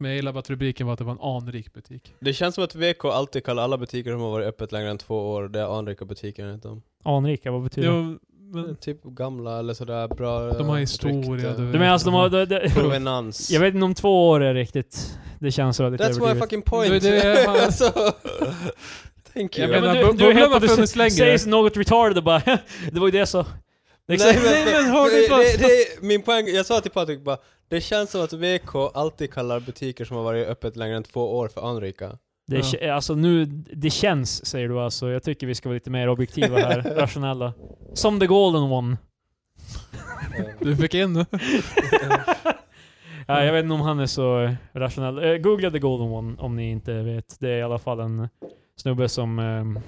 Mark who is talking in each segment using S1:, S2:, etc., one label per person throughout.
S1: Men jag gillar bara att rubriken var att det var en anrik butik.
S2: Det känns som att VK alltid kallar alla butiker som har varit öppet längre än två år, det är anrika butiker enligt dem.
S3: Anrika, vad betyder det?
S1: Jo,
S3: Mm.
S1: men
S2: Typ gamla eller sådär bra...
S1: de har historia.
S2: rykte.
S1: vet.
S3: Du menar alltså de har... De, de,
S2: Provenans.
S3: jag vet inte om två år är riktigt... Det känns så. lite
S2: That's my
S3: överdrivet.
S2: fucking point!
S1: Det är det jag-
S2: alltså, thank
S1: Jag
S2: you.
S3: Ja,
S1: menar,
S3: men
S1: bu-
S3: du, du
S1: bubblan
S3: är helt
S1: har
S3: plötsligt
S1: funnits längre.
S3: Säger något retarded och bara Det var ju det jag sa. Det är
S2: Nej,
S3: exakt-
S2: men-
S1: men har
S2: för
S1: du
S2: det,
S1: plats?
S2: det, min poäng, jag sa till Patrik bara, det känns som att VK alltid kallar butiker som har varit öppet längre än två år för anrika. Eh,
S3: Det,
S1: Ja.
S3: kä- alltså nu, det känns säger du alltså. Jag tycker vi ska vara lite mer objektiva här, rationella. Som the golden one.
S1: Du fick in
S3: Ja, jag vet inte om han är så rationell. Eh, googla the golden one om ni inte vet. Det är i alla fall en snubbe som... ehm,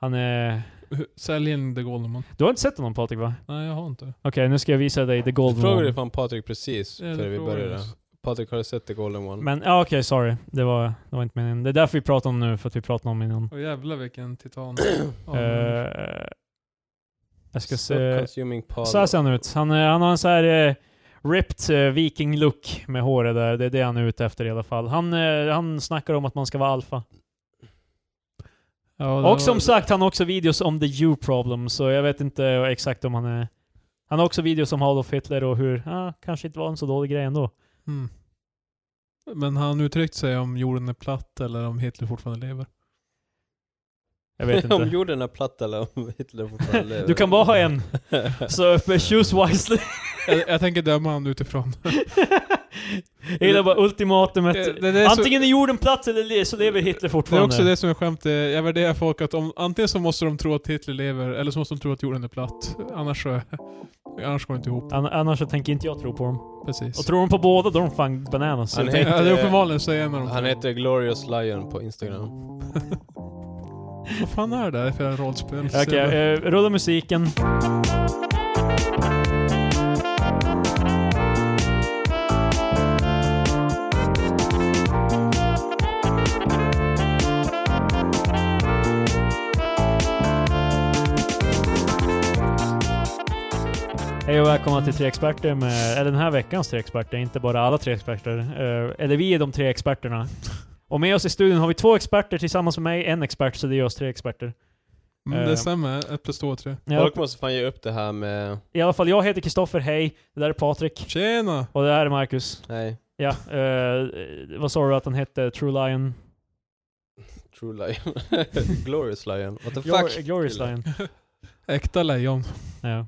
S3: han är...
S1: Sälj in The Golden One.
S3: Du har inte sett honom Patrik va?
S1: Nej, jag har inte.
S3: Okej, nu ska jag visa dig the
S2: Du
S3: golden
S2: frågade
S3: one.
S2: fan Patrik precis
S1: Ja, det
S2: före vi
S1: frågade
S2: började.
S1: jag.
S2: Patrik, har du sett The Golden One?
S3: Men ja, okej, sorry. Det var, det var inte meningen. Det är därför vi pratar om nu, för att vi pratade om innan.
S1: Åh jävlar vilken titan.
S3: Eh,
S1: Ja,
S3: jag ska
S2: So
S3: se...
S2: Consuming pod.
S3: Så här ser han ut. Han, eh, han har en så här eh, ripped eh, viking look med håret där. Det är det han är ute efter i alla fall. Han, eh, han snackar om att man ska vara alfa.
S1: det var-
S3: Och som sagt, han har också videos om the you problem, så jag vet inte exakt om han är... Han har också videos om Adolf Hitler och hur, ja, kanske inte var en så dålig grej ändå.
S1: Mm. Men har han uttryckt sig om jorden är platt eller om Hitler fortfarande lever?
S3: Jag vet
S2: om
S3: inte.
S2: jorden är platt eller om Hitler fortfarande lever.
S3: Du kan bara ha en, så choose wisely.
S1: jag, jag tänker döma han utifrån.
S3: Jag gillar bara ultimatumet.
S1: Det- det- det är så-
S3: Antingen är jorden platt eller le- så lever Hitler
S1: Det är
S3: fortfarande.
S1: också det som är skämt. eh, Jag värderar folk att om, antingen så måste de tro att Hitler lever, eller så måste de tro att jorden är platt. Annars, så, annars går det inte ihop.
S3: An- annars så tänker inte jag tro på dem.
S1: Precis.
S3: Och tror de på båda, då är de fan bananas.
S2: Han
S3: Jag
S2: är-
S3: tänker-
S1: ja, det är uppenbarligen så är en av dem.
S2: Han heter Glorious Lion på Instagram.
S1: Vad fan är det där för rollspel?
S3: Okej, eh, rulla musiken. Hej och välkomna till Tre Experter med, eller den här veckans Tre Experter, inte bara alla Tre Experter. Eh, eller vi är de tre experterna. Och med oss i studion har vi två experter tillsammans med mig, en expert, så det gör oss tre experter.
S1: Mm,
S3: eh,
S1: det stämmer. Ett plus två och tre.
S3: Ja,
S2: Folk måste fan ge upp det här med...
S3: I alla fall, jag heter Kristoffer, hej. Det där är Patrik.
S1: Tjena!
S3: Och det här är Marcus.
S2: Nej,
S3: Ja, eh, vad sa du att han hette? True Lion?
S2: True Lion. Glorious Lion. What the
S3: Glor-
S2: fuck?
S3: Glorious
S2: Kille.
S3: Lion.
S1: Äkta lejon.
S3: Ja.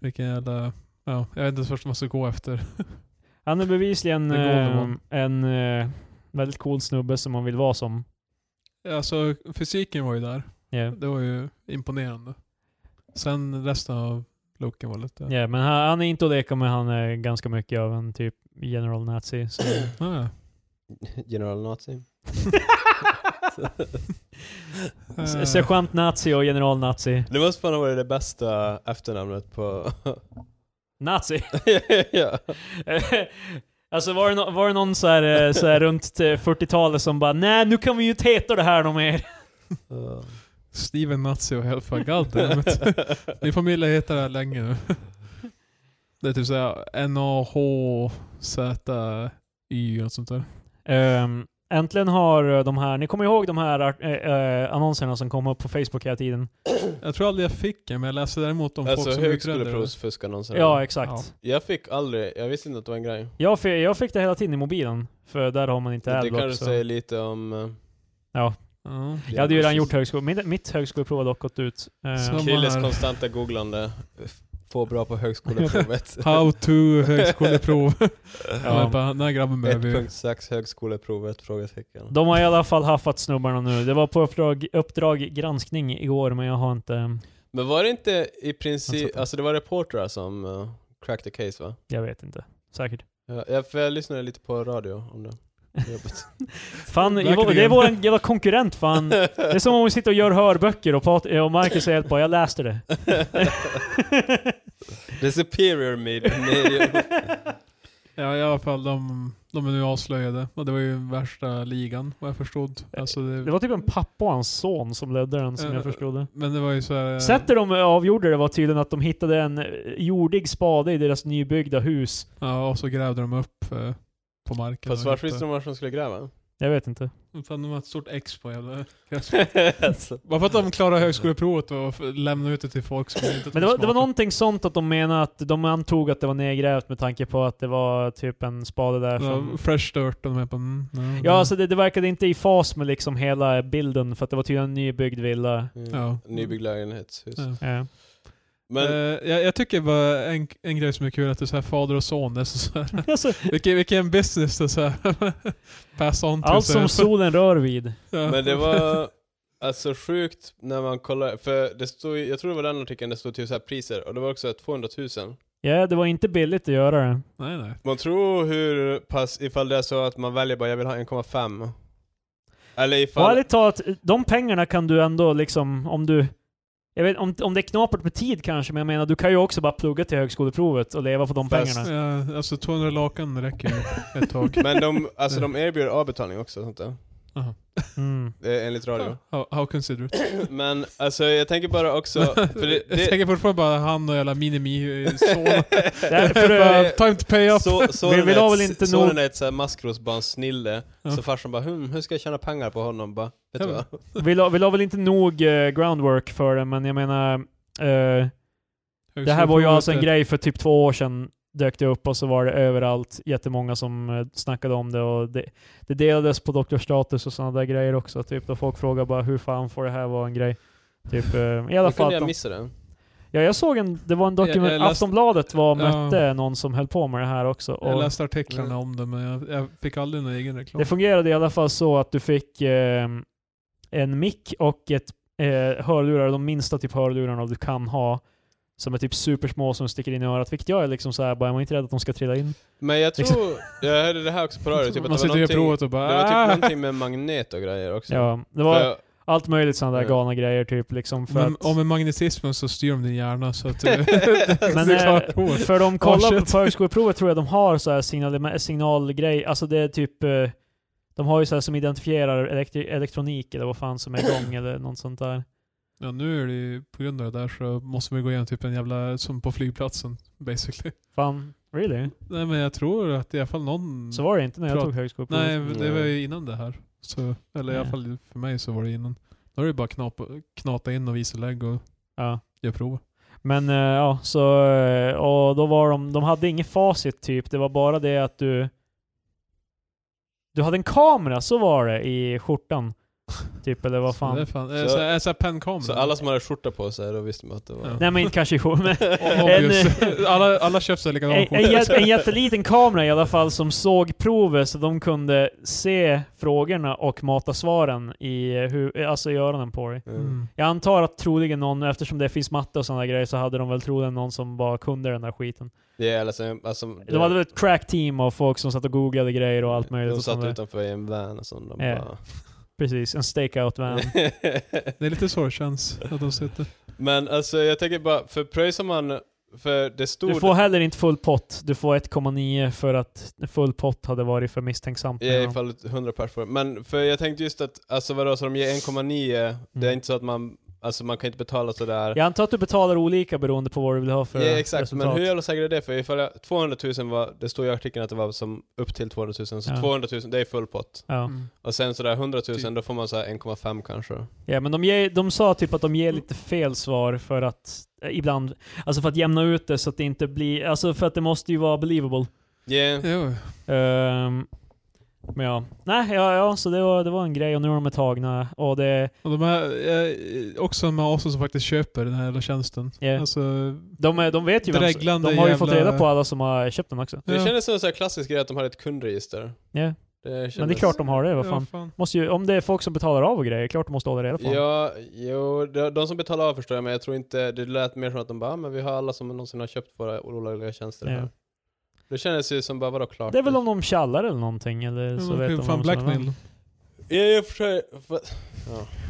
S1: Vilken jävla... Ja, jag vet inte först vad man ska gå efter.
S3: Han är bevisligen
S1: The golden
S3: eh,
S1: one.
S3: en eh, väldigt cool snubbe som man vill vara som.
S1: Alltså, fysiken var ju där.
S3: Ja,
S1: Det var ju imponerande. Sen resten av looken var lite...
S3: ja, men han, han är inte att leka med. Han är ganska mycket av en typ general nazi. Så.
S1: Ja, Ah, ja.
S2: General Nazi.
S1: Eh,
S3: S- Sergeant nazi och general nazi.
S2: Det måste fan ha varit det bästa efternamnet på...
S3: Nazi!
S2: ja.
S3: alltså var det, nå- var det någon så här, eh, så här runt eh, 40-talet som bara nej nu kan vi ju inte heta det här någon mer.
S2: Uh.
S1: Steven Nazi och Helfa Goddammit. Min familj har hetat det här länge nu. Det är typ såhär N-A-H-Z-Y och något sånt där.
S3: Ehm, äntligen har eh, de här, ni kommer ihåg de här art- eh, eh, annonserna som kom upp på Facebook hela tiden?
S1: Jag tror aldrig jag fick en, men jag läste däremot om folk
S2: Alltså
S1: som utredde det.
S2: högskoleprovsfuskannonser.
S3: Ja, exakt.
S1: Ja.
S2: Jag fick aldrig, jag visste inte att det var en grej.
S3: Jag, fick, jag fick det hela tiden i mobilen, för där har man inte
S2: Det, det
S3: Adblock.
S2: kanske
S3: Så.
S2: säger lite om... eh,
S1: Ja.
S3: Jag hade ju redan gjort högskola, mitt, mitt högskoleprov har dock gått ut. Ehm,
S1: Så-
S2: Killes
S1: här.
S2: konstanta googlande. F- Få bra på högskoleprovet.
S1: How to högskoleprov.
S3: Ja.
S1: ja. bara, Den här grabben behöver ju...
S2: 1.6 högskoleprovet? Frågetecken.
S3: de har i alla fall haffat snubbarna nu. Det var på uppdrag, uppdrag granskning igår, men jag har inte...
S2: Men var det inte i
S1: Han satt
S2: princip,
S1: där.
S2: alltså det var reportrar som uh, cracked the case va?
S3: Jag vet inte. Säkert.
S2: Ja, jag, för jag lyssnade lite på radio om det. på jobbet.
S3: Fan, i
S1: Verkligen.
S3: vår- det är våran jävla konkurrent fan. Det är som om vi sitter och gör hörböcker och, Pat- och Marcus är helt bara 'Jag läste det'
S2: The superior med- medium.
S1: Ja, i alla fall de, de är nu avslöjade. Och det var ju värsta ligan, vad jag förstod. Alltså
S3: Det
S1: det,
S3: var typ en pappa och hans son som ledde den, som jag
S1: Eh,
S3: förstod det.
S1: men det var ju så här, eh,
S3: Sättet de avgjorde det var tydligen att de hittade en eh, jordig spade i deras nybyggda hus.
S1: Ja, och så grävde de upp eh, på marken.
S2: Fast varför visste de var som skulle gräva?
S3: Jag vet inte.
S1: de? Fan, de har ett stort X på jävla...
S2: alltså.
S1: Bara för att de klarar högskoleprovet och f- lämnar ut det till folk som inte
S3: Men det var, det var någonting sånt att de menade att de antog att det var nedgrävt med tanke på att det var typ en spade där som...
S1: Ja, fresh dirt och de är på... Mm, ja,
S3: Ja, alltså det, det verkade inte i fas med liksom hela bilden, för att det var tydligen en nybyggd villa.
S2: Mm.
S1: Ja.
S2: Nybyggd lägenhetshus.
S1: Ja.
S3: Eh.
S1: Men...
S2: Men
S1: jag, jag tycker bara en, en grej som är kul är att det är så här fader och son. Det är så, så här,
S3: Alltså,
S1: vilken, vilken business det är så här. Pass on
S3: allt
S1: så här.
S3: som solen rör vid.
S1: Ja.
S2: Men det var alltså sjukt när man kollar, för det stod, ju- jag tror det var den artikeln det stod typ så här priser, och det var också 200 000.
S3: Ja, det var inte billigt att göra det.
S1: Nej, nej.
S2: Man tror hur pass, ifall det är så att man väljer bara jag vill ha 1,5. Eller
S3: Och
S2: ifall...
S3: ärligt talat, de pengarna kan du ändå liksom, om du... Jag vet om, om det är knapert med tid kanske, men jag menar du kan ju också bara plugga till högskoleprovet och leva på de
S2: Fast-
S3: pengarna.
S1: Ja, alltså 200 lakan räcker ju ett tag.
S2: Men de, alltså, de erbjuder avbetalning också, och sånt där.
S3: Mm.
S2: Det är enligt radio.
S1: How, how considerate.
S2: Men alltså jag tänker bara också, för det,
S1: jag
S2: det,
S1: tänker fortfarande bara han och jävla minimi-son.
S3: Därför, eh,
S1: Bara, Time to pay up.
S2: så, så
S3: Vi vill ha väl inte nog-
S2: Sonen är ett så här maskrosbandsnille,
S1: Ja.
S2: så farsan bara hm, hur ska jag tjäna pengar på honom? Bara, vet
S1: Ja,
S2: du
S1: men-
S2: vad?
S3: vi, la, vi la väl inte nog eh, groundwork för det, men jag menar... eh, det här var ju alltså en grej för typ två år sedan. Dök det upp och så var det överallt jättemånga som eh, snackade om det och det, det delades på doktorstatus och sådana där grejer också. Typ då folk frågar bara hur fan får det här vara en grej? Typ eh, i alla
S2: Hur
S3: fall.
S2: kunde
S3: att
S2: jag
S3: de-
S2: missa det?
S3: Ja, jag såg en, det var en dokument,
S1: Jag- jag läste-
S3: Aftonbladet var och
S1: Ja.
S3: mötte någon som höll på med det här också.
S1: Jag
S3: Och
S1: läste artiklarna om det men jag, jag fick aldrig någon egen reklam.
S3: det fungerade i alla fall så att du fick eh, en mick och ett eh, hörlurar, de minsta typ hörlurarna du kan ha, som är typ supersmå som sticker in i örat, vilket jag är liksom såhär, bara, är man inte rädd att de ska trilla in?
S2: Men jag
S3: Liksom.
S2: tror, jag hörde det här också på radio,
S1: Man
S2: typ att det var
S1: sitter ju i
S2: någonting,
S1: provet och
S2: det
S1: bara
S2: var
S1: "Ah!"
S2: typ någonting med magnet och grejer också.
S3: Ja, det var
S2: För,
S3: allt möjligt sådana där
S2: Ja.
S3: galna grejer typ liksom. För
S1: Men
S3: att,
S1: om med magnetismen så styr de din hjärna så att du, men, du
S3: eh,
S1: klarar provet.
S3: För de kollar
S1: Oh,
S3: på,
S1: shit.
S3: på högskoleprovet tror jag de har så här signal, signalgrej, alltså det är typ eh, de har ju så här som identifierar elektri- elektronik eller vad fan som är igång eller något sånt där.
S1: Ja, nu är det ju, på grund av det där så måste vi gå igenom typ en jävla, som på flygplatsen basically.
S3: Fan, really?
S1: Nej men jag tror att i alla fall någon...
S3: Mm. Så var det inte när jag
S1: Prat-
S3: tog högskoleprovet.
S1: Nej, det var ju innan det här. Så, eller i alla
S3: Ja.
S1: fall för mig så var det innan. Då är det bara knapa, knata in och visa lägg och
S3: Ja.
S1: göra provet.
S3: Men eh, ja, så eh, och då var de, de hade inget facit typ, det var bara det att du du hade en kamera, så var det, i skjortan. Typ, eller vad
S1: Så det är
S3: fan.
S1: fan, så,
S2: Så-
S1: så, här- så här pennkamera.
S2: så alla som hade skjorta på sig, då visste man att det var...
S1: Ja.
S3: Nej men inte kanske i skjortan, men Eh.
S1: O- obvious. alla, alla köper sig likadana
S3: en, en,
S1: skjortor.
S3: jät- en jätteliten kamera i alla fall som såg provet så de kunde se frågorna och mata svaren i, hu- alltså i öronen på dig.
S2: Mm.
S1: Mm.
S3: Jag antar att troligen någon, eftersom det finns matte och sådana grejer, så hade de väl troligen någon som bara kunde den där skiten.
S2: Det är alltså, alltså
S3: De hade väl ett crack team av folk som satt och googlade grejer och allt möjligt.
S2: De
S3: och sånt
S2: satt
S3: där.
S2: utanför i en van och sånt, de
S3: Ja.
S2: bara...
S3: Precis, en stakeout van.
S1: Det är lite så det känns att de sitter.
S2: Men alltså jag tänker bara, för pröjsar man, för det stod...
S3: Du får heller inte full pott. Du får 1,9 för att full pott hade varit för misstänksamt.
S2: Ja, ifall 100 pers får Men för jag tänkte just att, alltså vadå, så de ger 1,9, det är
S3: Mm.
S2: inte så att man, alltså man kan inte betala sådär.
S3: Jag antar att du betalar olika beroende på vad du vill ha för
S2: Ja exakt,
S3: resultat.
S2: men hur jävla säker är det? För ifall jag, 200 000 var, det står i artikeln att det var som upp till 200 000, så
S3: Ja.
S2: 200 000 det är full pott.
S3: ja.
S1: Mm.
S2: Och sen sådär 100 000,
S1: Typ.
S2: då får man såhär 1,5 kanske.
S3: Ja, men de, ger, de sa typ att de ger lite fel svar för att eh, ibland, alltså för att jämna ut det så att det inte blir, alltså för att det måste ju vara believable.
S2: Yeah.
S1: Jo.
S3: Ehm, men ja, nej, ja, ja, så det var, det var en grej och nu är de tagna och det,
S1: Och de här, eh, också de här asen som faktiskt köper den här jävla tjänsten.
S3: ja,
S1: Alltså,
S3: de, är- de vet ju vem, som-
S1: Dreglande
S3: de har ju
S1: jävla-
S3: fått reda på alla som har köpt den också.
S2: Det
S1: Ja.
S2: kändes som en sån här klassisk grej att de hade ett kundregister.
S3: Ja,
S2: Det kändes...
S3: men det är klart de har det, vad
S1: ja,
S3: fan. Måste ju, om det är folk som betalar av och grejer, klart de måste hålla reda på dem.
S2: Ja, jo, de, de som betalar av förstår jag, men jag tror inte, det lät mer som att de bara, "Ah, men vi har alla som någonsin har köpt våra olagliga tjänster
S3: Ja.
S2: här. Det kändes ju som bara, vadå klart?
S3: Det är väl om de tjallar eller någonting eller så vet de
S1: fan
S3: vem som är vem.
S1: blackmail.
S2: Ja, jag försöker...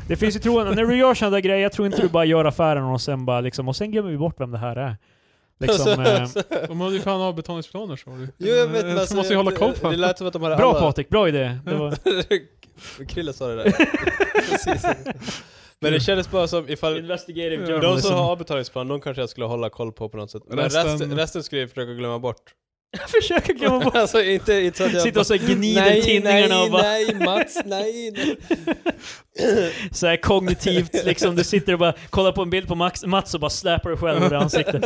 S3: Det finns ju troende, när du gör sådana där grejer, jag tror inte du bara gör affären och sen bara liksom, och sen glömmer vi bort vem det här är. Liksom, eh,
S1: De hade ju fan avbetalningsplaner sa du.
S2: Jo jag
S3: Mm,
S2: vet alltså,
S1: Eh, Så måste ju hålla koll på
S2: det. Det
S1: det.
S2: lät som att de hade
S3: bra
S2: alla...
S3: Patrik, bra idé. Det var,
S2: Krille sa det där. Precis. Men det kändes bara som ifall...
S3: Investigative
S2: De som har avbetalningsplan, de kanske jag skulle hålla koll på på något sätt. Men
S1: Resten-
S2: resten, resten skulle jag försöka glömma bort.
S3: Försöker glömma bort.
S2: alltså inte, inte så att jag...
S3: Sitta och så här gnider
S2: nej,
S3: tinningarna
S2: nej,
S3: och bara
S2: nej, Mats, nej, nej.
S3: så här kognitivt liksom. Du sitter och bara kollar på en bild på Max, Mats och bara släpar dig själv i ansiktet.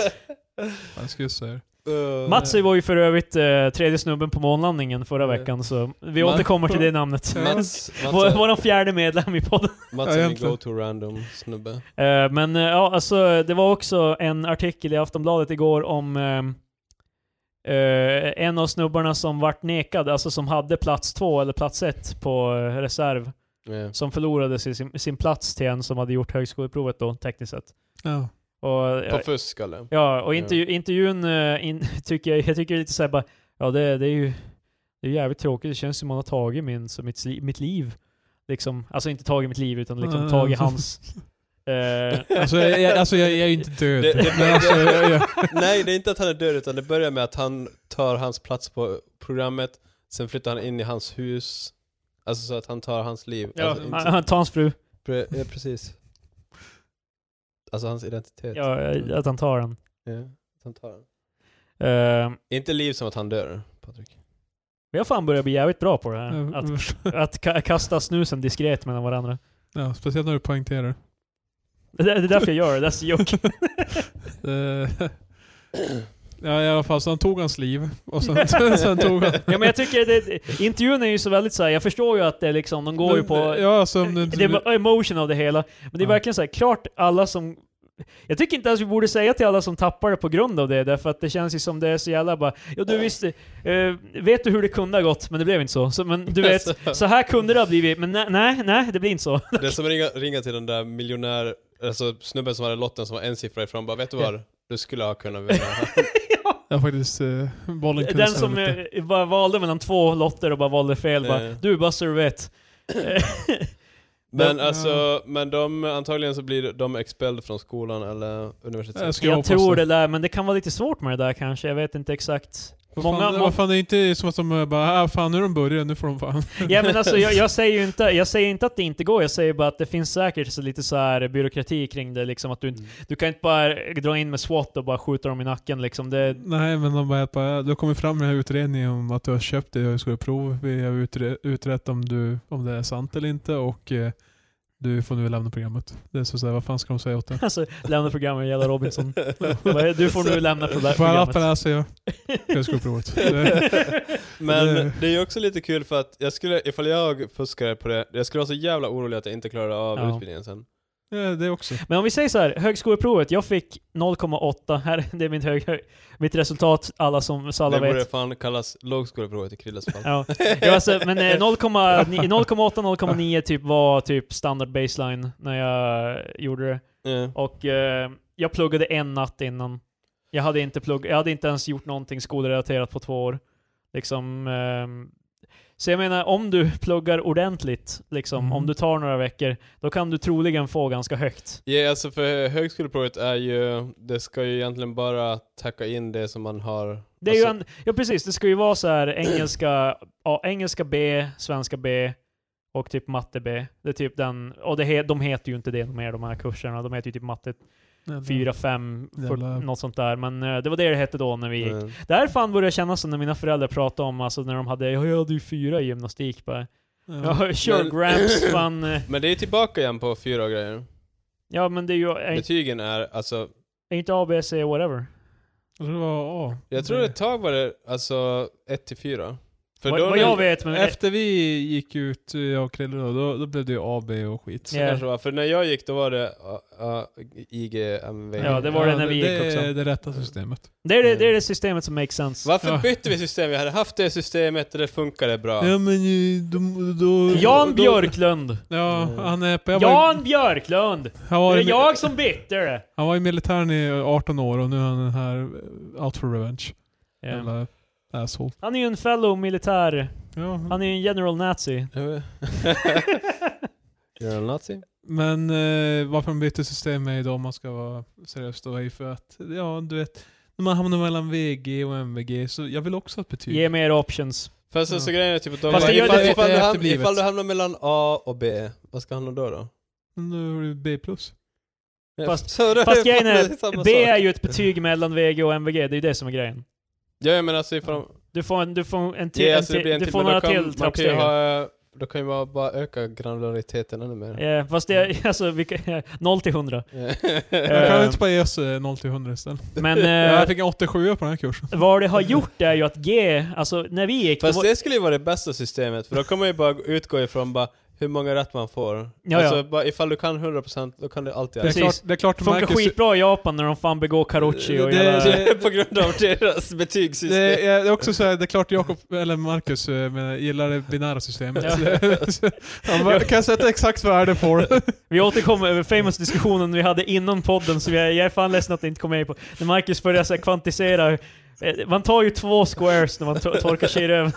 S1: Jag skulle säga.
S2: Eh,
S3: Mats var ju för övrigt eh, tredje snubben på månlandningen förra veckan, så vi
S2: Man-
S3: återkommer till det namnet.
S2: Mats, Mats,
S3: Vår,
S2: är-
S3: vår fjärde medlem i podden.
S2: Mats är min
S1: egentligen.
S2: go-to random snubbe.
S3: Eh, men eh, ja, alltså det var också en artikel i Aftonbladet igår om ehm, eh, en av snubbarna som vart nekad, alltså som hade plats två eller plats ett på eh, reserv,
S2: Ja.
S3: som förlorade sin, sin plats till en som hade gjort högskoleprovet då, tekniskt sett.
S1: Ja.
S3: Och,
S2: På
S3: eh,
S2: fusk eller?
S3: ja, och intervju, intervjun eh, in, tycker jag, jag tycker lite såhär bara, ja det, det är ju det är jävligt tråkigt, det känns som man har tagit min, så mitt, sli- mitt liv. Liksom, alltså inte tagit mitt liv, utan liksom
S1: Mm.
S3: tagit hans. eh,
S1: Alltså, jag, jag, alltså jag, jag är ju inte död.
S2: Det- det-
S1: men alltså, jag, jag,
S2: Nej, det är inte att han är död utan det börjar med att han tar hans plats på programmet, sen flyttar han in i hans hus. Alltså så att han tar hans liv.
S3: Ja,
S2: alltså,
S3: han- han tar hans fru.
S2: pre- ja, precis. Alltså hans identitet.
S3: Ja, eh, att han tar den.
S2: Ja, att han tar den.
S3: Eh,
S2: Inte liv som att han dör, Patrik.
S3: vi har fan börjat bli jävligt bra på det här. Att, att ka- kasta snusen diskret mellan varandra.
S1: ja, speciellt när du poängterar.
S3: Det, det är därför jag gör det. That's a joke.
S1: Eh, ja, i alla fall, så han tog hans liv. Och sen, sen tog han...
S3: ja, men jag tycker det, intervjun är ju så väldigt såhär, jag förstår ju att det är liksom, de går ju på...
S1: Ja, alltså, om du inte-
S3: det är emotion av det hela. Men det är
S1: Ja.
S3: verkligen såhär, klart alla som... Jag tycker inte ens vi borde säga till alla som tappar det på grund av det, därför att det känns ju som det är så jävla bara, ja du visste, eh, vet du hur det kunde ha gått, men det blev inte så. så men du vet,
S2: Alltså,
S3: så här kunde det ha blivit, men nej, nej, nej det blir inte så.
S2: det är som att ringa, ringa till den där miljonär, alltså snubben som hade lotten som var en siffra ifrån bara, vet du vad? Du skulle ha kunnat vinna.
S1: Ja, faktiskt. eh, bollen kunde
S3: Den
S1: snurra
S3: som
S1: lite.
S3: eh, bara valde mellan två lotter och bara valde fel bara,
S2: Eh.
S3: du bara så du vet.
S2: Men
S1: Ja.
S2: alltså, men de, antagligen så blir de expelled från skolan eller universitetet.
S1: Jag ska
S3: Jag,
S1: hoppas
S3: tror
S1: det.
S3: det där, men det kan vara lite svårt med det där kanske, jag vet inte exakt.
S1: Vad
S3: många-
S1: fan,
S3: många-
S1: vad fan, det är inte som att de eh, bara ah, fan nu är de började, nu får de fan.
S3: Ja men alltså jag, jag säger ju inte, jag säger inte att det inte går, jag säger bara att det finns säkert så lite så här byråkrati kring det liksom, att du, inte- du kan inte bara dra in med SWAT och bara skjuta dem i nacken liksom. Det,
S1: Nej men de bara, bara, du har kommit fram med den här utredningen om att du har köpt det högskoleprov. Vi har utre- utrett om, du, om det är sant eller inte och eh, du får nu lämna programmet. Det är så såhär, vad fan ska de säga åt det?
S3: alltså, lämna programmet, jävla Robinson. Bara, Du får nu lämna pro-
S1: Får jag lappen
S3: programmet.
S1: här säger jag. Högskoleprovet. Det-
S2: Men
S1: Det-
S2: det är ju också lite kul för att jag skulle, ifall jag fuskade på det, jag skulle vara så jävla orolig att jag inte klarade av
S3: Ja.
S2: utbildningen sen.
S1: ja, det också.
S3: Men om vi säger så här, högskoleprovet, jag fick 0,8, här, det är mitt, hög, hö- mitt resultat, alla som, så alla
S2: det borde
S3: vet.
S2: fan kallas lågskoleprovet i Krilles fall.
S3: Ja. Ja, alltså, men eh, 0,8-0,9 typ var typ standard baseline när jag gjorde det.
S2: Ja.
S3: Och eh, jag pluggade en natt innan. Jag hade inte, plugg jag hade inte ens gjort någonting skolrelaterat på två år. Liksom, ehm, så jag menar, om du pluggar ordentligt, liksom,
S1: Mm.
S3: om du tar några veckor, då kan du troligen få ganska högt.
S2: Ja, alltså för högskoleprovet är ju, det ska ju egentligen bara tacka in det som man har.
S3: Det är
S2: alltså,
S3: ju en, ja precis, det ska ju vara så här engelska, ja, engelska B, svenska B och typ matte B. Det är typ den, och det, he- de heter ju inte det mer de här kurserna, de heter ju typ matte 4, 5,
S1: Jävla-
S3: något sånt där. Men eh, det var det det hette då när vi gick.
S2: men-
S3: Där fan började jag känna så när mina föräldrar pratade om, alltså när de hade, ja jag hade ju fyra i gymnastik bara.
S1: Ja.
S3: Ja, sure
S2: Men-
S3: gramps fan. eh,
S2: Men det är tillbaka igen på fyra grejer.
S3: Ja men det är ju, är inte-
S2: Betygen är, alltså,
S3: är inte A, B, C, whatever.
S1: Jag tror det var A.
S2: jag tror ett tag var det alltså 1 till 4. För
S3: Vad,
S2: då
S3: vad
S2: när-
S3: jag vet, men...
S1: Efter vi gick ut, jag och Krille då, då, då blev det ju A, B och skit.
S2: Så
S3: Ja.
S2: kanske det var. För när jag gick då var det uh, uh, IGMV.
S3: Ja, det var det när vi gick
S1: Det
S3: också.
S1: är det rätta systemet.
S3: Det är det, det är det systemet som makes sense.
S2: Varför
S1: Ja.
S2: bytte vi system? Vi hade haft det systemet och det funkade bra.
S1: Ja men eh, då... då
S3: Jan
S1: då-
S3: Björklund!
S1: Ja,
S2: Mm.
S1: han är... Jag var,
S3: Jan Björklund!
S1: han,
S3: Det
S1: var
S3: är
S1: i,
S3: jag som bytte det!
S1: han var i militären i 18 år och nu är han den här eh, out for revenge.
S3: Ja.
S1: Jävla asshole.
S3: Han är ju en fellow militär,
S1: Ja.
S3: han är ju en general nazi.
S2: You're a nazi.
S1: Men eh, varför de bytte system är ju då om man ska vara seriös då är ju för att, ja du vet, när man hamnar mellan VG och MVG, så jag vill också ha ett betyg.
S3: Ge mig era options.
S2: Fast så, så
S1: Ja.
S2: grejen är typ att de
S3: Fast det gör-
S2: ifall,
S1: det-
S2: ifall,
S1: det
S2: du
S1: är
S2: hamnar,
S1: efterblivet.
S2: ifall du hamnar mellan A och B, vad ska han då då?
S1: Nu är det B+.
S3: Fast-
S2: så det
S3: Fast grejen
S2: fan
S3: är,
S2: samma
S3: B är
S2: sak.
S3: ju ett betyg mellan VG och MVG, det är ju det som är grejen.
S2: Ja men alltså ifall de...
S3: Du får en, du får en Mm. till,
S2: Ja,
S3: en
S2: alltså, det
S3: till,
S2: blir en
S3: du
S2: till,
S3: får
S2: men då
S3: några
S2: kan-
S3: till
S2: man kan ju
S3: trappsteg.
S2: ha, Då kan ju bara, bara öka granulariteten ännu mer.
S3: Eh, fast det är alltså, vilka, 0 till 100.
S1: Jag kan
S3: Eh.
S1: väl inte bara ge oss 0 till 100 istället.
S3: Men
S1: Jag
S3: eh,
S1: fick en 87 på den här kursen.
S3: vad det har gjort är ju att G, alltså när vi gick, då
S2: Fast
S3: var-
S2: det skulle ju vara det bästa systemet, för då kommer man ju bara utgå ifrån bara hur många rätt man får.
S3: ja.
S2: alltså, Bara, ifall du kan 100% då kan du alltid
S1: Det är
S3: Precis.
S1: klart, det är klart
S3: det funkar
S1: Marcus-
S3: skitbra i Japan när de fan begår karuchi och
S1: Det-
S3: hela...
S1: det-
S2: på grund av deras betygssystem.
S1: Det är, det är också så här, det är klart Jakob, eller Marcus, eh, men gillar det binära systemet. Han bara, kan jag sätta exakt värde på det?
S3: Vi återkommer över famous-diskussionen vi hade innan podden, så jag, jag är fan ledsen att det inte kom med på. När Marcus började så här, kvantisera, eh, man tar ju två squares när man to- torkar sig i röven.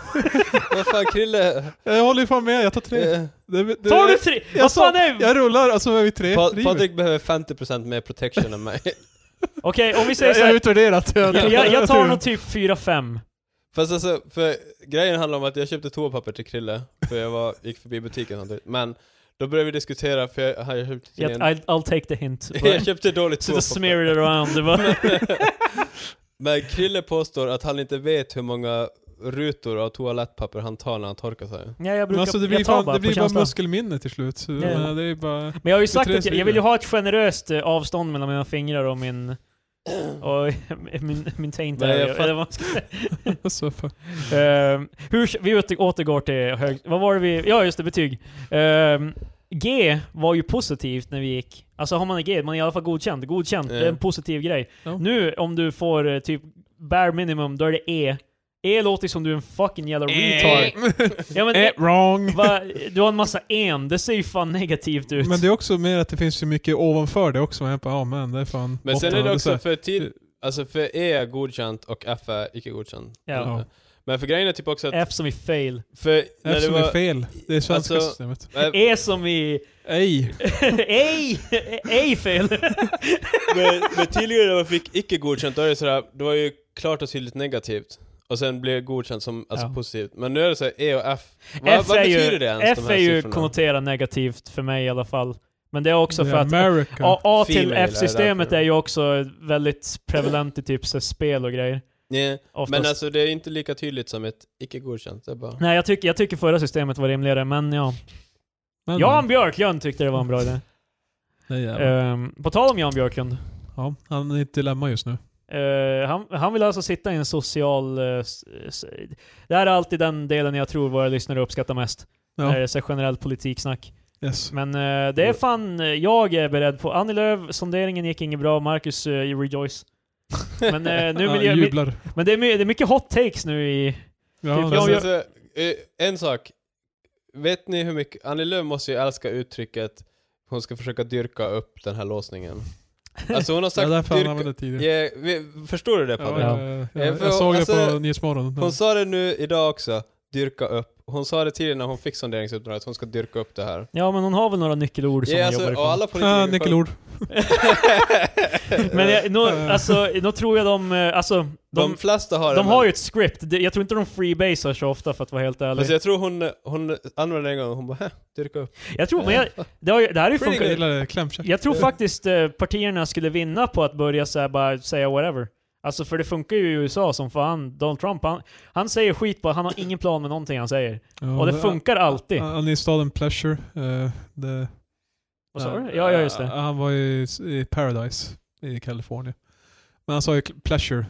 S2: Vad fan Krille?
S1: Jag håller ju fan med, jag tar tre.
S2: Eh,
S1: Det, det,
S3: Tar du tre?
S1: jag
S3: Vad
S1: sa-
S3: fan är det?
S1: Jag rullar, alltså är vi tre.
S2: Pa-
S1: driver.
S2: Patrik behöver 50% mer protection än mig.
S3: Okej, om vi säger
S1: jag,
S3: så
S1: jag har
S3: här,
S1: utvärderat.
S3: jag, jag, jag tar nog typ 4-5.
S2: Fast alltså, för grejen handlar om att jag köpte toapapper till Krille, för jag var, gick förbi butiken samtidigt. Men då började vi diskutera, för jag hade köpt
S3: Jag-
S2: en,
S3: I'll, I'll take the hint.
S2: jag köpte dåligt
S3: Sitta och
S2: toapapper.
S3: smear it around. Det var,
S2: Men Krille påstår att han inte vet hur många rutor av toalettpapper han tar när han torkar sig.
S3: ja, jag
S1: Men
S3: brukar,
S1: alltså det blir,
S3: jag tar
S1: fan,
S3: bara
S1: det
S3: på
S1: blir bara
S3: känslan.
S1: muskelminne till slut. Så,
S3: Ja.
S1: men, det är bara...
S3: Men jag har ju sagt
S1: tre
S3: att jag, jag
S1: sidor.
S3: vill ju ha ett generöst eh, avstånd mellan mina fingrar och min... Och min, min taint.
S2: Nej, jag
S3: Eller
S2: fatt-
S3: vad man ska säga.
S1: Alltså, fan.
S3: Ehm, hur, vi åter, återgår till hög... Vad var det vi... Ja, just det, betyg. Ehm, G var ju positivt när vi gick. Alltså har man ett G, man är i alla fall godkänd. Godkänd, det är en
S2: Ja.
S3: positiv grej.
S1: Ja.
S3: Nu om du får eh, typ bare minimum, då är det E. E låter som du är en fucking jävla
S1: E.
S3: retard. Ja, men, E-
S1: Eh, wrong!
S3: va, du har en massa en, det ser ju fan negativt ut.
S1: Men det är också mer att det finns så mycket ovanför det också. Man bara, ja men det är fan...
S2: Men sen
S1: åtta,
S2: är det
S1: så här.
S2: också för tid, alltså för E är godkänt och F är icke godkänt.
S3: Ja.
S2: Men för grejen är typ också att,
S3: F som i fail.
S2: för när det
S1: Eftersom det är
S2: var...
S1: fel. Det är svenska
S2: Alltså-
S1: systemet.
S2: eh,
S3: E som i...
S1: Ej!
S3: Ej! Ej fail!
S2: Men, men tidigare när man fick icke godkänt, då är det sådär, det var ju klart och tydligt negativt. Och sen blev det godkänt som alltså,
S3: Ja.
S2: positivt. Men nu är det såhär E och F. Vad,
S3: F
S2: vad
S3: är
S2: betyder
S3: ju,
S2: det ens,
S3: F
S2: de
S3: är
S2: här
S3: ju
S2: siffrorna?
S3: konnoterat negativt för mig i alla fall. Men det är också
S1: Det är
S3: för att
S1: America.
S3: A, A till
S2: Female är
S3: F-systemet
S2: därför.
S3: är ju också väldigt prevalent i typ så här spel och grejer.
S2: Nej,
S3: Oftast.
S2: Men alltså det är inte lika tydligt som ett icke godkänt. Det är bara...
S3: Nej, jag tycker, jag tycker förra systemet var rimligare, men ja.
S1: Men,
S3: Jan Björklund tyckte det var en bra idé.
S1: Nej, jävlar.
S3: Ehm, på tal om Jan Björklund.
S1: ja, han är i ett dilemma just nu.
S3: Eh, han, han vill alltså sitta i en social... eh, s- s- det här är alltid den delen jag tror våra lyssnare uppskattar mest.
S1: Ja,
S3: När det är så här generellt politiksnack.
S1: yes.
S3: Men eh, det är fan, eh, jag är beredd på. Annie Lööf, sonderingen gick inget bra, Marcus eh, rejoice. Men eh, nu vill
S1: ja,
S3: jag...
S1: jublar.
S3: Men det är, my- det är mycket hot takes nu i...
S1: Ja,
S3: typ,
S1: det-
S2: Fast
S3: jag-
S2: alltså, eh, en sak. Vet ni hur mycket... Annie Lööf måste ju älska uttrycket hon ska försöka dyrka upp den här låsningen. Alltså hon har
S1: det är
S2: sagt...
S1: därför han
S2: dyrka-
S1: använde det tidigare.
S2: Ja, vi, förstår du det Patrik?
S1: Ja, ja, ja.
S2: Ja,
S1: Jag,
S2: för-
S1: jag såg det
S2: alltså,
S1: på Nyhetsmorgon.
S3: Mm.
S2: Hon sa det nu idag också, dyrka upp. Hon sa det tidigare när hon fick sonderingsuppdraget, att hon ska dyrka upp det här.
S3: Ja, men hon har väl några nyckelord som
S2: Ja,
S3: hon
S2: alltså,
S3: jobbar
S2: och
S3: ifrån.
S2: alla
S1: Ja,
S2: politiker...
S1: nyckelord.
S3: Men jag, nå,
S1: Ja.
S3: alltså, nå tror jag de... eh, Alltså,
S2: de,
S3: de,
S2: flesta har
S3: de,
S2: det, men-
S3: har ju ett script. Det- Jag tror inte de freebasar så ofta för att vara helt ärlig.
S2: Fast Alltså, jag tror hon, hon använde det en gång, hon bara "Hä, dyrka upp.
S3: Jag tror, men jag, det, har, ju- det här är ju
S2: Pretty
S1: Jag
S3: funkat.
S1: gillar det. Klämkäck.
S3: Jag tror faktiskt eh, partierna skulle vinna på att börja så här, bara säga whatever. Alltså för det funkar ju i USA som fan. Donald Trump, han, han säger skit bara, han har ingen plan med någonting han säger.
S1: Ja,
S3: Och det funkar alltid.
S1: Han han är i staden Pleasure. eh, det,
S3: Vad sa du? Ja, ja just det.
S1: Han var ju i Paradise i Kalifornien. Men han sa ju Pleasure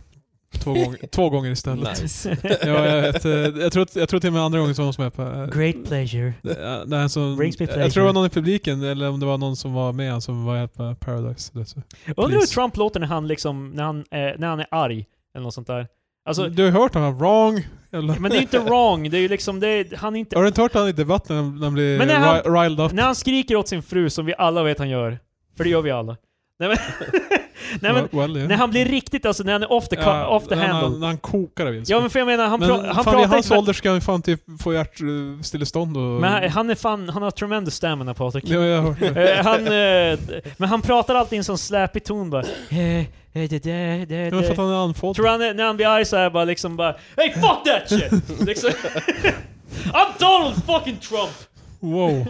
S1: två gånger, två gånger istället.
S2: Nice.
S1: Ja, jag, vet, eh, jag, tror, att- jag tror till och med andra gången som hon som är på... eh,
S3: Great pleasure.
S1: Det, ja, det är en sån,
S3: Brings me
S1: jag tror det
S3: pleasure.
S1: var någon i publiken, eller om det var någon som var med han som var på Paradise. Det, så.
S3: Undrar hur
S1: Please.
S3: Trump låter när han liksom, när han, eh, när han är arg. Eller något sånt där. Alltså,
S1: du har hört honom, wrong! Jävla.
S3: men det är ju inte wrong. Det är ju liksom, det är, han
S1: Har
S3: är inte...
S1: du inte hört han i debatten när han- när han blir
S3: Men när
S1: ri- riled up?
S3: När han skriker åt sin fru, som vi alla vet han gör. För det gör vi alla. Nej men... Nej, men,
S1: well, yeah.
S3: när han blir riktigt, alltså när han är off the, cu-
S1: Ja,
S3: off the
S1: när
S3: handle.
S1: Han, när han kokar av ilska.
S3: Ja men för jag menar, han,
S1: men
S3: pra- han
S1: fan, i
S3: pratar
S1: hans
S3: inte...
S1: ålder ska han ju fan typ få hjärtstillestånd och...
S3: Men han- han är fan, han har tremendous stamina Patrik.
S1: Ja, jag har hört det.
S3: Eh, han, eh, d- men han pratar alltid i en sån släpig ton bara. Eh, eh, det, det, det,
S1: Ja, men för
S3: det.
S1: att han är andfådd.
S3: Tror han är- när han blir arg såhär bara liksom bara Hey fuck that shit! liksom. I'm Donald fucking Trump!
S1: Wow,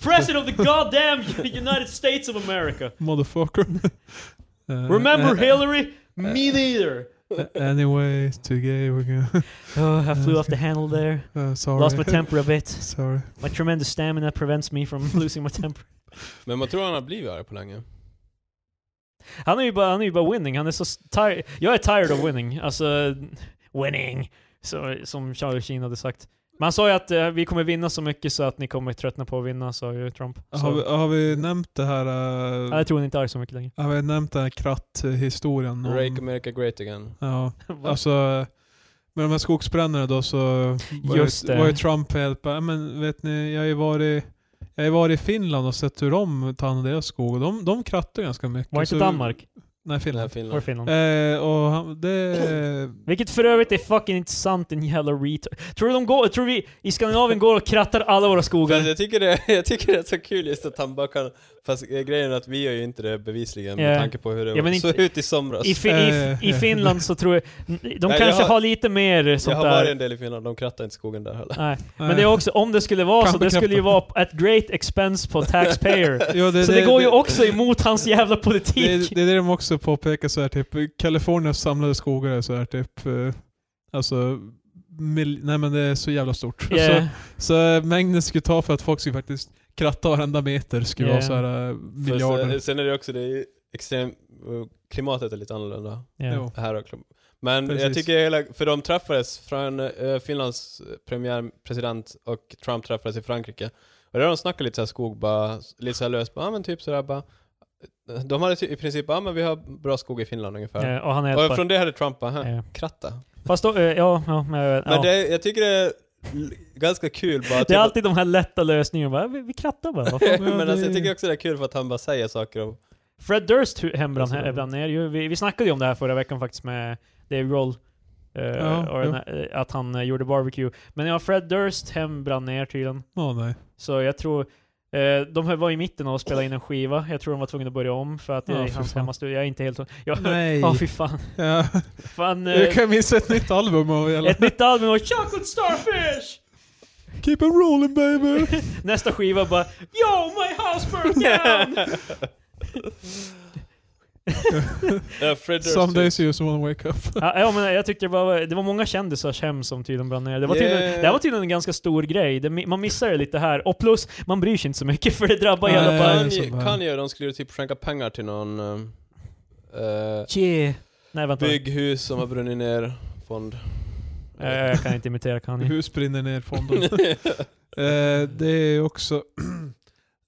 S3: President of the goddamn United States of America!
S1: motherfucker. Eh,
S3: Remember
S1: eh,
S3: Hillary? Me neither!
S1: eh, Anyway, today we're gonna...
S3: Oh, I flew off the handle there.
S1: eh, sorry.
S3: Lost my temper a bit.
S1: Sorry.
S3: My tremendous stamina prevents me from losing my temper.
S2: Men man tror han har blivit arg på länge.
S3: Han är ju bara, han är ju bara winning, han är så tired. Jag är tired of winning. Alltså, winning! Så, som Charlie Sheen hade sagt. Men han sa ju att eh, vi kommer vinna så mycket så att ni kommer tröttna på att vinna, sa ju Trump. Så,
S1: Har vi, har vi nämnt det här...
S3: Ja,
S1: eh,
S3: jag tror han inte är arg så mycket längre.
S1: har vi nämnt den här kratthistorien? om-
S2: Rake America Great Again.
S1: Ja, alltså... Med de här skogsbränderna då så var,
S3: Just
S1: ju,
S3: det.
S1: var ju Trump helt bara, "Ja, men vet ni, jag har ju varit, jag har ju varit i Finland och sett hur de tar hand om deras skog och de, de krattar ganska mycket.
S3: Var inte
S1: Så-
S3: Danmark?
S1: Nej,
S2: Den här
S1: Finland.
S3: Var
S2: Finland.
S3: det Finland?
S1: Eh, och han, det...
S3: Vilket för övrigt är fucking inte sant en jävla retard. Tror du de går, tror vi i Skandinavien går och krattar alla våra
S2: Fast
S3: skogar?
S2: jag, tycker det, jag tycker det är så kul just att han bara kan... Fast eh, grejen är att vi gör ju inte det bevisligen
S3: Ja.
S2: med tanke på hur det
S3: Ja, men
S2: såg
S3: inte-
S2: ut i somras.
S3: I, fi, i,
S1: Eh,
S3: I
S1: ja.
S3: Finland så tror jag... De
S2: jag
S3: kanske
S2: har-
S3: har lite mer
S2: jag
S3: sånt
S2: har
S3: där...
S2: varit en del i Finland, de krattar inte skogen där heller.
S3: Nej. Men det är också, om det skulle vara så,
S1: Kan
S3: det skulle ju
S1: bekräfta.
S3: vara at great expense på taxpayer.
S1: Ja,
S3: Så det går ju
S1: det-
S3: också emot hans jävla
S1: Det,
S3: politik.
S1: det är det de också påpekar så här typ, Kaliforniens samlade skogar är så här typ, eh, alltså, mil, nej men det är så jävla stort.
S3: Yeah.
S1: Så, så eh, mängden skulle ta för att folk skulle faktiskt kratta varenda meter skulle
S3: Ja.
S1: vara så här eh,
S2: Fast,
S1: miljarder.
S2: eh, Sen är det också det är ju extrem... eh, Klimatet är lite annorlunda.
S3: Yeah.
S1: Jo.
S2: här och klubb. Men jag
S1: Precis.
S2: tycker hela, för de träffades från eh, Finlands premiärpresident och Trump träffades i Frankrike. Och där de snackade lite så här skog bara, lite så här löst, bara, ah, men typ sådär bara. De hade ty- i princip, ja ah, men vi har bra skog i Finland ungefär.
S3: Eh, Och han är
S2: Och
S3: hjälpare.
S2: från det hade Trump bara, "Hä,
S3: Ja.
S2: kratta.
S3: Fast då, eh, ja, ja, men, jag vet-
S2: Men
S3: ja.
S2: det, jag tycker det är l- ganska kul bara.
S3: Det
S2: typ
S3: är
S2: att-
S3: alltid de här lätta lösningarna. Bara, vi, vi krattar bara. Vad fan?
S2: men
S1: det-
S2: alltså, jag tycker också det är kul för att han bara säger saker och
S3: Fred Durst hu- hem brann,
S2: Jag tror
S3: he-
S2: det.
S3: brann ner ju. Vi, vi snackade ju om det här förra veckan faktiskt med Dave Roll. eh,
S1: Ja,
S3: och
S1: jo.
S3: den här, eh, att han eh, gjorde barbecue. Men ja, Fred Durst hem brann ner tydligen.
S1: Ja, nej.
S3: Så jag tror... eh, de här var i mitten och spelade in en skiva. Jag tror de var tvungna att börja om för att det
S1: Ja,
S3: är
S1: fy
S3: hans
S1: fan.
S3: hemmastudio. Jag är inte helt... Jag,
S1: Nej.
S3: Ja, fy fan.
S1: Ja.
S3: fan
S1: Jag
S3: eh,
S1: kan minnas ett nytt album av hela...
S3: ett nytt album och Chocolate Starfish!
S1: Keep it rolling baby!
S3: Nästa skiva bara Yo, my house burned down!
S2: Ja, Fred Durst
S1: Some
S2: typ.
S1: days you just wanna wake up.
S3: ja, ja, men jag tyckte det, var, det var många kändisars hem som tydligen brann ner. Det var tydligen,
S2: Yeah.
S3: det här var tydligen en ganska stor grej. Det, mi- man missar det lite här. Och plus, man bryr sig inte så mycket för det drabbar
S1: Nej.
S3: hela bara...
S1: det är så
S2: Kanye,
S1: bra.
S2: Kanye, de skulle ju typ skänka pengar till någon eh,
S3: Yeah. Nej vänta.
S2: bygghus som har brunnit ner, fond.
S3: Eh, jag kan inte imitera Kanye.
S1: Hus brinner ner fonden. eh, det är också...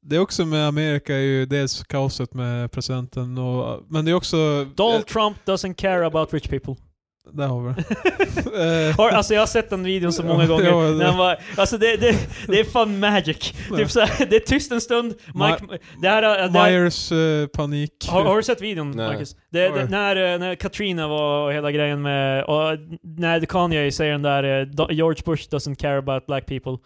S1: Det är också med Amerika är ju dels kaoset med presidenten och... Men det är också...
S3: Donald Trump doesn't care about rich people.
S1: Eh, Där har vi det. Eh,
S3: Har, alltså jag har sett den videon så många
S1: Ja,
S3: gånger.
S1: ja,
S3: när han var, alltså det, det, det är fan magic.
S1: Ja.
S3: Typ så här, det är tyst en stund. Mike, det här, det här,
S1: Myers eh, panik.
S3: Har, har du sett videon
S2: Nej.
S3: Marcus? Det, det,
S1: Oj.
S3: när, eh, när Katrina var och hela grejen med... Och eh, när Kanye säger den där eh, "Do- George Bush doesn't care about black people.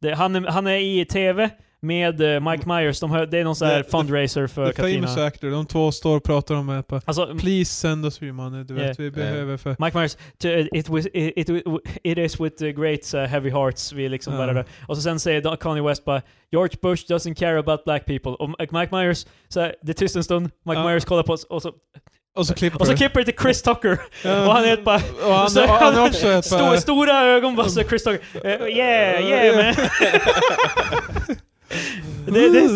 S3: Det, han, är- han är i TV med eh, Mike
S1: Mm.
S3: Myers, de, har- det är någon sån här
S1: The- the-
S3: fundraiser för
S1: The famous
S3: Katrina.
S1: actor. De två står och pratar om det. på,
S3: Alltså, m-
S1: Please send us your money. Du vet,
S3: Yeah.
S1: vi behöver för...
S3: Mike Myers, "To- it, was, it, it, it is with the great eh, heavy hearts, vi liksom
S1: Ja.
S3: bara där. Och så sen säger Don- Kanye West bara George Bush doesn't care about black people. Och Mike Mike Myers, så här, det är tyst en stund, Mike
S1: Ja.
S3: Myers kollar på oss och så,
S1: Och så klipper
S3: och så
S1: det.
S3: klipper det till Chris Tucker.
S1: Ja.
S3: och han är helt bara-
S1: Och han,
S3: Så-
S1: och han är också helt
S3: Stor,
S1: bara...
S3: stora ögon bara så Chris Tucker. Eh, yeah, yeah man. det, det,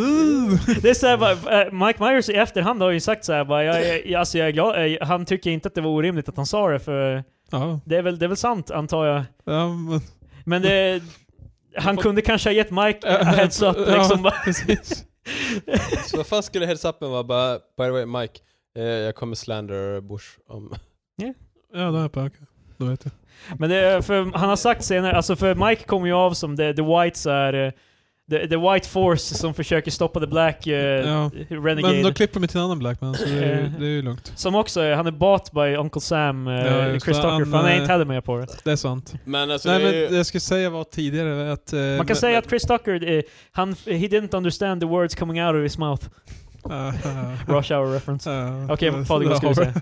S3: det är såhär bara, eh, Mike Myers i efterhand har ju sagt såhär bara, jag, jag, jag- alltså jag är glad, eh, han tycker inte att det var orimligt att han sa det för
S1: Ja,
S3: det är väl, det är väl sant antar jag.
S1: ja, men,
S3: Men det, han kunde kanske ha gett Mike a heads up liksom bara.
S1: precis.
S2: Så vad fan skulle heads-upen vara? Bara, by the way Mike, eh, jag kommer slander Bush om...
S1: Ja, det är på okej. Då vet jag.
S3: Men det, är- för han har sagt senare, alltså för Mike kom ju av som the, the Whites är eh, The, the White Force som försöker stoppa The Black eh,
S1: Ja.
S3: Renegade.
S1: Men då klipper de till en annan Black Man, så det, är-
S3: Eh.
S1: det är ju lugnt.
S3: Som också, är- han är bought by Uncle Sam, eh,
S1: Ja, just
S3: Chris
S1: det.
S3: Tucker,
S1: Han,
S3: för han är
S1: eh,
S3: inte heller med på det.
S1: Det är sant.
S2: Men alltså
S1: Nej
S2: det är
S1: men eh, det
S2: ju...
S1: jag skulle säga var tidigare att... eh,
S3: Man kan
S1: men-
S3: säga att Chris Tucker, eh, han, he didn't understand the words coming out of his mouth. Rush hour reference.
S1: Eh,
S3: Okej,
S1: eh,
S3: Fadig, vad ska du
S1: Ah, ja.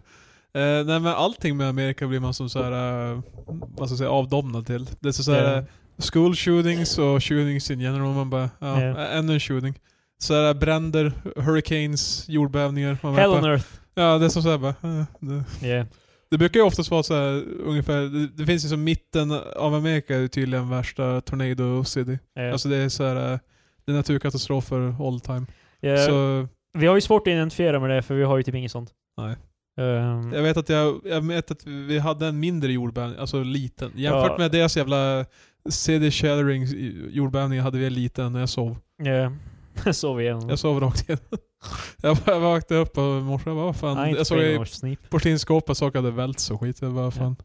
S3: säga?
S1: Eh, nej men allting med Amerika blir man som så här, eh, vad ska jag säga, avdomnad till. Det är så, så här,
S3: Ja.
S1: eh, school shootings och shootings in general. Man bara, ja,
S3: Ja.
S1: eh, ännu en shooting. Så här, eh, bränder, hurricanes, jordbävningar. Man
S3: Hell
S1: bara,
S3: on Earth.
S1: Ja, det är som så här bara, eh, det.
S3: Yeah.
S1: det brukar ju oftast vara så här, ungefär, det, det finns ju som mitten av Amerika är ju tydligen värsta tornado city.
S3: Yeah.
S1: Alltså det är så här, eh, det är naturkatastrofer all time.
S3: Yeah.
S1: Så
S3: eh, Vi har ju svårt att identifiera med det, för vi har ju typ inget sånt.
S1: Nej.
S3: Ehm,
S1: Jag vet att, jag, jag vet att vi hade en mindre jordbävning, alltså liten. Jämfört
S3: Ja.
S1: med deras jävla city shattering jordbävning hade vi en liten när jag sov.
S3: yeah. Sov igen.
S1: Jag sov rakt igen. jag, bara, jag vaknade upp och i morse jag bara vad fan.
S3: Nej, inte
S1: jag såg
S3: för
S1: i
S3: Ingmars snip.
S1: porslinsskåpet saker hade välts och skit. Jag bara fan.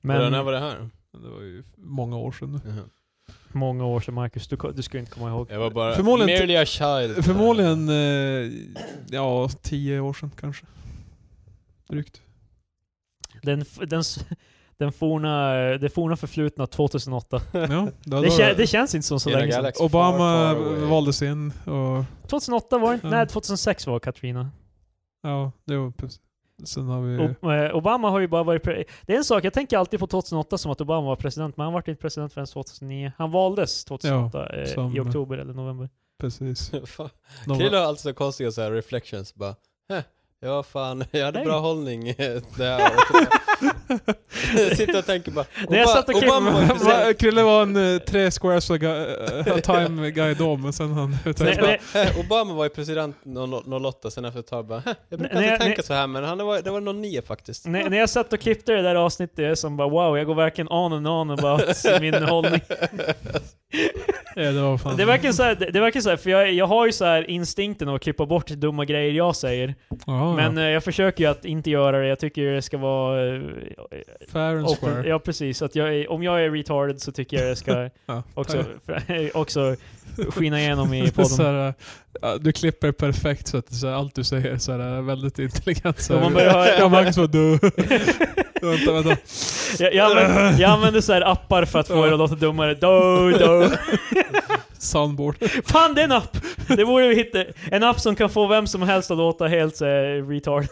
S2: Men... När
S3: Men
S2: var det här?
S1: Det var ju många år sedan nu.
S2: Jaha.
S3: många år sedan Marcus, du, ko- du skulle inte komma ihåg.
S2: Jag var bara...
S1: Förmodligen
S2: merely a child.
S1: Förmodligen, eh, ja, tio år sedan kanske. Drygt.
S3: Den, f- den, s- den forna, det forna förflutna 2008.
S1: Ja, det
S3: Det, kä-
S1: var
S3: det känns inte som så
S2: Hela
S3: länge sedan.
S2: galaxy
S1: Obama
S2: far, far away.
S1: valdes in och
S3: 2008 var det inte?
S1: Mm.
S3: Nej, 2006 var Katrina.
S1: ja, det var precis. Sen har vi...
S3: O- eh, Obama har ju bara varit... Pre- det är en sak, jag tänker alltid på 2008 som att Obama var president, men han var inte president förrän 2009. Han valdes 2008 eh,
S1: som-
S3: i oktober eller november.
S1: Precis.
S2: Fan.
S1: De-
S2: Krille har alltid så konstiga så här reflections bara. "Heh, Ja fan, jag hade
S3: Nej.
S2: bra hållning eh, det här året." Jag Sitter och tänker bara.
S3: När jag
S2: Oba-
S3: satt och klippte-
S2: Obama var ju
S1: Va-
S2: president.
S1: Krille var en eh, tre squares a gu- a time guy då, men sen han...
S3: Nej,
S2: bara,
S3: nej.
S2: "Heh, Obama var ju president 08, sen efter ett tag bara, "Heh, jag brukar
S3: Nej,
S2: inte
S3: nej.
S2: tänka så här men han var, det var 09 faktiskt.
S3: När, när jag satt och klippte det där avsnittet som bara wow, jag går verkligen on and on about min hållning.
S1: Ja, det var fan...
S3: Det är verkligen så här, det, det är verkligen så här för jag, jag har ju så här instinkten att klippa bort dumma grejer jag säger.
S1: Ja,
S3: Men
S1: ja.
S3: eh, jag försöker ju att inte göra det. Jag tycker ju det ska vara... eh,
S1: Fair and
S3: open,
S1: square.
S3: ja precis, att jag, är- om jag är retarded så tycker jag det ska
S1: Ja.
S3: också, också skina igenom i
S1: Det är så
S3: podden.
S1: här, eh, ja, du klipper perfekt så att det är så här, allt du säger är så här, eh, väldigt intelligent. Så
S3: Om
S1: här,
S3: man börjar höra-
S1: ja, Magnus var du. vänta, vänta.
S3: Jag, jag, använder, jag använder så här appar för att få det att låta dummare. Do, do.
S1: Soundboard.
S3: Fan det är en app! Det borde vi hitta. En app som kan få vem som helst att låta helt eh, så här, retard.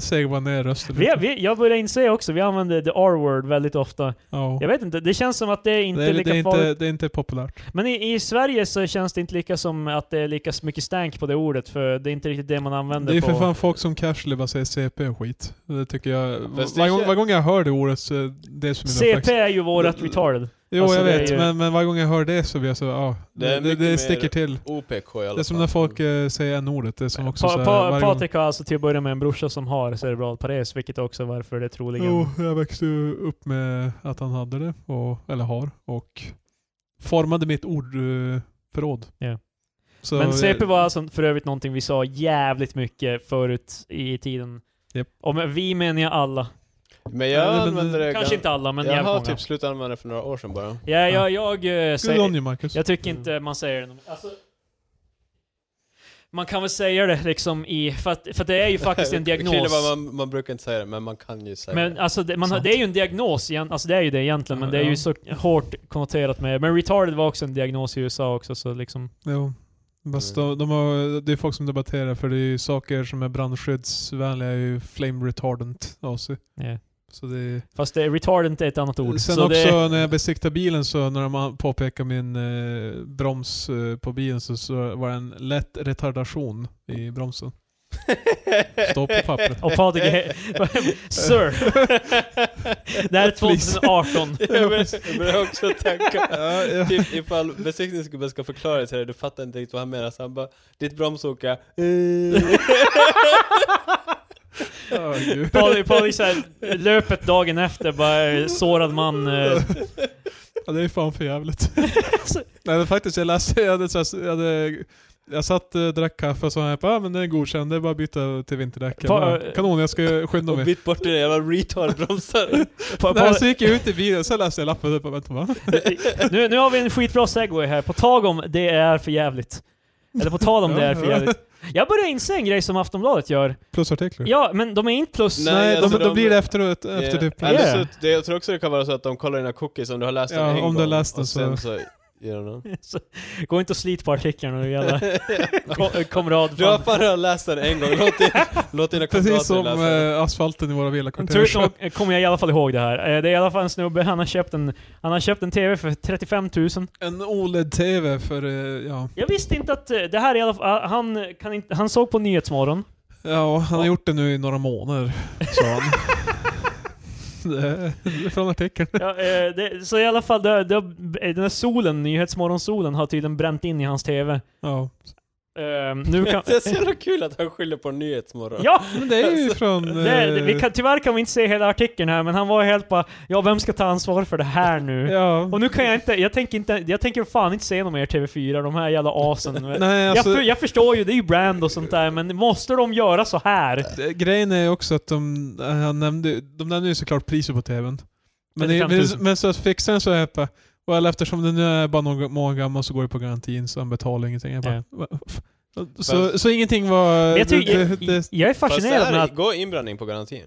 S1: Säg bara ner rösten.
S3: Vi, vi, jag börjar inse också, vi använder the R-word väldigt ofta.
S1: Ja.
S3: Jag vet inte, det känns som att det är inte
S1: Det är,
S3: lika
S1: det, är inte,
S3: farligt.
S1: det är inte populärt.
S3: Men i, i Sverige så känns det inte lika som att det är lika mycket stänk på det ordet, för det är inte riktigt det man använder
S1: Det är
S3: på...
S1: för fan folk som casually bara säger CP och skit. Det tycker jag...
S2: Fast det
S1: Varje gång,
S2: kän-
S1: varje gång jag hör det ordet så är det som min uppväxt.
S3: CP är ju vårat retarded.
S1: Jo,
S3: Alltså,
S1: jag
S3: det är
S1: vet,
S3: ju-
S1: men, men varje gång jag hör det så blir jag så ja,
S2: Det
S1: det,
S2: är
S1: det,
S2: mycket
S1: det
S2: mer-
S1: sticker till.
S2: OPK i alla fall.
S1: Det är som när folk eh, säger n-ordet, det är som också
S3: Pa,
S1: såhär...
S3: pa,
S1: varje gång-
S3: Patrik har alltså till att börja med en brorsa som har cerebral pares, vilket är också varför det är troligen...
S1: Jo, jag växte ju upp med att han hade det, och, eller har, och formade mitt ordförråd.
S3: Ja.
S1: Så
S3: Men
S1: jag-
S3: CP var alltså för övrigt någonting vi sa jävligt mycket förut i tiden.
S1: Japp.
S3: Och med vi menar jag alla.
S2: Men
S1: Ja,
S2: jag
S1: men-
S2: använder det
S3: Kanske inte alla, men
S2: Jag
S3: jävligt
S2: har
S3: många.
S2: typ slutat använda det för några år sedan bara.
S3: Ja, jag, jag, eh,
S1: Good
S3: säger,
S1: on you Marcus.
S3: jag tycker inte man säger det. nog- Alltså, man kan väl säga det liksom i... För, att, för att det är ju faktiskt en
S2: Krille bara,
S3: diagnos.
S2: man, man brukar inte säga det, men man kan ju säga
S3: Men
S2: det.
S3: alltså, det, man, har- det är ju en diagnos, igen, alltså det är ju det egentligen, men det är ju
S1: Ja.
S3: så hårt konnoterat med... Men retarded var också en diagnos i USA också, så liksom...
S1: Jo. Fast de, de har, det är folk som debatterar för det är ju saker som är brandskyddsvänliga, är ju flame retardant av sig.
S3: ja.
S1: Så det är...
S3: eh. Fast det, retardant är ett annat ord.
S1: Sen
S3: så
S1: också
S3: det,
S1: när jag besiktar bilen så när de an- påpekar min eh, broms eh, på bilen så, så var det en lätt retardation i bromsen. Står på pappret.
S3: och Patrik är... Sir! det här är 2018.
S2: Jag börjar- jag börjar också tänka,
S1: Ja, ja.
S2: typ ifall besiktningsgubben ska förklara till dig, du fattar inte riktigt vad han menar, så han bara Ditt bromsåka, eh."
S1: Ja, gud.
S3: Patrik, Patrik så här, löpet dagen efter, bara eh, sårad man. eh,
S1: ja, det är fan för jävligt. Nej men faktiskt, jag läste, jag hade, så här, jag hade Jag satt och drack kaffe och så här, ah, men den är godkänd, det är bara att byta till vinterdäck. Jag
S3: Ta-
S1: bara, Kanon, jag ska skynda
S2: Och
S1: mig.
S2: bytt bort det jävla retardbromsar.
S3: På, på,
S1: Nej, så gick jag ut i bilen, sen läste jag lappen och bara vänta va?
S3: nu, nu har vi en skitbra segway här. På tag om det är för jävligt. Eller på tal om det är för jävligt. Jag börjar inse en grej som Aftonbladet gör.
S1: Plusartiklar.
S3: Ja, men de är inte plus...
S1: Nej,
S2: Nej, alltså
S1: de, de,
S2: de-
S1: blir det efteråt, efter typ...
S2: Eller
S3: Yeah.
S2: så, det, jag tror också det kan vara så att de kollar dina cookies om du har läst
S1: Ja,
S2: den en
S1: om
S2: gång.
S1: du har läst den
S2: och
S1: så-
S2: sen så... ger de den.
S3: Så, gå inte och slit på artiklarna nu jävla kom- komrad.
S2: Du har
S3: Fan.
S2: fan redan läst den en gång, låt, din, låt dina
S1: Precis som
S2: kamrater läsa den.
S1: eh, asfalten i våra
S3: Tur
S1: villakvarter.
S3: att de- kommer jag i alla fall ihåg det här. Eh, Det är i alla fall en snubbe, han har köpt en, han har köpt en TV för 35 000.
S1: En E OLED-TV för, eh, ja.
S3: Jag visste inte att eh, det här i alla fall, han, kan inte, han såg på Nyhetsmorgon.
S1: Ja, han har
S3: Ja.
S1: gjort det nu i några månader, sa han. det är från artikeln.
S3: Ja, eh, det, så i alla fall, det, det, den här solen, Nyhetsmorgonsolen, har tydligen bränt in i hans TV.
S1: Ja.
S3: Eh, nu kan,
S2: Det är så jävla kul att han skyller på Nyhetsmorgon.
S3: ja!
S1: Men det är ju från...
S3: Alltså, Det, det, vi
S1: eh,
S3: kan, tyvärr kan vi inte se hela artikeln här, men han var helt bara Ja, vem ska ta ansvar för det här nu?
S1: Ja.
S3: Och nu kan jag inte, jag tänker inte, jag tänker fan inte se någon mer TV4, de här jävla asen.
S1: Nej,
S3: jag,
S1: alltså,
S3: för, jag förstår ju, det är ju brand och sånt där, men måste de göra så här?
S1: det- grejen är ju också att de, eh, han nämnde, de nämnde ju såklart priset på TVn. Men, det,
S3: 35
S1: men,
S3: 000.
S1: men så fixaren så är jag bara, well, eftersom den nu är bara några månader gammal så går det på garantin så han betalar ingenting. Jag bara,
S3: Ja.
S1: "Va?" så, så ingenting var...
S3: Jag, tycker,
S1: det-
S3: jag,
S1: det- det-
S3: jag är
S2: Fast det
S3: fascinerad med
S2: här
S3: att...
S2: går inblandning på garantin.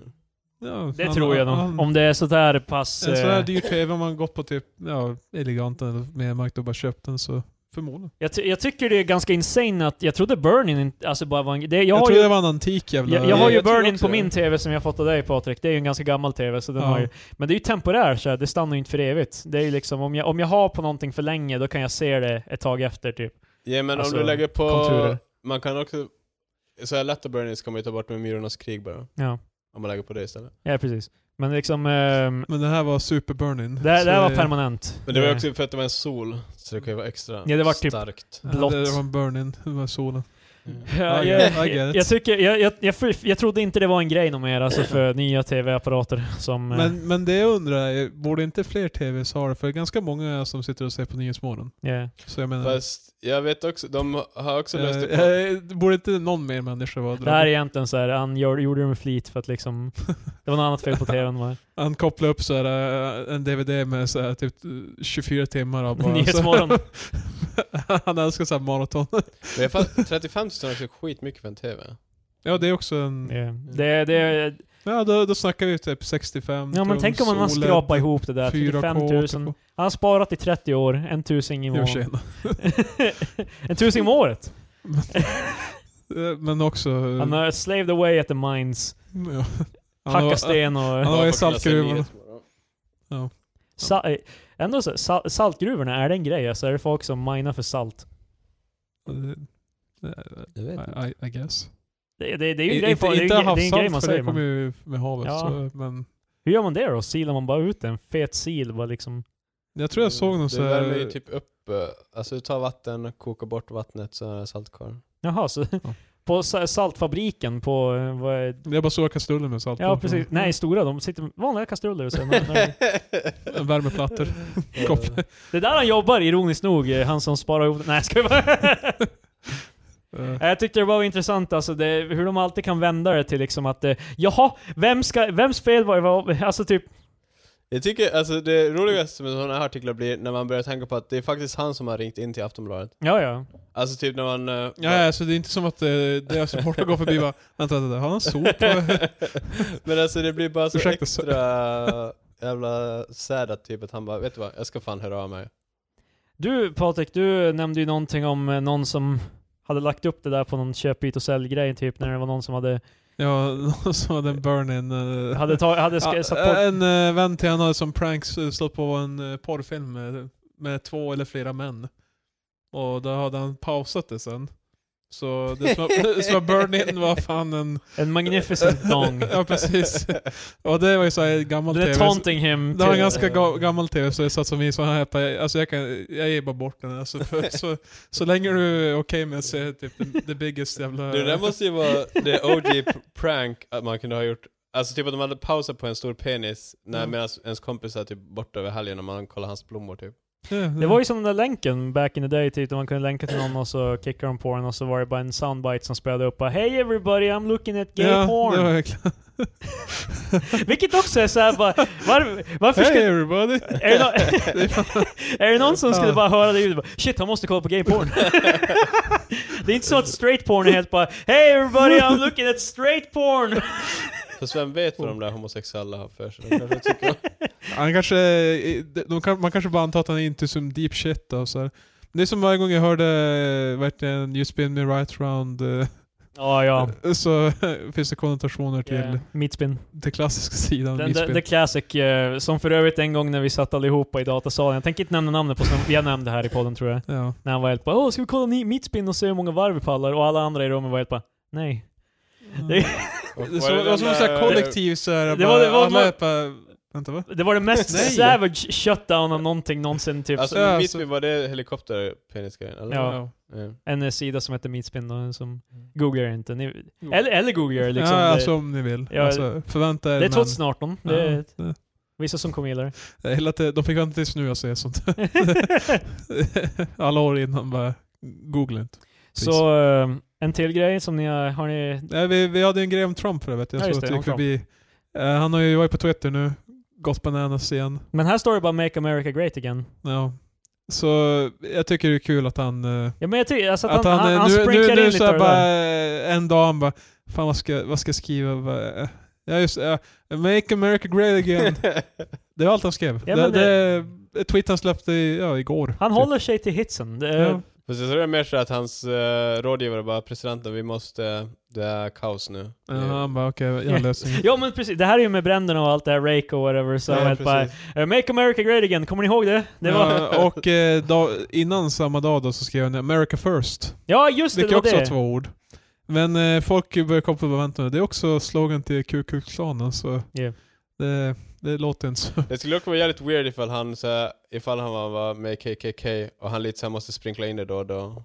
S1: ja,
S3: Det
S1: han-
S3: tror jag
S1: han-
S3: nog. Om det är sådär pass...
S1: En sån här
S3: eh,
S1: dyr TV, om man gått på typ ja, Eleganten eller Mediamarkt och bara köpt den så förmodligen.
S3: Jag, ty- jag tycker det är ganska insane att, jag trodde Burning inte- alltså bara var en, det, jag
S1: Jag,
S3: har
S1: tror
S3: ju
S1: det var en antik jävla...
S3: Jag, jag har ju
S2: Jag tror
S3: Burning
S2: också
S3: på
S2: det.
S3: min TV som jag fått av dig Patrik, det är ju en ganska gammal TV, så den
S1: Ja.
S3: har ju, men det är ju temporär så här, det stannar ju inte för evigt. Det är ju liksom, om jag, om jag har på någonting för länge, då kan jag se det ett tag efter typ.
S2: Ja men
S3: Alltså,
S2: om du lägger på...
S1: konturer.
S2: Man kan också... Så här lätta burnies kan man ju ta bort med Myrornas krig bara.
S3: Ja,
S2: Om man lägger på det istället.
S3: ja precis. Men liksom, ehm,
S1: Men det här var super burning.
S3: det, här-
S1: Så
S3: det här var permanent.
S2: Men det var ju
S3: Eh,
S2: också för att det var en sol, så det kan ju vara extra
S3: Ja, det var typ-
S2: starkt.
S1: Ja,
S3: blått.
S1: Det var en burning, det var solen.
S3: Ja,
S1: I get- I
S3: jag,
S1: get
S3: jag,
S1: it.
S3: jag, tycker, jag, jag, jag, för- jag trodde inte det var en grej någon mer, alltså för nya TV-apparater som... eh, Men,
S1: Men, men det jag undrar är, borde inte fler TVs ha det? För det är ganska många som sitter och ser på Nyhetsmorgon. Så jag menar...
S2: Fast jag vet också, de har också löst det
S1: eh,
S2: på...
S1: eh, borde inte någon mer människa vara
S3: Det här är
S1: drabbad?
S3: egentligen så här, han gör, gjorde det med flit för att liksom... Det var något annat fel på TVn var det.
S1: Han kopplar upp så här, eh, en DVD med så här, typ eh, 24 timmar av bara...
S3: Nyhetsmorgon.
S1: Han älskar såhär maraton.
S2: Men jag fattar, 35 000 är också skitmycket för en TV.
S1: Ja, det är också en...
S3: Ja. Det,
S1: Mm.
S3: det,
S1: Ja, då, då snackar vi typ 65
S3: Ja
S1: tums,
S3: men
S1: E
S3: tänk om man
S1: OLED,
S3: skrapar ihop det där, 35
S1: 4K,
S3: 000.
S1: 8K.
S3: Han har sparat i 30 år, en tusing i
S1: Jo,
S3: månaden.
S1: tjena.
S3: en tusing om året!
S1: Eh, Men också... eh,
S3: Han har slaved away at the mines,
S1: ja. Han har-
S3: hackat sten
S1: han
S3: och...
S1: var i
S2: Bara för att kunna se
S1: saltgruvan.
S2: Nyhetsmorgon.
S3: Sa, eh, ändå så, sal, saltgruvorna, är det en grej? Alltså är det folk som minar för salt?
S1: eh,
S2: Jag vet inte.
S1: I, I, I guess.
S3: Det, det, det är ju en
S1: I-
S3: grej,
S1: Inte,
S3: på, det är ju
S1: inte
S3: en, grej- det är en grej man
S1: havssalt för
S3: säger.
S1: det
S3: Man.
S1: kommer ju med havet.
S3: Ja.
S1: Så, men
S3: Hur gör man det då? Silar man bara ut en fet sil? Bara liksom...
S1: jag tror jag såg någon så
S2: Det värmer ju
S1: här...
S2: typ upp, eh, alltså du tar vatten, kokar bort vattnet så är det salt kvar.
S3: Jaha, så... På sa- saltfabriken på... eh, Vad är,
S1: Jag bara såg kastruller med salt
S3: ja
S1: på.
S3: precis, nej stora, de sitter med vanliga kastruller och sen... när-
S1: En Värmeplattor. Kopp.
S3: Det är där han jobbar, ironiskt nog, eh, han som sparar ihop... Nej, jag skojar bara.
S1: Eh,
S3: Jag tyckte det var intressant alltså det, hur de alltid kan vända det till liksom att eh, jaha, vem ska, vems fel var det? var- Alltså typ,
S2: Jag tycker alltså det roligaste med sådana här artiklar blir när man börjar tänka på att det är faktiskt han som har ringt in till Aftonbladet.
S3: ja ja.
S2: Alltså typ när man... eh,
S1: Ja, alltså det är inte som att eh, deras supportrar går förbi och bara Vänta, vänta, har han sol på?
S2: Men alltså det blir bara så
S1: Ursäkta, så-
S2: extra jävla sad att typ att han bara vet du vad, jag ska fan höra av mig.
S3: Du Patrik, du nämnde ju någonting om eh, någon som hade lagt upp det där på någon köp, byt och sälj-grej typ när det var någon som hade,
S1: Ja, någon som hade en burn-in. eh,
S3: hade, ta, hade ska,
S1: Ja,
S3: satt på...
S1: En eh, vän till han hade som pranks eh, slått på en eh, porrfilm med, med två eller flera män. Och då hade han pausat det sen. Så det som var, det som var burn-in var fan en...
S3: En magnificent
S1: eh,
S3: dong.
S1: Ja precis. Och det var ju såhär gammal
S3: Det är
S1: tv.
S3: taunting him.
S1: Det var en
S3: till-
S1: ganska ga- gammal tv så det satt som vi så här på, alltså jag kan, jag ger bara bort den alltså för, så, så länge du är okej med att se typ the, the biggest jävla...
S2: Det där måste ju vara det OG p- prank att man kunde ha gjort. Alltså typ att de hade pausat på en stor penis när
S1: Mm.
S2: medan ens kompis är typ borta över helgen och man kollar hans blommor typ.
S3: Det var ju som den där länken back in the day, typ, där man kunde länka till någon och så kickade de på den och så var det bara en soundbite som spelade upp bara Hey everybody, I'm looking at gay
S1: ja,
S3: porn.
S1: Det var verkligen...
S3: Vilket också är såhär bara, var, varför
S1: Hey
S3: skulle...
S1: everybody!
S3: Är det, nå- är det någon som skulle
S1: Ja.
S3: bara höra det ljudet och bara, Shit, han måste kolla på gay porn. det är inte så att straight porn är helt bara Hey everybody, I'm looking at straight porn.
S2: För vem vet vad de
S1: Oh.
S2: där homosexuella har för sig? De kanske tycker-
S1: Han kanske, eh, de kan, man kanske bara antar att han är inte som deep shit då, och så här. Men Det är som varje gång jag hörde eh, verkligen You spin me right round eh,
S3: Ja, ja.
S1: så finns det konnotationer till
S3: Yeah. Meatspin.
S1: den klassiska sidan.
S3: Den,
S1: Misspel.
S3: the, the Classic, eh, som för övrigt en gång när vi satt allihopa i datasalen, jag tänker inte nämna namnet på snubben, jag nämnde här i podden tror jag,
S1: ja.
S3: när han var helt bara Åh, ska vi kolla ni- mitt spinn och se hur många varv vi pallar? Och alla andra i rummet var helt bara Nej. Det,
S2: Och
S1: Det
S2: var det
S1: var
S2: den
S1: som en sån här
S2: där-
S1: kollektiv såhär,
S3: Det var- det var-
S1: alla är bara... Vänta va?
S3: det var det mest
S1: Nej.
S3: savage shutdown av någonting någonsin typ.
S2: Alltså,
S1: Ja,
S2: Mittsby,
S1: så-
S2: var det helikopterpenisgrejen? Eller?
S3: Ja.
S2: Ja.
S3: en sida som heter Meatspin då, som googlar inte. Ni, eller, eller googlar liksom.
S1: ja,
S3: Det-
S1: alltså om ni vill.
S3: Ja,
S1: alltså, förvänta er
S3: det är
S1: men-
S3: 2018.
S1: Ja,
S3: Det är
S1: det-
S3: vissa som kommer gilla det.
S1: Jag gillar att det- de fick vänta tills nu att säga sånt. Alla år innan bara, googla inte.
S3: Så eh, en till grej som ni har, har ni...
S1: Nej, Eh, vi, vi hade en grej om Trump för övrigt. Jag
S3: Ja,
S1: tror
S3: just
S1: att
S3: det,
S1: det gick
S3: om
S1: förbi. Eh, han har ju varit på Twitter nu. Gått bananas igen.
S3: Men här står det bara 'Make America Great Again'.
S1: Ja. Så jag tycker det är kul att han... eh,
S3: Ja men jag tycker alltså att,
S1: att
S3: han, han,
S1: eh,
S3: han
S1: nu, nu,
S3: sprinklar in
S1: nu
S3: lite
S1: så
S3: av
S1: här
S3: det
S1: bara,
S3: där.
S1: eh, en dag han bara, fan vad ska, vad ska jag skriva? Vad, eh, Ja just eh, Make America Great Again. det var allt han skrev.
S3: Ja,
S1: det,
S3: men eh,
S1: det, tweet han släppte i, ja, igår.
S3: Han
S1: typ.
S3: håller sig till hitsen. Det är,
S1: Ja.
S2: Fast jag tror det är mer så att hans eh, rådgivare bara 'Presidenten, vi måste... Det är kaos nu'
S1: Ja, han bara okej, jag har en lösning.
S3: Ja men precis, det här är ju med bränderna och allt det här, Rake och whatever, så
S2: Ja,
S3: helt bara
S2: precis.
S3: eh, Make America Great Again, kommer ni ihåg det? det var, ja.
S1: Ja, och eh, dag- innan samma dag då så skrev han America first.
S3: just det, det
S1: Vilket
S3: var
S1: också var
S3: det.
S1: två ord. Men eh, folk börjar komma på vad vänta nu. Det är också slogan till Ku Klux Klanen så
S3: Yeah.
S1: det, det låter inte så.
S2: Det skulle också vara jävligt weird ifall han så här, ifall han var, var med KKK och han lite så här måste sprinkla in det då och då.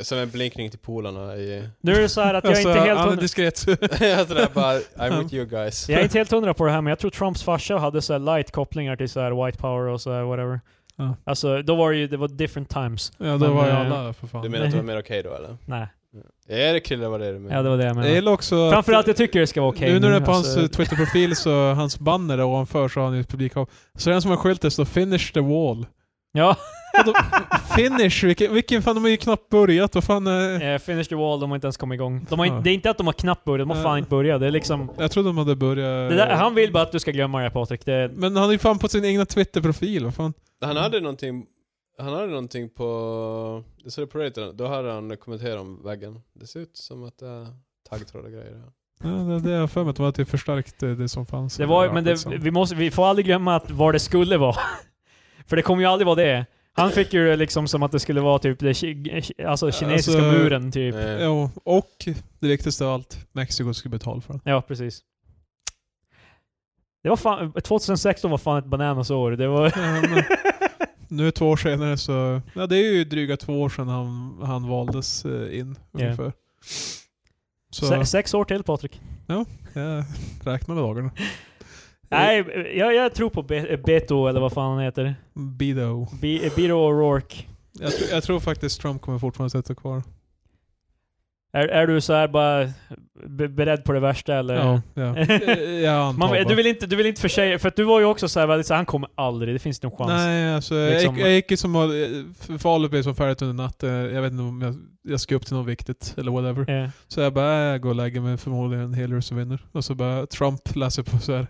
S2: Som en blinkning till polarna i...
S3: Nu är det så här att jag är inte helt
S1: Alltså, han är
S3: hundra,
S1: diskret.
S2: Sådär bara 'I'm with you guys'
S3: jag är inte helt hundra på det här men jag tror Trumps farsa hade så här light kopplingar till så här white power och så här whatever.
S1: Ja.
S3: Alltså då var det ju, det var different times.
S1: ja, då
S3: Men,
S1: var ju
S3: eh,
S1: alla för fan.
S2: Du menar att det var mer okej då eller?
S3: Nej,
S2: Är det Krille vad det är du menar?
S3: ja det var det jag
S1: jag
S3: menade.
S1: gillar också att-
S3: Framförallt jag tycker det ska vara okej
S1: nu när du är på hans
S3: alltså.
S1: eh, Twitter-profil så, hans banner där ovanför så har han ju ett publikhav. Så är den som har skylt där står 'Finish the wall'.
S3: Ja,
S1: Vadå, finish? Vilken, vilken fan, de har ju knappt börjat. Vad fan eh,
S3: eh, finish the wall, de har inte ens kommit igång. De har inte,
S1: Ja.
S3: det är inte att de har knappt börjat, de har fan
S1: Nej.
S3: inte börjat. Det är liksom...
S1: Jag trodde de hade börjat...
S3: Det där, han vill bara att du ska glömma det Patrik. Det,
S1: Men han är ju fan på sin egna Twitter-profil, vad fan.
S2: Han hade någonting, han hade någonting på, jag såg det på Reddit, då hade han kommenterat om väggen. Det ser ut som att det är taggtråd och grejer. här.
S1: Ja, det, det har jag för mig att de hade typ förstärkt eh, det som fanns.
S3: det var,
S1: Ja,
S3: men det,
S1: skitsamma.
S3: vi, måste, vi får aldrig glömma att vad det skulle vara. För det kommer ju aldrig vara det. Han fick ju det liksom som att det skulle vara typ det, ki- alltså kinesiska
S1: Alltså-
S3: muren typ.
S2: Eh,
S1: Ja, och det viktigaste av allt, Mexiko skulle betala för den.
S3: Ja, precis. Det var fan, 2016 var fan ett bananasår. Det var...
S1: Ja, men nu två år senare så... Ja, det är ju dryga två år sedan han, han valdes eh, in,
S3: Ja.
S1: ungefär. Så,
S3: Se, sex år till Patrik.
S1: jag räknar med dagarna.
S3: Nej, jag, jag tror på Be- Beto eller vad fan han heter.
S1: Bido.
S3: Be- Beto O'Rourke.
S1: Jag, tr- jag tror faktiskt Trump kommer fortfarande sitta kvar.
S3: Är, är du så här bara be- beredd på det värsta eller?
S1: Ja, ja. Eh, Jag antar
S3: Man,
S1: bara.
S3: du, vill inte, du vill inte försäga, för att du var ju också så här väldigt så här, han kommer aldrig, det finns inte en chans.
S1: Nej, alltså, jag,
S3: Liksom-
S1: gick, jag gick ju som... eh, Falun blev som färdigt under natten. Jag vet inte om jag, jag ska upp till något viktigt eller whatever.
S3: Eh,
S1: Så jag bara, äh, jag går och lägger mig förmodligen Hillary som vinner. Och så bara Trump läser på så här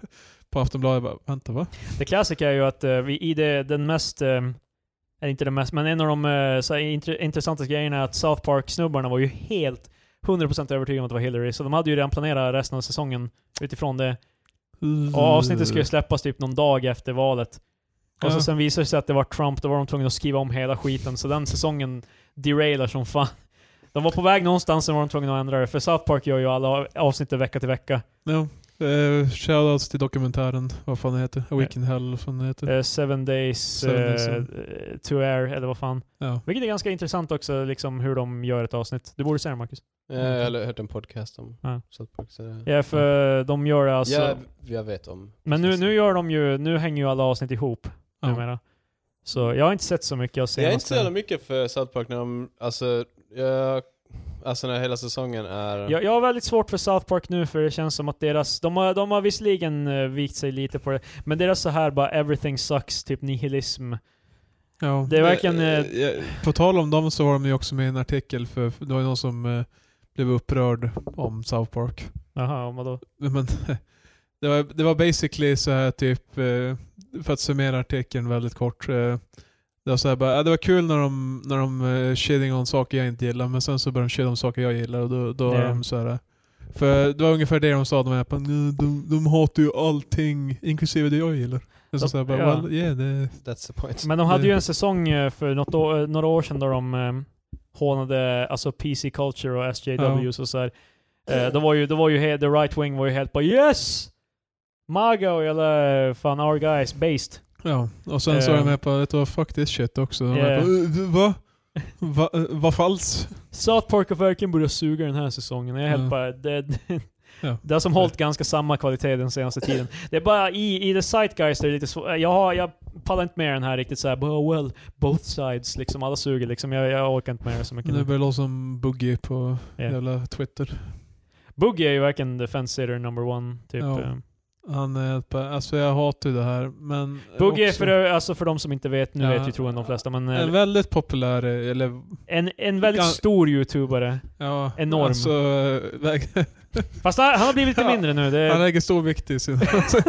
S1: på Aftonbladet. Jag bara, vänta va?
S3: det klassiska är ju att eh, vi, i det, den mest, eh, eller inte den mest, men en av de eh, så här, intre- intressantaste grejerna är att South Park-snubbarna var ju helt 100% övertygade om att det var Hillary, så de hade ju redan planerat resten av säsongen utifrån det. Och avsnittet skulle släppas typ någon dag efter valet. Och så
S1: Ja.
S3: sen visade det sig att det var Trump, då var de tvungna att skriva om hela skiten. Så den säsongen derailar som fan. De var på väg någonstans, sen var de tvungna att ändra det. För South Park gör ju alla avsnitt vecka till vecka.
S1: Ja. Eh, shoutouts till dokumentären, vad fan den heter. A Week in Hell, vad fan den heter.
S3: Eh, seven days,
S1: Mm. Seven
S3: eh,
S1: days, ja.
S3: eh, to air, eller vad fan.
S1: Ja.
S3: Vilket är ganska intressant också, liksom hur de gör ett avsnitt. Du borde se det Marcus.
S2: eh, Jag har hört en podcast om
S3: Mm. Ja.
S2: South Park. Så det,
S3: Ja, för eh, de gör det alltså...
S2: jag, jag vet om.
S3: Men nu, nu gör de ju, nu hänger ju alla avsnitt ihop
S1: Ja.
S3: numera. Så jag har inte sett så mycket av
S2: Jag är inte
S3: senaste...
S2: så jävla mycket för South Park när de, alltså, jag, alltså när hela säsongen är...
S3: Jag, jag har väldigt svårt för South Park nu för det känns som att deras, de har, de har visserligen eh, vikt sig lite på det, men deras så här bara 'everything sucks' typ nihilism.
S1: Ja.
S3: Det är verkligen... eh,
S2: Eh, jag-
S1: På tal om dem så var de ju också med i en artikel för för det var ju någon som eh, blev upprörd om South Park.
S3: Jaha, vadå?
S1: Men, det, var, det var basically så här typ, eh, för att summera artikeln väldigt kort. eh, Det var så här bara, "Ja, det var kul när de, när de eh, shitting om saker jag inte gillar men sen så började de shit om saker jag gillar och då, då
S3: Ja.
S1: är de så här. eh." För det var ungefär det de sa, de, här, på, "Nu, de, de hatar ju allting inklusive det jag gillar. Det är så
S3: Ja.
S1: så här, bara, well, yeah, det,
S2: That's the point.
S3: Men de hade ju
S1: Det-
S3: en säsong eh, för något år, några år sedan då de eh, hånade alltså PC Culture och SJWs och så här. Eh, Då var ju, då var ju he- the right wing var ju helt bara 'Yes! Mago eller fan our guys based.
S1: ja. Och sen så var
S3: Eh.
S1: de med på, vet du vad, fuck this shit också. De
S3: Yeah.
S1: yeah. bara, "Eh, va? Va, eh, vad falskt?
S3: South Park har verkligen börjat suga den här säsongen. Jag är helt
S1: Ja.
S3: bara... Det, det,
S1: Ja.
S3: det har som hållit ganska samma kvalitet den senaste tiden. Det är bara i, i the zeitgeist är det lite svårt. Jag, har- jag pallar inte med den här riktigt såhär oh well, both sides liksom. Alla suger liksom. Jag, jag orkar inte med det så mycket.
S1: Nu
S3: nu.
S1: börjar det låta som Boogie på
S3: Yeah.
S1: jävla Twitter.
S3: Boogie är ju verkligen the fence sitter number one. Typ.
S1: Ja.
S3: Eh,
S1: Han är ett par, alltså jag hatar ju det här men...
S3: Boogie är
S1: också
S3: för, alltså för de som inte vet, nu
S1: Ja.
S3: vet ju troligen de flesta, men
S1: En
S3: eh,
S1: väldigt populär, eller
S3: en, en väldigt
S1: Gan-
S3: stor youtubare.
S1: ja...
S3: Enorm.
S1: Alltså, eh, väg,
S3: Fast han, han har blivit lite
S1: Ja.
S3: mindre nu. Det,
S1: han lägger stor vikt i sin...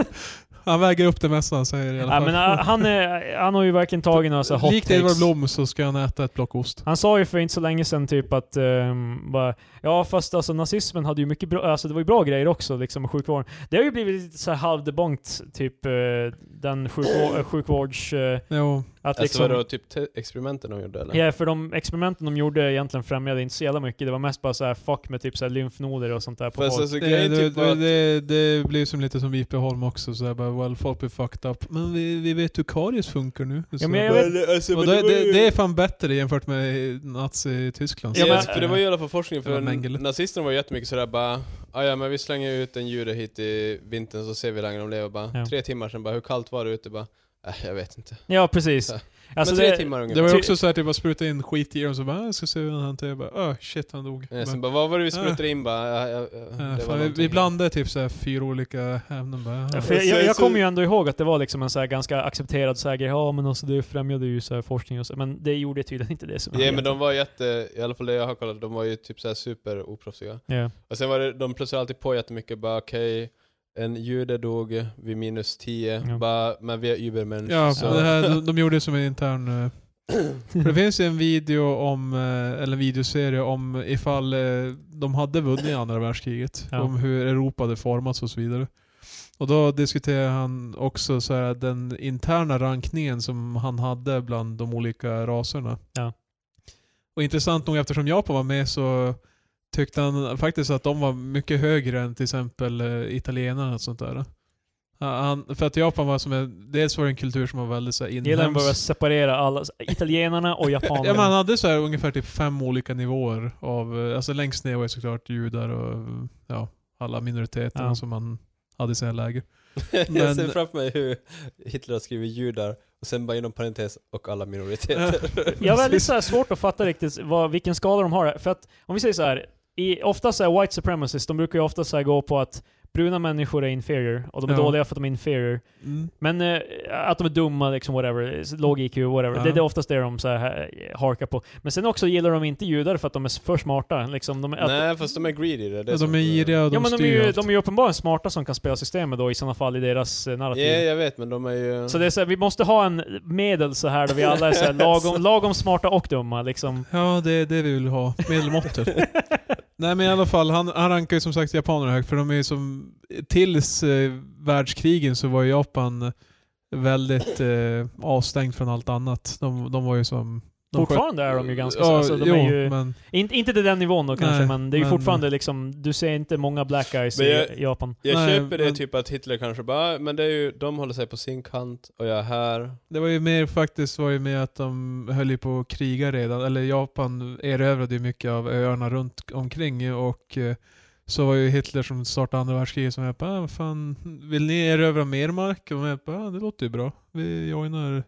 S1: han väger upp det mesta han säger i alla
S3: ja,
S1: fall.
S3: men, eh, han, är, han har ju verkligen tagit några så här hot
S1: Likt Edvard
S3: takes.
S1: Blom så ska han äta ett block ost.
S3: Han sa ju för inte så länge sedan typ att ehm, bara, ja fast alltså nazismen hade ju mycket bra, alltså det var ju bra grejer också liksom med sjukvården. Det har ju blivit lite så här halvdebunkt typ eh, den sjukvå- eh, sjukvårds, eh,
S1: Jo,
S3: att
S2: alltså vadå,
S3: liksom,
S2: typ te- experimenten de gjorde eller?
S3: ja för de experimenten de gjorde egentligen främjade inte så jävla mycket, det var mest bara så här fuck med typ så här lymfnoder och sånt där på
S2: Fast
S3: folk.
S2: alltså
S1: det,
S2: grejen
S1: det,
S2: typ var
S1: det,
S2: att...
S1: det, det blir som lite som IP Holm också, så här bara well folk blir fucked up. Men vi, vi vet hur karies funkar nu. Så
S3: men jag
S1: bara-
S3: vet-
S2: Eller, alltså,
S1: och
S2: men
S1: det,
S2: var ju-
S1: det, det är fan bättre jämfört med Nazi-Tyskland.
S3: Ja,
S2: Ja,
S3: men-
S2: alltså, för det var ju i alla fall forskning,
S1: Det
S2: för
S1: var Mengele.
S2: nazisterna var ju jättemycket sådär bara "Ah, ja men vi slänger ut en jude hit i vintern så ser vi hur länge de lever bara.
S3: Ja.
S2: Tre timmar sen bara, hur kallt var det ute? Bara, äh, jag vet inte.
S3: Ja precis.
S2: Ja.
S3: Alltså
S2: men tre
S3: det,
S2: timmar
S1: Det
S2: ungefär.
S1: var ju
S3: Ty-
S1: också så här typ att spruta in skit i dem så bara "Ah, jag ska se hur han hanterar Jag bara öh shit han dog.
S2: Ja, Eh, sen
S1: Bara,
S2: bara, vad var det vi
S1: Ja.
S2: sprutade in bara? Äh, äh, äh,
S1: "Ah,
S2: det var
S1: fan, vi,
S2: någonting."
S1: vi blandade typ så här fyra olika ämnen bara.
S3: Ja,
S1: "Ah."
S3: för jag,
S2: Sen
S3: jag, jag
S2: så-
S3: kommer ju ändå ihåg att det var liksom en så här ganska accepterad så här grej, ja men alltså det främjade ju så här forskning och så, men det gjorde tydligen inte det som
S2: Ja men de var jätte, i alla fall det jag har kollat, de var ju typ såhär super oproffsiga.
S3: Ja.
S2: Och sen var det, de plussade alltid på jättemycket, bara okej, en jude dog vid minus 10,
S3: Ja.
S2: bara, men vi är übermänniskor.
S1: Ja,
S2: så.
S1: det här, de, de gjorde det som en intern... eh, för det finns ju en video om, eh, eller en videoserie om ifall eh, de hade vunnit andra världskriget.
S3: Ja.
S1: Om hur Europa hade formats och så vidare. Och då diskuterar han också så här, den interna rankningen som han hade bland de olika raserna.
S3: Ja.
S1: Och intressant nog eftersom Japan var med så tyckte han faktiskt att de var mycket högre än till exempel eh, italienarna och sånt där. Han, för att Japan var som en, dels var det en kultur som var väldigt så här
S3: Gillar
S1: inhemsk.
S3: den börjar separera alla, italienarna och japanerna.
S1: Ja, man hade så här ungefär typ fem olika nivåer av, eh, alltså längst ner var ju såklart judar och ja, alla minoriteter
S3: Ja.
S1: som man hade i sina läger.
S2: jag
S1: men-
S2: ser framför mig hur Hitler har skrivit judar, och sen bara inom parentes, och alla minoriteter.
S3: Jag har väldigt
S1: Precis.
S3: så här svårt att fatta riktigt vad, vilken skala de har. För att om vi säger så här, i, ofta så här white supremacists, de brukar ju ofta så här gå på att bruna människor är inferior, och de är
S1: Ja.
S3: dåliga för att de är inferior.
S1: Mm.
S3: Men eh, att de är dumma, liksom whatever, låg IQ, whatever.
S1: Ja.
S3: Det, det är oftast det de så här, eh, harkar på. Men sen också gillar de inte judar för att de är för smarta. Liksom, de, är- att,
S2: Nej, fast de är greedy. Det är det
S1: Ja,
S2: som- eh,
S1: de är giriga och de
S3: ja, men de, är
S1: styr
S3: ju,
S1: allt.
S3: de är ju uppenbarligen smarta som kan spela systemet då i sådana fall i deras eh,
S2: Ja,
S3: narrativ.
S2: jag vet, men de är ju...
S3: Så det är så här, vi måste ha en medel så här där vi alla är så här, lagom, lagom smarta och dumma liksom.
S1: Ja, det är det vi vill ha. Medelmåttor. Nej men i alla fall, han, han rankar ju som sagt japanerna högt för de är ju som... Tills eh, världskrigen så var ju Japan väldigt eh, avstängd från allt annat. De, de var ju som... De
S3: Fortfarande är de ju ganska så.
S1: ja,
S3: Alltså, de
S1: jo,
S3: är ju,
S1: men,
S3: in, inte till den nivån då kanske,
S1: Nej,
S3: men det är ju
S1: men-
S3: fortfarande liksom, du ser inte många black guys
S2: Men
S3: i
S2: jag-
S3: Japan.
S2: jag
S1: Nej,
S2: köper det
S1: men-
S2: typ att Hitler kanske bara, "Ah, men det är ju, de håller sig på sin kant och jag är här.
S1: det var ju mer faktiskt var ju med att de höll ju på att kriga redan. Eller Japan erövrade ju mycket av öarna runt omkring och eh, så var ju Hitler som startade andra världskriget som jag bara, ah, vad fan, vill ni erövra mer mark? Och jag bara, ah, det låter ju bra. Vi joinar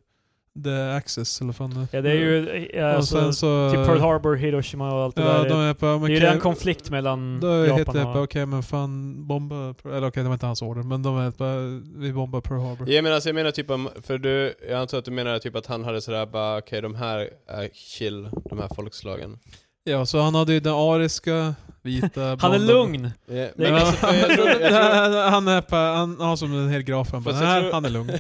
S1: The Access eller fan
S3: Ja, det är ju eh,
S1: och
S3: alltså,
S1: sen så...
S3: till Pearl Harbor, Hiroshima och allt det
S1: Ja,
S3: där.
S1: de är på,
S3: det är ju redan konflikt mellan
S1: Då heter det
S3: Japan
S1: bara, okej
S3: och...
S1: men fan bomba, eller okej det var inte hans order, men de är bara, vi bombar Pearl Harbor.
S2: Jag menar, alltså, jag menar typ om, för du, jag antar att du menar typ att han hade sådär bara, okej de här är chill, de här folkslagen.
S1: Ja, så han hade ju den ariska, vita,
S3: Han är
S1: blonda-
S3: lugn!
S2: Ja,
S1: Men
S2: men alltså, för jag tror, jag tror,
S1: Han är på, han har som en hel graf han bara,
S2: Fast jag
S1: "Nej,
S2: tror-
S1: han är lugn.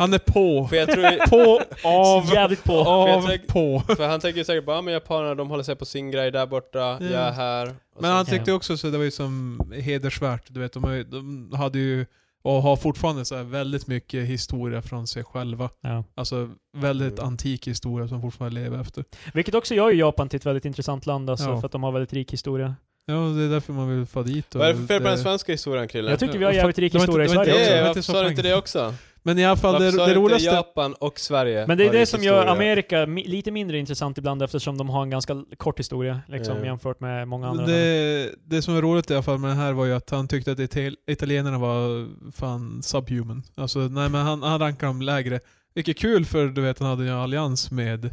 S1: Han är på.
S2: för jag tror,
S1: På, av,
S3: Jävligt på!
S1: av,
S2: tänk-
S1: på.
S2: för han tänker ju säkert bara, "Ah, men japanerna de håller sig på sin grej där borta, jag är här. Och
S1: Men
S2: så-
S1: han tyckte också så det var ju som hedersvärt, du vet de, har ju- de hade ju och har fortfarande så här väldigt mycket historia från sig själva.
S3: Ja.
S1: Alltså väldigt
S2: Mm.
S1: antik historia som fortfarande lever efter.
S3: Vilket också gör ju Japan till ett väldigt intressant land alltså,
S1: Ja.
S3: för att de har väldigt rik historia.
S1: Ja, och det är därför man vill få dit. och
S2: Vad är det för fel på
S1: det-
S2: den svenska historien Krille?
S3: Jag tycker vi har
S1: och fa-
S3: jävligt rik
S1: det var inte-
S3: historia i
S1: det var inte-
S3: Sverige
S1: det
S2: Eh,
S1: är
S3: också.
S2: varför
S1: så
S2: sa du inte
S1: fränt.
S2: det också?
S1: Men i alla fall,
S2: Varför
S1: det,
S2: sa
S1: det
S2: du inte
S1: roligaste...
S2: Japan och Sverige
S3: Men det är
S2: har
S3: det
S2: rik
S3: som gör
S2: historia?
S3: Amerika mi- lite mindre intressant ibland eftersom de har en ganska l- kort historia liksom,
S2: Ja.
S3: jämfört med många andra. länder.
S1: Det, det som var roligt i alla fall med det här var ju att han tyckte att ital- italienarna var fan subhuman. Alltså, nej men han, han rankar dem lägre. Vilket är kul för du vet han hade ju en allians med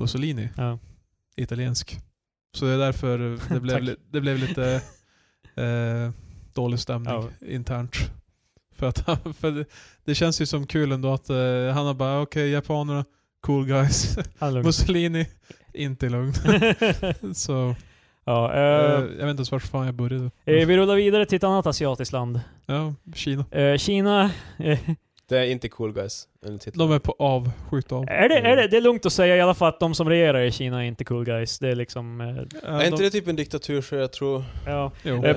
S1: Mussolini,
S3: Ja.
S1: italiensk. Så det är därför det blev,
S3: Tack.
S1: li- det blev lite eh, dålig stämning internt. För att han, för det, det känns ju som kul ändå att eh, han har bara okej japanerna, cool guys.
S3: Han är lugn.
S1: Mussolini, inte lugn. Så,
S3: ja,
S1: eh,
S3: eh,
S1: jag vet inte ens vart fan jag började.
S3: eh, vi rullar vidare till ett annat asiatiskt land.
S1: Ja, Kina.
S3: Eh, Kina. eh,
S2: Det är inte cool guys, enligt titeln.
S1: De är på av, skjut av.
S3: är det, är det, det är lugnt att säga i alla fall att de som regerar i Kina är inte cool guys. Det är liksom... eh,
S2: Är inte det typ en diktatur så jag tror... Alltså,
S3: ja.
S1: Jo.
S3: Eh,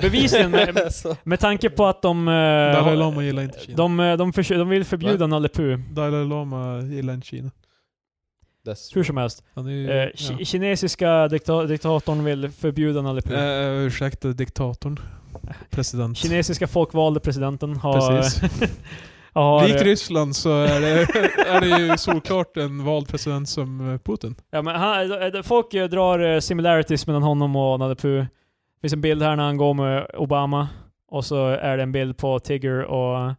S3: bevisligen med,
S2: Så-
S3: med tanke på att de... eh,
S1: Dalai Lama gillar inte Kina.
S3: de, eh, de, försö- de vill förbjuda Nalle Puh.
S1: Dalai Lama gillar inte Kina.
S2: That's
S3: Hur som helst.
S1: Han är ju...
S3: Eh,
S1: ja.
S3: ki- kinesiska dikta- diktatorn vill förbjuda Nalle Puh.
S1: Eh, ursäkta, diktatorn. President.
S3: Kinesiska folkvalde presidenten har...
S1: Precis.
S3: har
S1: Likt Ryssland så är det, är det ju solklart en vald president som eh, Putin.
S3: ja, men han, eh, folk eh, drar eh, similarities mellan honom och Nalle Puh. Det finns en bild här när han går med Obama. Och så är det en bild på Tigger och...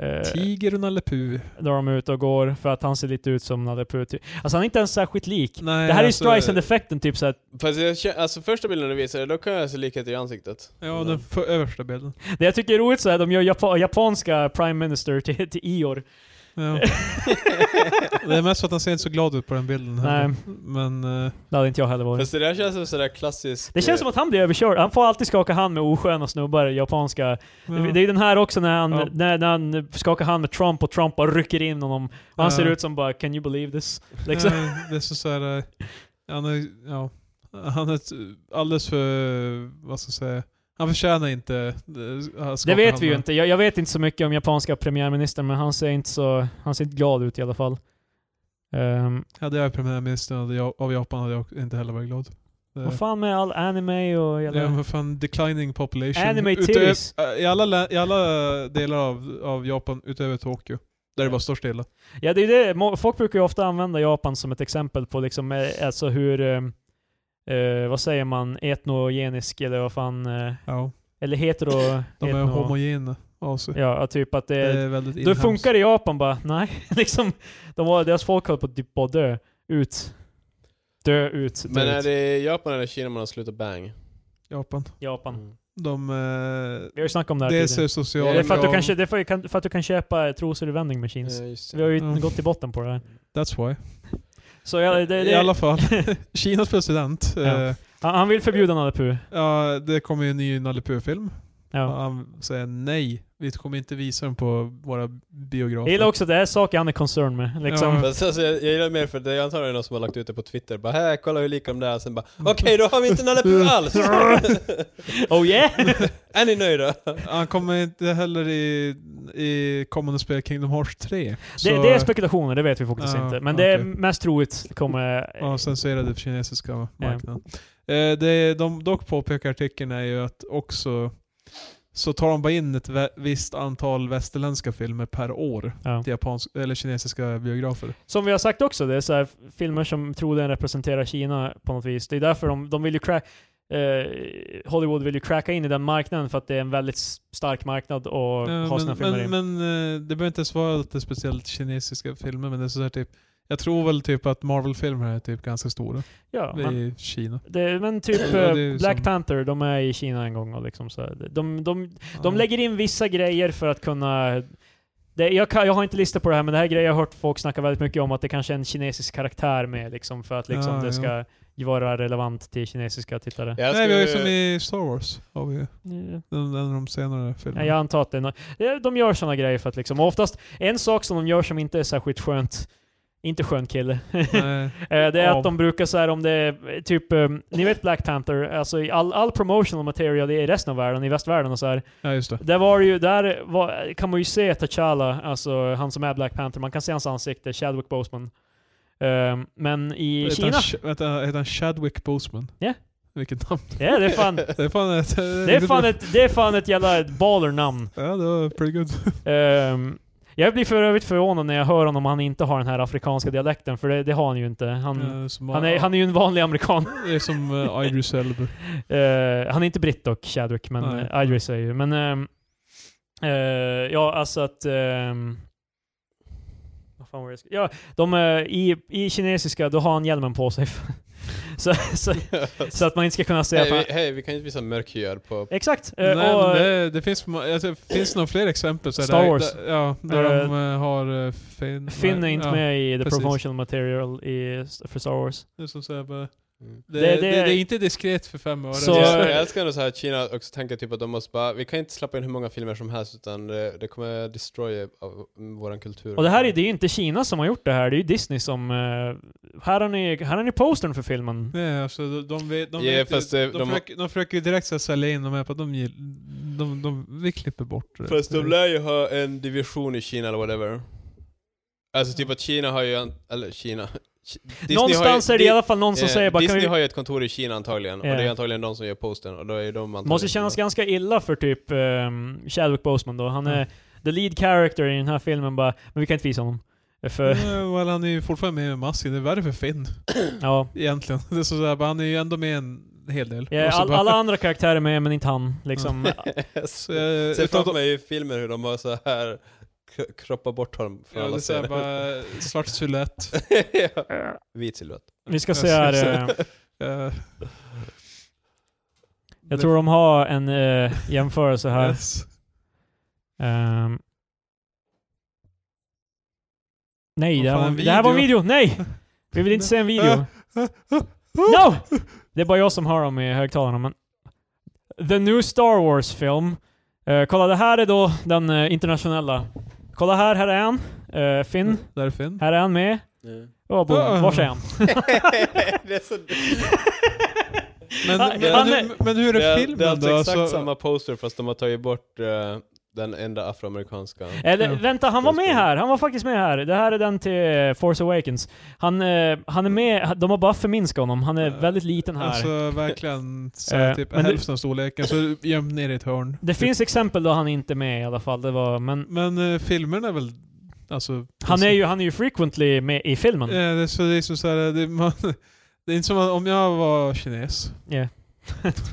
S3: Eh,
S1: Tiger och Nalle Puh.
S3: där de är ute och går för att han ser lite ut som Nalle Puh. typ. Alltså han är inte ens särskilt lik.
S1: Nej,
S3: det här är ju
S1: alltså-
S3: Streisand-effekten typ såhär.
S2: Fast jag känner, alltså första bilden du visade, då kan jag se likhet i ansiktet.
S1: Ja, den för, översta bilden.
S3: Det jag tycker är roligt såhär, de gör japa- japanska Prime Minister till, till Ior.
S1: Ja. det är mest för att han ser inte så glad ut på den bilden. heller.
S3: Nej.
S1: Men... eh,
S3: Det hade inte jag heller varit.
S2: Fast det där känns som sådär klassiskt... eh,
S3: Det känns som att han blir överkörd. Han får alltid skaka hand med osköna snubbar, japanska.
S1: ja.
S3: Det är ju den här också när han,
S1: Ja.
S3: när, när han skakar hand med Trump och Trump bara rycker in honom. Och han
S1: Ja.
S3: ser ut som bara 'Can you believe this?' Liksom.
S1: Nej, det är så, så här, eh, han är, ja, han är ett, eh, alldeles för, vad ska jag säga, han förtjänar inte eh, att skaka
S3: Det vet
S1: hand
S3: vi ju
S1: med.
S3: inte. Jag, jag vet inte så mycket om japanska premiärministern, men han ser inte så... Han ser inte glad ut i alla fall. Ehm,
S1: Hade jag varit premiärminister hade jag- av Japan hade jag inte heller varit glad. Det-
S3: Vad fan med all anime och hela...
S1: Ja, men fan, declining population.
S3: Anime
S1: Utöver-
S3: titties.
S1: eh, I alla, lä- I alla delar av, av Japan utöver Tokyo. Där det bara står stilla.
S3: Ja, det är det. Må- Folk brukar ju ofta använda Japan som ett exempel på liksom, eh, alltså hur, eh, eh, vad säger man, etnogenisk eller vad fan, eh,
S1: Ja.
S3: eller hetero...
S1: De är Eh,
S3: etno-
S1: homogena av sig.
S3: Ja, typ att
S1: Det
S3: det,
S1: är väldigt
S3: Då
S1: inhemskt.
S3: funkar det i Japan bara, nej. liksom, de var, deras folk höll på att typ bara dö ut. Dö ut. Dö
S2: Men är
S3: ut.
S2: det Japan eller Kina man har slutat bang? Mm.
S1: Japan.
S3: Japan.
S1: De... Eh,
S3: Vi har ju snackat om det här
S1: dels
S3: tidigare.
S1: är sociala...
S3: Det är för att, du
S1: krav.
S3: kan, kö- det är för, kan- för att du kan köpa trosor i vending machines.
S2: Ja, just
S3: Vi har
S2: det.
S3: ju
S1: Mm.
S3: gått till botten på det här.
S1: That's why.
S3: Så ja, det, det,
S1: I alla fall, Kinas president.
S3: Ja.
S1: Eh,
S3: han, han vill förbjuda Nalle Puh.
S1: ja, det kommer ju en ny Nalle Puh-film.
S3: Ja.
S1: Han säger nej, vi kommer inte visa den på våra
S3: Jag
S1: biografer.
S3: gillar också att det här är saker han är concerned med. Liksom.
S1: Ja.
S2: Fast alltså, jag, jag gillar mer för det är antagligen någon som har lagt ut det på Twitter. Bara här, kolla hur lika de där är. Sen bara okej, då har vi inte Nalle Puh alls!
S3: Oh yeah!
S2: är ni nöjda?
S1: Han kommer inte heller i, i kommande spel Kingdom Hearts 3.
S3: det, det är spekulationer, det vet vi faktiskt
S1: Ja,
S3: inte. Men det är
S1: okej.
S3: mest troligt kommer...
S1: Ja, censurerade för kinesiska marknaden. Eh, det de dock påpekar i artikeln är ju att också så tar de bara in ett vä- visst antal västerländska filmer per år
S3: Ja.
S1: till japans- eller kinesiska biografer.
S3: Som vi har sagt också, det är så här filmer som troligen representerar Kina på något vis. Det är därför de, de vill ju crack... eh, Hollywood vill ju cracka in i den marknaden för att det är en väldigt s- stark marknad att ha
S1: Ja,
S3: sina
S1: men,
S3: filmer i.
S1: men, men eh, det behöver inte ens vara lite speciellt kinesiska filmer, men det är så här typ jag tror väl typ att Marvel-filmer är typ ganska stora
S3: ja, men,
S1: i Kina.
S3: det, men typ
S1: det är
S3: eh,
S1: ju
S3: Black
S1: som-
S3: Panther, de är i Kina en gång och liksom så här. De, de,
S1: Ja.
S3: de lägger in vissa grejer för att kunna... Det, jag, kan, jag har inte listat på det här, men det här är grejer jag har hört folk snacka väldigt mycket om, att det kanske är en kinesisk karaktär med liksom, för att liksom,
S1: Ja,
S3: det ska vara relevant till kinesiska tittare.
S2: Jag
S1: Nej, vi har ju
S2: skulle-
S1: som i Star Wars. Har vi ju. Den, den av de senare filmerna.
S3: Ja, jag antar att det är nå- Ja, De gör sådana grejer för att liksom, och oftast, en sak som de gör som inte är särskilt skönt, inte skön kille,
S1: Nej.
S3: Eh, Det är
S1: Ja.
S3: att de brukar så här om det är eh, typ, eh, ni vet Black Panther, alltså i all, all promotional material i resten av världen, i västvärlden och så här.
S1: ja, just det.
S3: Där var det ju, där var, kan man ju se T'Challa, alltså han som är Black Panther, man kan se hans ansikte, Chadwick Boseman. Eh, Men i
S1: Heter
S3: Kina,
S1: han Ch- Vänta, heter han Chadwick Boseman?
S3: Ja.
S1: Vilket namn.
S3: ja, det är fan,
S1: Det är fan ett...
S3: det är fan ett, det är fan ett jävla baller-namn.
S1: Ja, det var pretty good.
S3: Ehm, jag blir för övrigt förvånad när jag hör honom om han inte har den här afrikanska dialekten, för det, det har han ju inte. Han,
S1: Eh, som,
S3: han, är, han är ju en vanlig amerikan.
S1: Det är som uh, Idris Elba.
S3: Eh, han är inte britt dock, Chadwick, men
S1: Nej.
S3: eh, Idris är ju. Men ehm, eh, ja, alltså att... ehm, vad fan var det jag skulle- Ja, de, eh, i, i kinesiska, då har han hjälmen på sig. så, så, så att man inte ska kunna säga att
S2: Hej,
S3: han,
S2: vi, hej, vi kan ju inte visa mörkhyad på...
S3: Exakt! eh,
S1: Nej, men
S3: och,
S1: det, det finns, ma- alltså, det finns några fler exempel. Så här,
S3: Star
S1: där,
S3: Wars.
S1: Där, ja, där de eh, har eh, Finn.
S3: Finn är
S1: nej,
S3: inte
S1: ja,
S3: med i the
S1: precis.
S3: promotional material i, för Star Wars.
S1: Det är, som så här, bara,
S2: Mm.
S1: det,
S3: Det-
S1: det,
S3: det-
S1: det, är inte diskret för fem öre.
S3: Så-
S2: jag, jag älskar ändå så här att Kina också tänker typ att de måste bara, vi kan inte släppa in hur många filmer som helst utan det, det kommer destroy av mm, våran kultur.
S3: Och det här är, det är ju inte Kina som har gjort det här, det är ju Disney som... eh, här, har ni, här har ni postern för filmen.
S1: Nej, alltså, de, de, vet, de,
S2: Ja,
S1: vet,
S2: fast
S1: de,
S2: det-
S1: de,
S2: de-
S1: försöker, de försöker ju direkt så här, sälja in de här på att de, gill- de, de, vi klipper bort det.
S2: Fast de lär ju ha en division i Kina eller whatever. Alltså typ att Kina har ju, en, eller Kina. Ki- Disney
S3: Någonstans
S2: har ju,
S3: är det i alla fall någon som
S2: eh,
S3: säger bara
S2: Disney
S3: kan vi,
S2: har ju ett kontor i Kina antagligen,
S3: Ja.
S2: och det är antagligen de som gör posten, och då är de antagligen...
S3: Måste kännas ganska illa för typ ehm, Chadwick Boseman då. Han är
S1: Mm.
S3: the lead character i den här filmen bara, men vi kan inte visa honom. Eh, För,
S1: Eh, Nej, well, han är ju fortfarande med med masken. Det är värre för Finn.
S3: ja.
S1: Egentligen. Det är så så här, bara, han är ju ändå med en hel del.
S3: Ja,
S1: Och så
S3: all,
S1: bara-
S3: alla andra karaktärer är med, men inte han. Liksom.
S1: så, eh,
S2: Ser
S1: utan-
S2: framför mig i filmer hur de bara så här k- kroppar bort honom
S1: Ja,
S2: från
S1: det
S2: alla
S1: är så här,
S2: scener.
S1: bara svart silhuett.
S2: Ja. Vit silhuett.
S3: Vi ska se här. eh,
S1: Eh,
S3: jag tror de har en eh, jämförelse här.
S1: Yes.
S3: Ehm. nej,
S1: Vad
S3: det här,
S1: fan,
S3: var,
S1: en Eh,
S3: en- det här var en video! Nej! Vi vill inte se en video. No! Det är bara jag som hör dem i högtalarna, men... The New Star Wars-film. Eh, kolla, det här är då den eh, internationella. Kolla här, här är han. Eh, Finn.
S1: Där är Finn.
S3: Här är han med. Oh, boom.
S1: Ah.
S3: Var är han?
S2: det är så...
S1: Men,
S3: Ah,
S1: men,
S3: han
S1: men, men hur är
S2: Det är,
S1: filmen
S2: det är alltså
S1: då?
S2: exakt
S1: Alltså,
S2: samma poster fast de har tagit bort eh, den enda afroamerikanska.
S3: Eller
S1: Ja.
S3: Eh, vänta, han var med här. Han var faktiskt med här. Det här är den till eh, Force Awakens. Han, eh, han är med. De har bara förminskat honom. Han är
S1: Eh,
S3: väldigt liten här.
S1: Alltså verkligen så här,
S3: Eh,
S1: typ
S3: men det-
S1: hälften av storleken, så gömd ner i ett hörn.
S3: det
S1: typ.
S3: finns exempel då han inte är med i alla fall. Det var, men
S1: Men eh, filmerna är väl... Alltså,
S3: han är ju, han är ju frequently med i filmen.
S1: Ja, det, är så, det är som så här, det, man, det är inte som att om jag var kines.
S3: Yeah.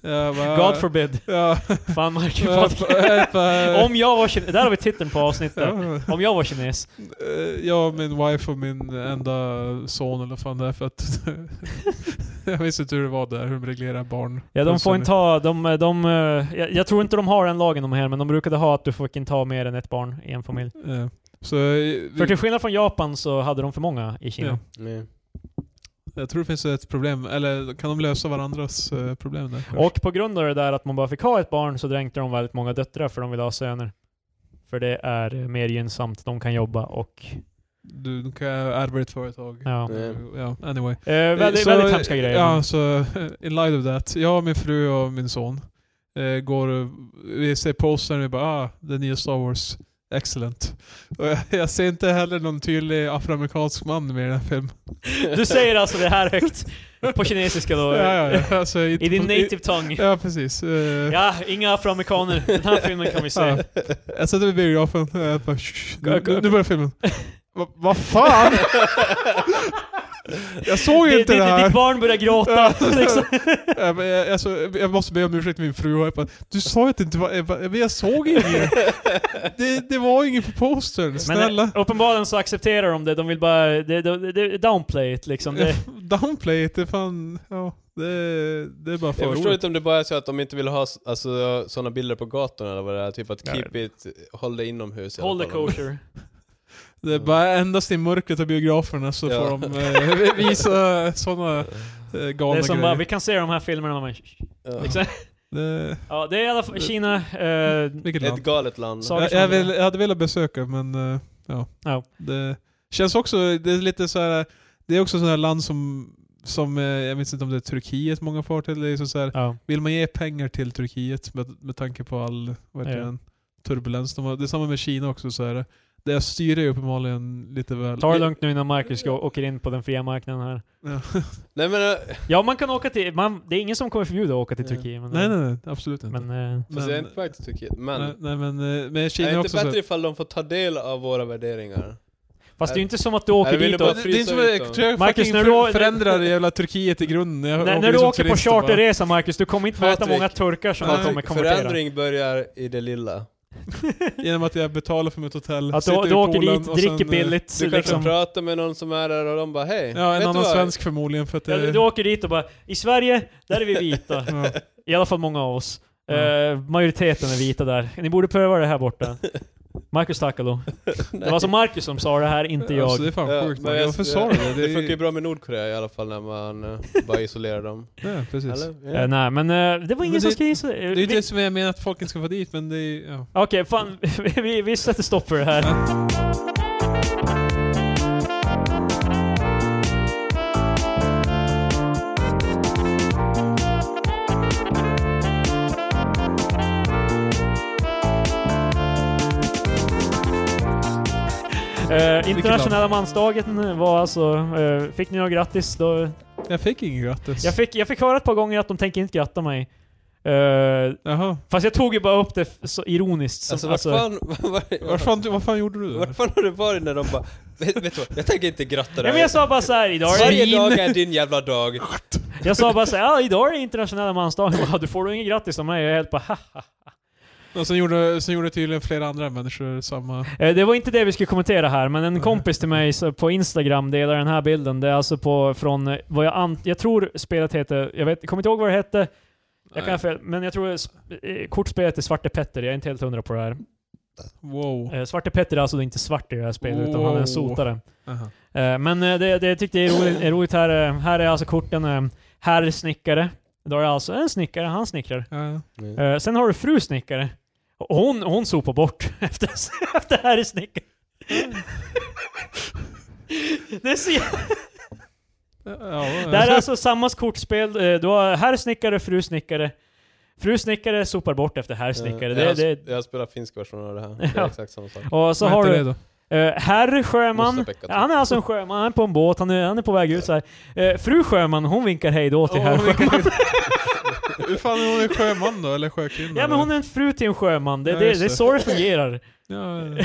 S1: Jag bara,
S3: God forbid.
S1: Ja,
S3: Fan Mark.
S1: jag bara- jag bara-
S3: Om jag var kines. Där har vi titeln på avsnittet.
S1: Ja.
S3: Om jag var kines.
S1: Eh, Jag och min wife och min enda son eller vad fan det är för att Jag visste inte hur det var där, hur de reglerar barn.
S3: Ja, de får inte ha... De, de, eh, jag, jag tror inte de har den lagen de här, men de brukade ha att du får inte ha mer än ett barn i en familj.
S1: Eh, Så vi,
S3: För till skillnad från Japan så hade de för många i Kina.
S1: Ja.
S2: Mm.
S1: jag tror det finns ett problem, eller kan de lösa varandras eh, problem där? först?
S3: Och på grund av det där att man bara fick ha ett barn så dränkte de väldigt många döttrar för de ville ha söner. För det är mer gynnsamt, de kan jobba och...
S1: du, de kan ärva ett företag.
S3: Ja.
S2: Mm.
S1: Ja, anyway.
S3: Eh, väldigt,
S1: Så,
S3: väldigt hemska grejer.
S1: Ja, så eh, in light of that. Jag, min fru och min son eh, går eh, vi ser postern och vi bara ah, den nya Star Wars. Excellent. Och jag, jag ser inte heller någon tydlig afroamerikansk man med i den här filmen.
S3: Du säger alltså det här högt på kinesiska då?
S1: Ja, ja, ja. Alltså,
S3: I din native tongue?
S1: Ja, precis. Eh,
S3: Ja, inga afroamerikaner. Den här filmen kan vi
S1: ja.
S3: se.
S1: Jag satt vid biografen eh, och jag bara, "Shh, nu, nu, nu börjar filmen. Va- Vad fan? Jag såg
S3: Ditt-
S1: inte
S3: ditt-
S1: det här.
S3: Ditt barn börjar gråta. liksom.
S1: Ja, men jag, alltså, jag måste be om ursäkt till min fru. Jag bara, Du sa ju att det inte var Ebba. Men jag såg inget. Det, det var inget på postern.
S3: Men
S1: Snälla.
S3: eh, uppenbarligen så accepterar de det, de vill bara... Det, det, det, downplay it liksom. Det,
S1: Downplay it, det fan... Ja, det, det är bara
S2: Jag förstår
S1: förordet.
S2: inte om det bara är så att de inte vill ha s- alltså, sådana bilder på gatorna eller vad det är. Typ att
S3: Nej.
S2: keep it, håll det inomhus. i alla
S3: Håll the
S2: fall.
S3: kosher.
S1: Det är bara endast i mörkret av biograferna så
S2: Ja.
S1: får de eh, visa sådana eh,
S3: Det
S1: galna
S3: är som bara,
S1: grejer.
S3: vi kan se de här filmerna men...
S2: Ja.
S3: Liksom.
S1: det,
S3: Ja, det är i alla fall Kina. eh,
S1: vilket
S2: Ett
S1: land?
S2: galet land.
S3: Så-
S1: Jag, jag, vill, jag hade velat besöka men eh, ja.
S3: liksom Ja.
S1: Det känns också, det är lite så här. Det är också sådana här land som, som eh, jag minns inte om det är Turkiet många far till. Det är så så här,
S3: ja.
S1: vill man ge pengar till Turkiet med, med tanke på all vad heter
S3: Ja.
S1: den, turbulens de har. Det är samma med Kina också. Så här. Deras styre är uppenbarligen lite väl...
S3: Ta det lugnt nu innan Marcus går- åker in på den fria marknaden här.
S1: Ja.
S2: Nej men, eh,
S3: Ja, man kan åka till... Man, det är ingen som kommer förbjuda att åka till
S2: Ja.
S3: Turkiet. Men,
S1: Nej, nej, nej. Absolut inte.
S3: Men, eh,
S2: fast jag är inte på väg till Turkiet. Men,
S1: nej, nej, men, eh, men Kina
S2: är
S1: är
S2: det
S1: också
S2: inte
S1: så här-
S2: bättre ifall de får ta del av våra värderingar?
S3: fast det är ju inte som att du
S2: jag
S3: åker
S2: ville
S3: dit
S2: bara
S3: och...
S1: Det det är inte som
S2: frysa ut
S1: jag
S2: dem.
S1: tror jag
S3: Marcus,
S1: fucking
S3: när du
S1: för,
S3: å-
S1: förändrar jävla Turkiet i grunden. Jag liksom
S3: När, när du
S1: som
S3: åker på
S1: turist och bara-
S3: charterresa Marcus, du kommer inte möta
S2: Patrik,
S3: många turkar som
S1: nej,
S3: bara kommer konvertera.
S2: Förändring börjar i det lilla.
S1: Genom att jag betalar för mitt hotell.
S3: Att du,
S1: sitter i
S3: du åker
S1: poolen
S3: dit,
S1: och sen,
S3: dricker
S1: eh,
S3: billigt
S2: Du kanske
S3: liksom.
S2: pratar med någon som är där och de bara hej,
S1: Ja, en
S2: vet du
S1: annan
S2: vad?
S1: svensk förmodligen för att
S3: Ja,
S1: det...
S3: du, du åker dit och bara, i Sverige, där är vi vita.
S1: ja.
S3: I alla fall många av oss.
S1: Ja.
S3: Eh, majoriteten är vita där. Ni borde pröva det här borta. Marcus Takalo. Det var alltså Marcus som sa det här, inte jag.
S1: Alltså, det är fan
S2: Ja,
S1: sjukt.
S2: men
S1: man.
S2: jag-
S1: Varför sa du det?
S2: Det funkar ju
S1: är-
S2: bra med Nordkorea i alla fall när man eh, bara isolerar dem.
S1: Ja, precis.
S2: Eller?
S3: Eh, nej, men eh, det var
S1: Men
S3: ingen
S1: det-
S3: som ska gissa. Eh,
S1: Det är ju
S3: vi-
S1: det som jag menar att folk inte ska få dit, men det är ja.
S3: Okej, fan. vi, vi sätter stopp för det här. Eh, internationella mansdagen var alltså... eh, fick ni något grattis? Då,
S1: Jag fick inget grattis.
S3: jag, fick, jag fick höra ett par gånger att de tänker inte gratta mig. Eh,
S1: Jaha.
S3: fast jag tog ju bara upp det f- så ironiskt. Som,
S2: Alltså, alltså vad fan, vad, vad,
S1: Vad fan, vad fan gjorde du?
S2: Vart
S1: där?
S2: fan har du varit när de bara Vet, vet du vad, jag tänker inte gratta
S3: Ja, men
S2: dig.
S3: jag sa bara såhär, idag är det,
S2: Varje dag är din jävla dag.
S3: jag sa bara såhär, ja, idag är det internationella mansdagen. Jag bara, Du får du inget grattis av mig? Jag är helt bara, "Ha, ha."
S1: Och sen gjorde, sen gjorde tydligen flera andra människor samma...
S3: Eh, Det var inte det vi skulle kommentera här, men en
S1: Nej.
S3: kompis till mig så- på Instagram delar den här bilden. Det är alltså på, från eh, vad jag an- jag tror spelet heter, jag vet, jag kommer inte ihåg vad det hette. Jag kan ha fel, men jag tror sp- eh, kortspelet är Svarte Petter, jag är inte helt hundra på det här.
S1: Wow.
S3: Eh, Svarte Petter är alltså inte svart i det här spelet, utan han är en
S1: Oh.
S3: sotare.
S1: Aha.
S3: Eh, Men eh, det, det jag tyckte är roligt, är roligt här, eh, här är alltså korten eh, Herr snickare. Då är det alltså en snickare, han snickrar.
S1: Ja.
S2: Mm.
S3: Eh, Sen har du fru snickare. Och Hon, hon sopar bort efter, efter herr snickare. Det är, så, jä-
S1: Ja,
S3: det här är alltså samma kortspel. Eh, Du har herr snickare, fru snickare. Fru snickare sopar bort efter herr snickare.
S1: Eh,
S3: Det,
S2: jag,
S3: det,
S2: jag spelar finsk version av det här. Det är
S3: Ja.
S2: exakt samma sak.
S3: och så
S1: Vad
S3: har
S1: heter
S3: du
S1: det då?
S3: eh, herr sjöman.
S2: Mosebäcka, typ.
S3: Han är alltså en sjöman, han är på en båt, han är, han är på väg ut så här. Eh, Fru sjöman, hon vinkar hej då till
S1: Åh,
S3: herr sjöman.
S1: vilken- Hur fan är hon en sjöman då? Eller sjökvinna?
S3: Ja men hon är en fru till en sjöman, det,
S1: Ja,
S3: det,
S1: just
S3: det är
S1: det.
S3: så det fungerar.
S1: eller? Ja,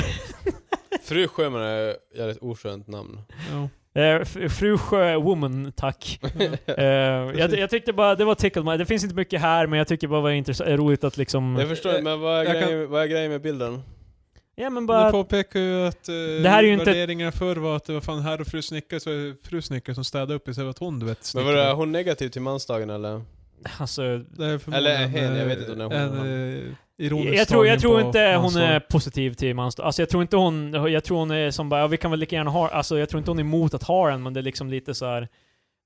S2: Fru Sjöman är ett jävligt oskönt namn.
S1: ja.
S3: Eh, f- fru sjöwoman, tack. Eh, jag, jag tyckte bara, det var tickled my, Det finns inte mycket här men jag tycker bara det var intressant, roligt att liksom...
S2: Jag förstår, men vad är,
S1: Jag kan-
S2: grejen, vad är grejen med bilden?
S3: Ja men
S1: Du
S3: bara...
S1: påpekar ju att eh,
S3: Det här är ju inte-
S1: värderingarna förr var att det var fan herr och fru snickare, så är det fru snickare som städade upp istället för att hon du vet
S2: Men var det, är hon negativ till mansdagen eller?
S3: Alltså,
S1: Det är
S2: Eller
S1: förmodligen,
S2: hen, jag
S1: eh,
S2: vet inte om det är hon
S1: en, eh, ironisk
S3: jag tror,
S1: tagning
S3: jag tror
S1: på
S3: inte hon
S1: ansvar.
S3: är positiv till mansdag. Alltså jag tror inte hon, jag tror hon är som bara, ja, vi kan väl lika gärna ha, alltså jag tror inte hon är emot att ha den men det är liksom lite så här.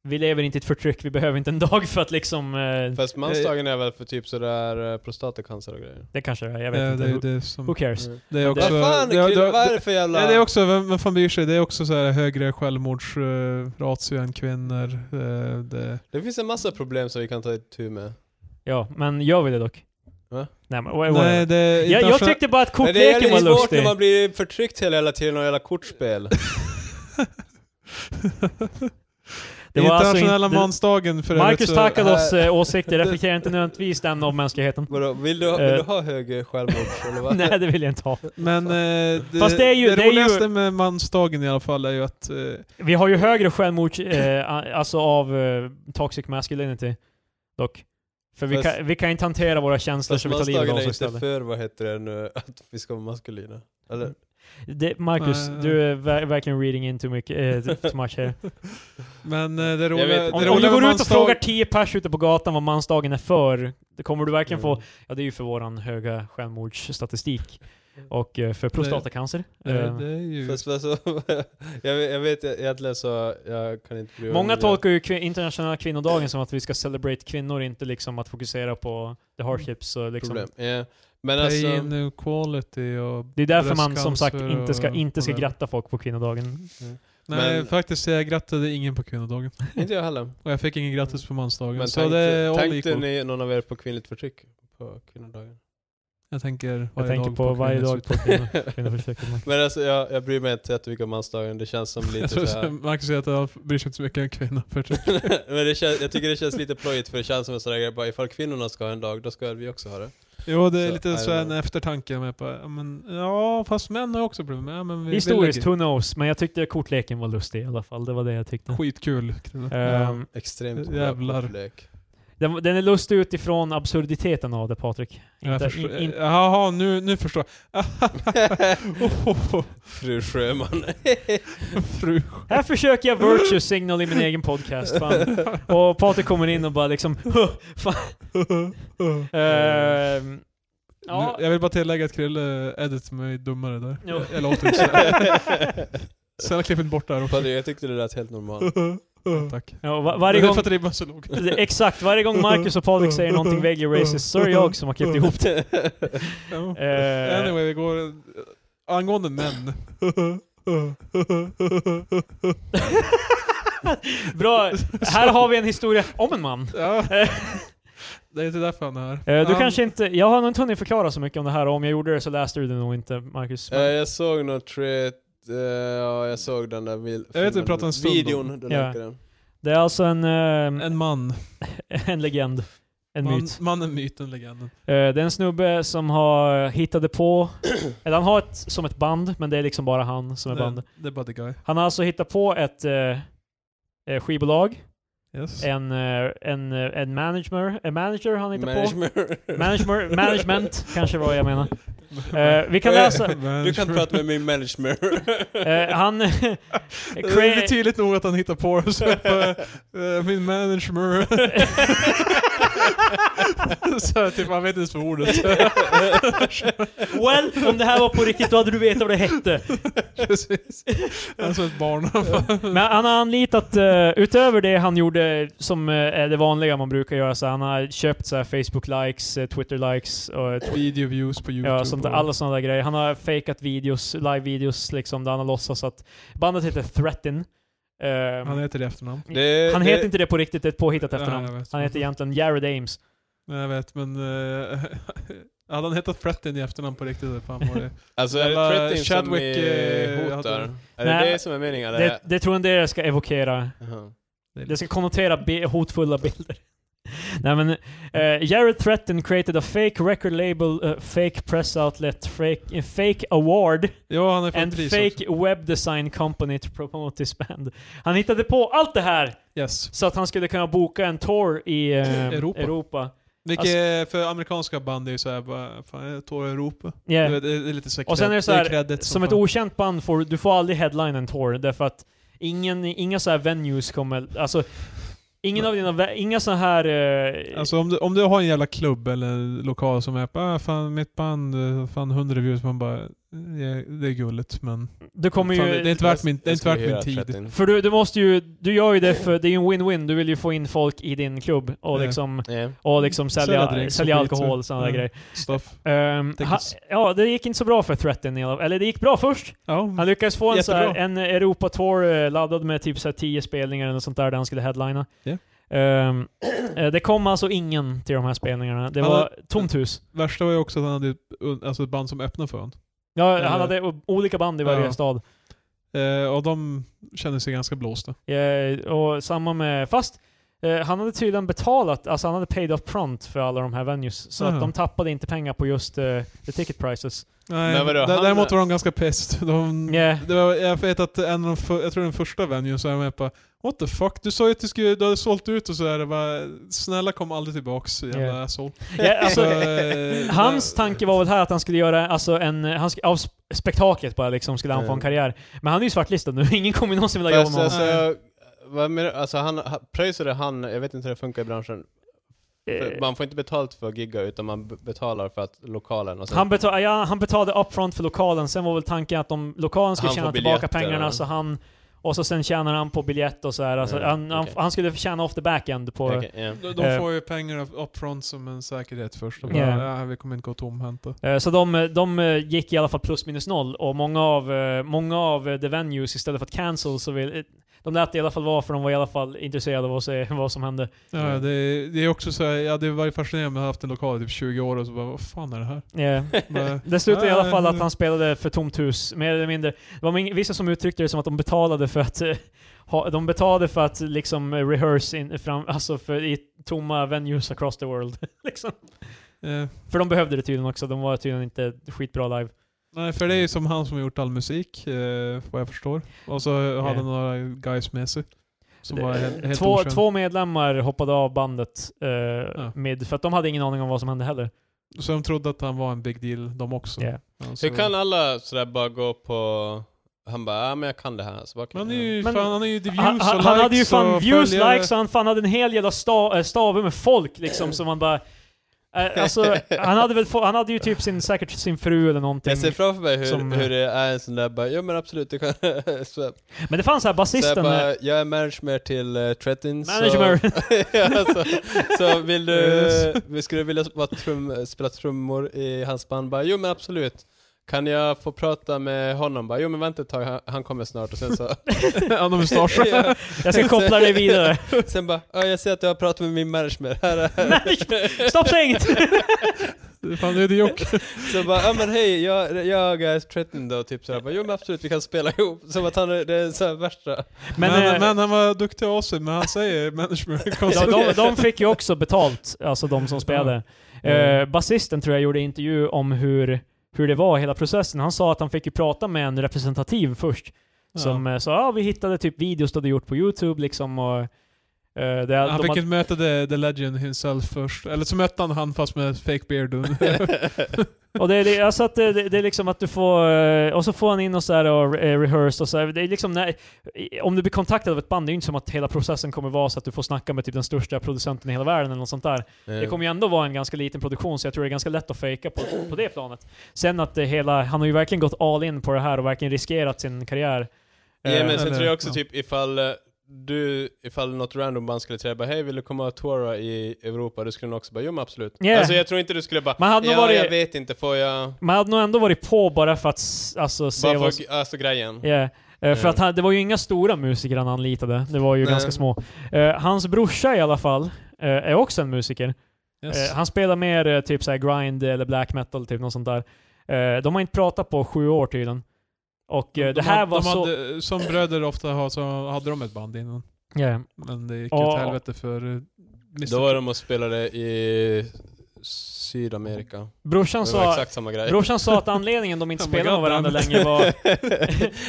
S3: Vi lever inte i ett förtryck, vi behöver inte en dag för att liksom... Eh,
S2: Fast mansdagen är väl för typ sådär eh, prostatacancer och grejer?
S3: det kanske det är, jag vet
S1: Eh,
S3: inte.
S1: det, är
S3: Who-
S1: det, som,
S3: Who cares?
S1: det är också...
S2: Vad fan
S1: det, det,
S2: killar, vad är
S1: det,
S2: det för jävla...
S1: Nej, det är också, vem, vem fan bryr sig? Det är också så här högre självmordsratio än kvinnor. eh, Det,
S2: Det finns en massa problem som vi kan ta itu med.
S3: Ja, men gör vi det dock?
S2: Va?
S3: Nej men wha- whatever.
S1: nej, det är
S3: Jag, jag
S1: internationell-
S3: tyckte bara att
S2: Men det är
S3: kortleken var
S2: jävligt svårt när
S3: lustig.
S2: man blir förtryckt hela, hela tiden av jävla kortspel.
S3: Det var alltså
S1: Internationella
S3: inte-
S1: mansdagen för övrigt,
S3: Marcus
S1: så-
S3: Takados
S2: här-
S3: eh, åsikter reflekterar inte nödvändigtvis den om mänskligheten.
S2: Vadå, vill du, vill du
S3: Eh.
S2: ha hög eh, självmord eller vad?
S3: Nej, det vill jag inte ha.
S1: Men eh, det,
S3: Fast det är ju-
S1: det
S3: det är ju-
S1: roligaste med mansdagen i alla fall är ju att eh,
S3: Vi har ju högre självmord, eh, a- alltså av eh, toxic masculinity, dock. För vi
S2: Fast-
S3: kan, vi kan inte hantera våra känslor
S2: Fast
S3: så vi tar livet
S2: mansdagen är
S3: av oss
S2: inte
S3: istället. Mm.
S2: för, vad heter det nu, att vi ska vara maskulina. Eller?
S3: Det, Marcus,
S1: Nej.
S3: du är ver- verkligen reading in too, mycket, eh, too much here.
S1: Men eh, det
S2: vet
S1: roliga...
S2: inte.
S1: det
S3: Om,
S1: roliga
S3: om du
S1: med
S3: går ut och
S1: mansdag-
S3: frågar 10 pers ute på gatan vad mansdagen är för, då kommer du verkligen få...
S1: Mm.
S3: Ja, det är ju för våran höga självmordsstatistik. Och eh, för prostatacancer.
S1: Det,
S3: Eh,
S1: det är ju...
S2: Fast, alltså, jag, vet- jag vet egentligen så, jag kan inte bli
S3: Många tolkar ju kvin- internationella kvinnodagen som att vi ska celebrate kvinnor, inte liksom att fokusera på the hardships och liksom...
S2: problem. Ja. Men alltså,
S1: Pay in equality och...
S3: Det är därför man som sagt
S1: bröstcancer
S3: inte ska,
S1: och-
S3: inte ska
S1: och-
S3: gratta folk på kvinnodagen.
S1: Nej,
S2: Men-
S1: faktiskt jag grattade ingen på kvinnodagen.
S2: inte jag heller.
S1: Och jag fick ingen grattis på mansdagen.
S2: Men
S1: så
S2: tänkte,
S1: det är all
S2: tänkte
S1: equal.
S2: ni någon av er på kvinnligt förtryck på kvinnodagen?
S1: Jag tänker
S3: Jag
S1: varje
S3: tänker
S1: dag
S3: på, varje
S1: kvinnors
S3: dag på
S1: utveckling.
S3: kvinnor. kvinnoförtrycket.
S2: Men alltså jag, jag bryr mig inte jättemycket om mansdagen, det känns som lite
S1: Jag tror
S2: såhär...
S1: så Marcus säger att jag bryr sig inte så mycket om kvinnor. För
S2: Men det känns, jag tycker det känns lite plojigt för det känns som en sån där grej, bara ifall kvinnorna ska ha en dag, då ska vi också ha det.
S1: jo, det är
S2: Så, I
S1: lite så
S2: don't
S1: en
S2: know.
S1: eftertanke med på, ja, men, ja fast män har ju också problem. Ja, men vi, vi
S3: Historiskt,
S1: lägger-
S3: who knows? Men jag tyckte kortleken var lustig i alla fall. Det var det jag tyckte.
S1: Skitkul. kille.
S3: Ehm,
S2: Extremt
S1: Jävlar.
S2: bra lek.
S3: den, den är lustig utifrån absurditeten av det Patrik.
S1: Jag
S3: Inte,
S1: förstår-
S3: in, in,
S1: Jaha, nu, nu förstår jag.
S2: Fru Sjöman.
S1: Fru
S3: här försöker jag virtue signal i min egen podcast. Fan. Och Patrik kommer in och bara liksom... fan. Ehm, ja,
S1: Nu, jag vill bara tillägga att Krille edit mig dummare där.
S3: Jo.
S1: Jag låter inte så. Sen har klippet bort där också.
S2: Padre, jag tyckte det lät helt normalt.
S1: Tack.
S3: ja, va-
S1: Men
S3: varje
S1: det är
S3: gång...
S1: för att ribban är så låg.
S3: Det- Exakt, varje gång Marcus och Patrik säger någonting vaguely racist så är det jag som har klippt ihop det.
S1: Ja.
S3: Eh,
S1: Anyway, vi går... eh, Angående män.
S3: Bra, här har vi en historia om en man.
S1: Ja. Det är inte därför han är här.
S3: Eh, du
S1: Han-
S3: kanske inte, jag har nog inte hunnit förklara så mycket om det här och om jag gjorde det så läste du det nog inte Marcus.
S2: Eh,
S3: Men,
S2: jag såg något tret, eh, ja jag såg den där vil-
S1: Jag vet inte,
S2: filmen.
S1: vi pratade en stund om-
S2: Videon, den
S3: Ja.
S2: länkade.
S3: det är alltså en, eh,
S1: En man.
S3: en legend. En
S1: man
S3: myt.
S1: Mannen, myten, legenden.
S3: Eh, det är en snubbe som har hittade på, eller han har ett, som ett band, men det är liksom bara han som är
S1: Det,
S3: band.
S1: det är bara the guy.
S3: Han har alltså hittat på ett eh, eh, skivbolag,
S1: Yes.
S3: en, eh, en, eh, en manager, en manager han hittar på.
S2: Management.
S3: Management, management kanske var jag menar. Eh, vi kan läsa.
S2: Alltså, Du kan prata med min management.
S3: Eh, han...
S1: Det är
S3: Cra-
S1: lite tydligt nog att han hittar på det. så, eh, eh, Min manager. så här, typ, han vet inte ens vad ordet
S3: well, om det här var på riktigt då hade du vetat vad det hette.
S1: Precis. Han är som ett barn.
S3: Men han har anlitat, eh, utöver det han gjorde som eh, är det vanliga man brukar göra, så han har köpt så här Facebook-likes, eh, Twitter-likes och eh,
S1: Video views på Youtube.
S3: Ja, sånt där,
S1: och-
S3: alla sådana där grejer. Han har fejkat videos, live-videos liksom, där han har låtsats att... Bandet heter Threaten. Ehm,
S1: Han heter det i efternamn.
S2: Det-
S3: han
S2: det-
S3: heter inte det på riktigt, det är ett påhittat
S1: Ja,
S3: efternamn.
S1: jag vet.
S3: han heter egentligen Jared Ames.
S1: Nej, jag vet, men... Uh, hade han hetat Fretten i efternamn på riktigt, fan var det...
S2: Alltså är
S1: Jävla
S2: det threatening som
S1: Chadwick,
S2: är
S1: eh,
S2: hotar?
S1: hade-
S2: Är det
S3: Nej,
S2: det som är meningen? eller?
S3: Det, det tror jag inte jag ska evokera.
S2: Jaha.
S3: Det ska konnotera bi- hotfulla bilder. Nej men, eh, Jared Threaten created a fake record label, eh, fake press outlet, fake, eh, fake award
S1: Ja, han är från
S3: and
S1: Tris
S3: fake
S1: också.
S3: web design company to promote this band. Han hittade på allt det här
S1: Yes.
S3: så att han skulle kunna boka en tour i eh,
S1: Europa.
S3: Europa.
S1: Vilket
S3: Alltså-
S1: är- för amerikanska band är ju såhär bara, fan jag tår i Europa.
S3: Yeah.
S1: Du vet, Det är lite så här
S3: Och sen
S1: cred-
S3: är det så
S1: är
S3: här,
S1: credit
S3: Som ett
S1: fan.
S3: okänt band får du får aldrig headline en tour därför att ingen, inga så här venues kommer, alltså ingen av dina, ve- inga så här... eh,
S1: Alltså om du, om du har en jävla klubb eller lokal som är bara, ah, fan mitt band, eh, fan 100 views, man bara, eh, det är gulligt men
S3: du kommer ju...
S1: fan, det, det är inte värt min, det är
S2: Jag
S1: inte
S2: skulle
S1: värt min
S2: hyra
S1: tid.
S2: threatening.
S3: För du, du måste ju, du gör ju det för, det är ju en win-win, du vill ju få in folk i din klubb och
S1: Ja.
S3: liksom,
S2: Ja.
S3: och liksom
S1: Sälja
S3: sälja, sälja,
S1: drinks och skit,
S3: alkohol
S1: så.
S3: och
S1: Ja.
S3: sådana där grejer.
S1: Stuff.
S3: Ehm, ha,
S1: Tickets.
S3: ja, det gick inte så bra för Threaten i alla fall. Eller det gick bra först.
S1: Ja,
S3: Han lyckades få en, så här,
S1: Jättebra.
S3: en Europa-tour eh, laddad med typ så här 10 spelningar eller något sånt där, där han skulle headlina.
S1: Ja.
S3: Ehm, eh, det kom alltså ingen till de här spelningarna. Det
S1: Han
S3: var
S1: hade-
S3: tomt hus.
S1: värsta var ju också att han hade ett- alltså ett band som öppnade för honom.
S3: Ja,
S1: Eh.
S3: han hade o- olika band i varje
S1: Ja.
S3: stad.
S1: Eh, och de känner sig ganska blåsta.
S3: Eh, och samma med, fast eh, han hade tydligen betalat, alltså han hade paid up front för alla de här venues. Så
S1: Aha.
S3: att de tappade inte pengar på just eh, the ticket prices.
S1: Nej,
S2: Men vadå,
S1: dä-
S2: han-
S1: däremot var de ganska pest. De,
S3: Yeah.
S1: det var, jag vet att en av de, för- jag tror den första venuen så är med på What the fuck? Du sa ju att du, skulle, du hade sålt ut och så är det bara Snälla kom aldrig tillbaks jävla
S3: Ja.
S1: asshole.
S3: Ja, alltså,
S1: eh,
S3: Hans tanke var väl här att han skulle göra, alltså en, han sk- av sp- spektaklet bara liksom, skulle han få en
S2: Mm.
S3: karriär. Men han är ju svartlistad nu, ingen kommer någonsin vilja jobba
S2: Fast
S3: med honom.
S2: alltså, jag- vad menar, alltså han, han- pröjsade han, jag vet inte hur det funkar i branschen, För
S3: Eh,
S2: man får inte betalt för att gigga utan man b- betalar för att lokalen och sen,
S3: Eh, Han, betal, ja, han betalade upfront för lokalen, sen var väl tanken att de, lokalen skulle
S2: Han
S3: tjäna
S2: får
S3: tillbaka
S2: biljetter,
S3: pengarna
S2: eller?
S3: så han... Och så sen tjänar han på biljett och så här. Alltså,
S2: Mm,
S3: han, han,
S2: okej.
S3: han skulle tjäna off the back-end på...
S2: Okej, ja.
S1: De,
S3: Eh.
S1: de får ju pengar up- upfront som en säkerhet först. Och bara,
S3: Ja.
S1: ja, vi kommer inte gå tomhänta.
S3: Eh, Så de, de eh, gick i alla fall plus minus noll och många av, eh, många av eh, the venues istället för att cancel så vill, eh, de lät det i alla fall vara för de var i alla fall intresserade av att se vad som hände.
S1: Ja, det, det är också så här, jag hade varit fascinerad om jag haft en lokal i typ 20 år och så bara, vad fan är det här?
S3: Eh,
S1: Bara,
S3: Det slutade i alla fall att
S1: "Nej."
S3: han spelade för tomt hus, mer eller mindre. Det var många- vissa som uttryckte det som att de betalade för att eh, ha, de betalade för att liksom eh, rehearse in, fram, alltså för, i tomma venues across the world. liksom.
S1: Eh,
S3: För de behövde det tydligen också, de var tydligen inte skitbra live.
S1: Nej, för det är ju som han som har gjort all musik, eh, vad jag förstår. Och så hade han några guys med sig. Som var helt, helt
S3: två,
S1: okända.
S3: två medlemmar hoppade av bandet eh, mid, för att de hade ingen aning om vad som hände heller.
S1: Så de trodde att han var en big deal, de också. Alltså,
S3: Ja.
S1: Ja, så-
S2: Hur kan alla sådär bara gå på, han bara ja men jag kan det här. Så bara,
S1: Men han är ju,
S3: Men-
S1: fan, han är ju the views
S3: Han,
S1: och
S3: han,
S1: likes
S3: han hade ju fan
S1: och
S3: views,
S1: följare.
S3: likes, och han fan hade en hel jävla sta, eh, stave med folk liksom som man bara... eh, Alltså, han hade, väl få, han hade ju typ sin, säkert sin fru eller någonting.
S2: jag ser framför mig hur,
S3: Som-
S2: hur det är en sån där bara, ja men absolut du kan. så, så
S3: Men det fanns så här
S2: jag
S3: basisten... eh,
S2: bara, jag är manager till uh, Tretin.
S3: Manager.
S2: Så, ja, så, så vill
S1: Yes.
S2: du, skulle du vilja vara trum, spela trummor i hans band? Bara, jo men absolut. Kan jag få prata med honom? Bara, jo men vänta ett tag, han, han kommer snart. Och sen så...
S1: Han har mustasch.
S2: Ja.
S3: Jag ska koppla dig vidare.
S2: Sen bara, ja, jag ser att du har pratat med min manager. Här är
S3: Manager. Stopp säg inget!
S1: fan, det är det jock.
S2: Så bara, ja men hej, jag, jag är 13 då, typ sådär. Bara, Jo men absolut, vi kan spela ihop. Som att han är det är så här värsta.
S3: Men,
S1: Men, men,
S3: eh,
S1: han var duktig av sig, men han säger management
S3: Ja,
S1: konstigt.
S3: de, de fick ju också betalt, alltså de som spelade.
S1: Mm.
S3: Eh, basisten tror jag gjorde intervju om hur, hur det var hela processen. Han sa att han fick ju prata med en representativ först. Som eh, sa ja, ah, vi hittade typ videos du hade gjort på Youtube liksom och... eh, det,
S1: Han
S3: de
S1: fick
S3: hade-
S1: inte möta the, the legend himself först. Eller så mötte han han fast med fake
S3: Eh,
S1: beard.
S3: Och det, är- det, alltså att det, det, det är liksom att du får, eh, och så får han in och så här och eh, rehearsed och så här. Det är liksom när, i- om du blir kontaktad av ett band, det är ju inte som att hela processen kommer vara så att du får snacka med typ den största producenten i hela världen eller något sånt där. Det kommer ju ändå vara en ganska liten produktion så jag tror det är ganska lätt att fejka på, på det planet. Sen att det hela, han har ju verkligen gått all in på det här och verkligen riskerat sin karriär.
S2: Ja
S3: Eh,
S2: men sen
S1: Eller,
S2: tror jag också
S1: ja.
S2: typ ifall eh, du, ifall något random band skulle träffa hej vill du komma och toura i Europa? Du skulle nog också bara, jo men absolut.
S3: Yeah.
S2: Alltså jag tror inte du skulle bara,
S3: Man hade nog
S2: ja
S3: varit-
S2: jag vet inte, får jag,
S3: Man hade nog ändå varit på bara för att s- alltså, se
S2: bara
S3: vad...
S2: för, alltså grejen.
S3: Yeah. Eh, För
S2: Mm.
S3: att han, det var ju inga stora musiker han anlitade, det var ju
S2: Nej.
S3: ganska små. Eh, hans brorsa i alla fall eh, är också en musiker.
S1: Yes.
S3: Eh, han spelar mer eh, typ såhär grind eller black metal, typ något sånt där. Eh, de har inte pratat på sju år tydligen. Och eh, det här
S1: hade,
S3: var
S1: de
S3: så...
S1: Hade, som bröder ofta har så hade de ett band innan.
S3: Yeah.
S1: Men det gick
S3: Ja.
S1: ju till helvete för eh, Mr.
S2: Då var de och spelade i Sydamerika.
S3: Brorsan
S2: Det var
S3: sa,
S2: exakt samma grej.
S3: Brorsan sa att anledningen de inte
S1: Oh my
S3: spelade med
S1: God,
S3: varandra
S1: damn.
S3: längre var...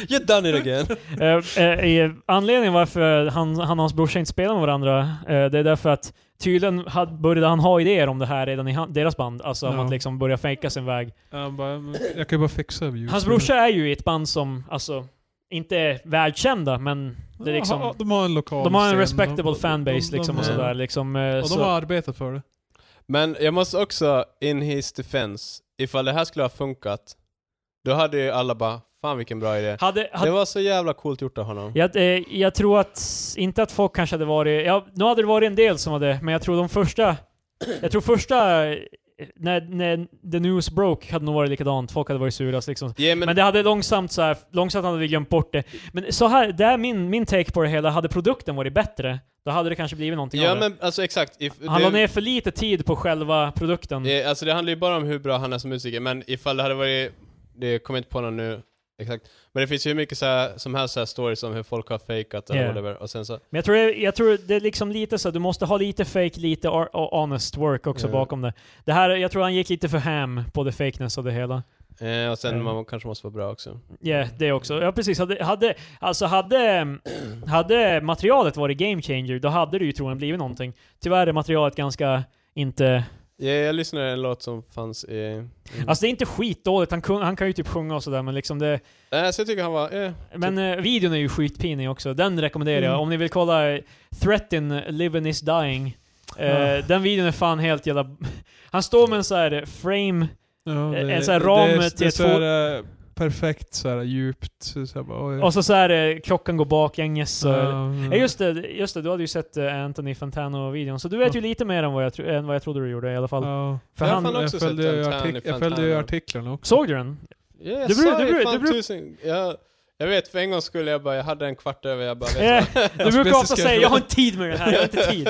S2: You're done it again.
S3: Eh, eh, anledningen varför han, han och hans brorsa inte spelar med varandra, eh, det är därför att tydligen had, började han ha idéer om det här redan i han, deras band. Alltså om
S1: Ja.
S3: att liksom börja fejka sin väg.
S1: Han bara, "Men jag kan ju bara fixa ljus.
S3: Hans brorsa är ju i ett band som, alltså, inte är världskända, men det är
S1: Ja,
S3: liksom...
S1: de har en lokal
S3: De har en
S1: scen.
S3: respectable
S1: De-
S3: fanbase
S1: de-
S3: liksom
S1: de-
S3: och sådär. Liksom, eh,
S1: Och de
S3: så,
S1: har arbetat för det.
S2: Men jag måste också, in his defense, ifall det här skulle ha funkat, då hade ju alla bara, fan vilken bra idé.
S3: hade, hade,
S2: Det var så jävla coolt gjort av honom.
S3: Jag, eh, jag tror att, inte att folk kanske hade varit, ja, nu hade det varit en del som hade, men jag tror de första, jag tror första, eh, när, när the news broke hade nog varit likadant, folk hade varit sura liksom.
S2: Ja, men,
S3: Men det hade långsamt så här, långsamt hade vi glömt bort det. Men så här, det är min, min take på det hela, hade produkten varit bättre, då hade det kanske blivit någonting
S2: ja
S3: av
S2: men alltså exakt. If,
S3: det. Han
S2: det,
S3: la ner för lite tid på själva produkten.
S2: eh, alltså det handlar ju bara om hur bra han är som musiker, men ifall det hade varit, det kommer inte på någon nu, Exakt. Men det finns ju hur mycket så här, som helst så här stories om hur folk har fejkat eller
S3: Ja.
S2: whatever. Och sen så,
S3: Men jag tror, det- jag tror det är liksom lite så, du måste ha lite fake, lite ar- och honest work också
S2: Ja.
S3: bakom det. det här, jag tror han gick lite för ham på the fakeness av det hela.
S2: eh, och sen
S3: Mm.
S2: man kanske måste vara bra också.
S3: Ja, det också. Ja, precis. Hade, hade, alltså hade, hade materialet varit game changer, då hade det ju troligen blivit någonting. Tyvärr är materialet ganska inte...
S2: Ja, jag lyssnade en låt som fanns i... Mm.
S3: Alltså det är inte skitdåligt, han, kun, han kan ju typ sjunga och sådär men liksom det...
S2: Eh, så jag tycker han var... Eh,
S3: Men eh, videon är ju skitpinig också, den rekommenderar jag.
S1: Mm.
S3: Om ni vill kolla eh, Threaten, Living is Dying. Eh,
S2: Ah.
S1: Ja.
S3: Den videon är fan helt jävla... Han står med en sån här eh, frame...
S1: Ja,
S3: En sån här ram
S1: det, är-
S3: till
S1: det är
S3: ett
S1: så här, eh, perfekt så här djupt. Så så här, bara, oj.
S3: Och så, så här eh, klockan går baklänges. och-
S2: Ah.
S1: Ja,
S3: Ja, just det, just det, du hade ju sett eh, Anthony Fantano-videon, så du
S2: Ah.
S3: vet ju lite mer än vad, jag tro, än vad jag trodde du gjorde i alla fall.
S1: Ja.
S3: För
S2: Jag
S3: han,
S2: fan har
S1: Jag
S2: också
S1: följde
S2: sett
S1: ju
S2: Antoine
S1: artik- jag
S2: Fantano.
S1: följde ju artiklarna också.
S3: Såg du den?
S2: yeah, jag
S3: Du bru-
S2: sa
S3: du
S2: ju
S3: bru-
S2: fan
S3: du bru-
S2: tusen... Jag, jag vet, för en gång skulle jag bara... Jag hade en kvart över, jag bara... Vet
S3: Eh, Du brukar ofta
S1: bästa
S3: säga
S1: schedule.
S3: 'Jag har inte tid med det här, jag har inte tid'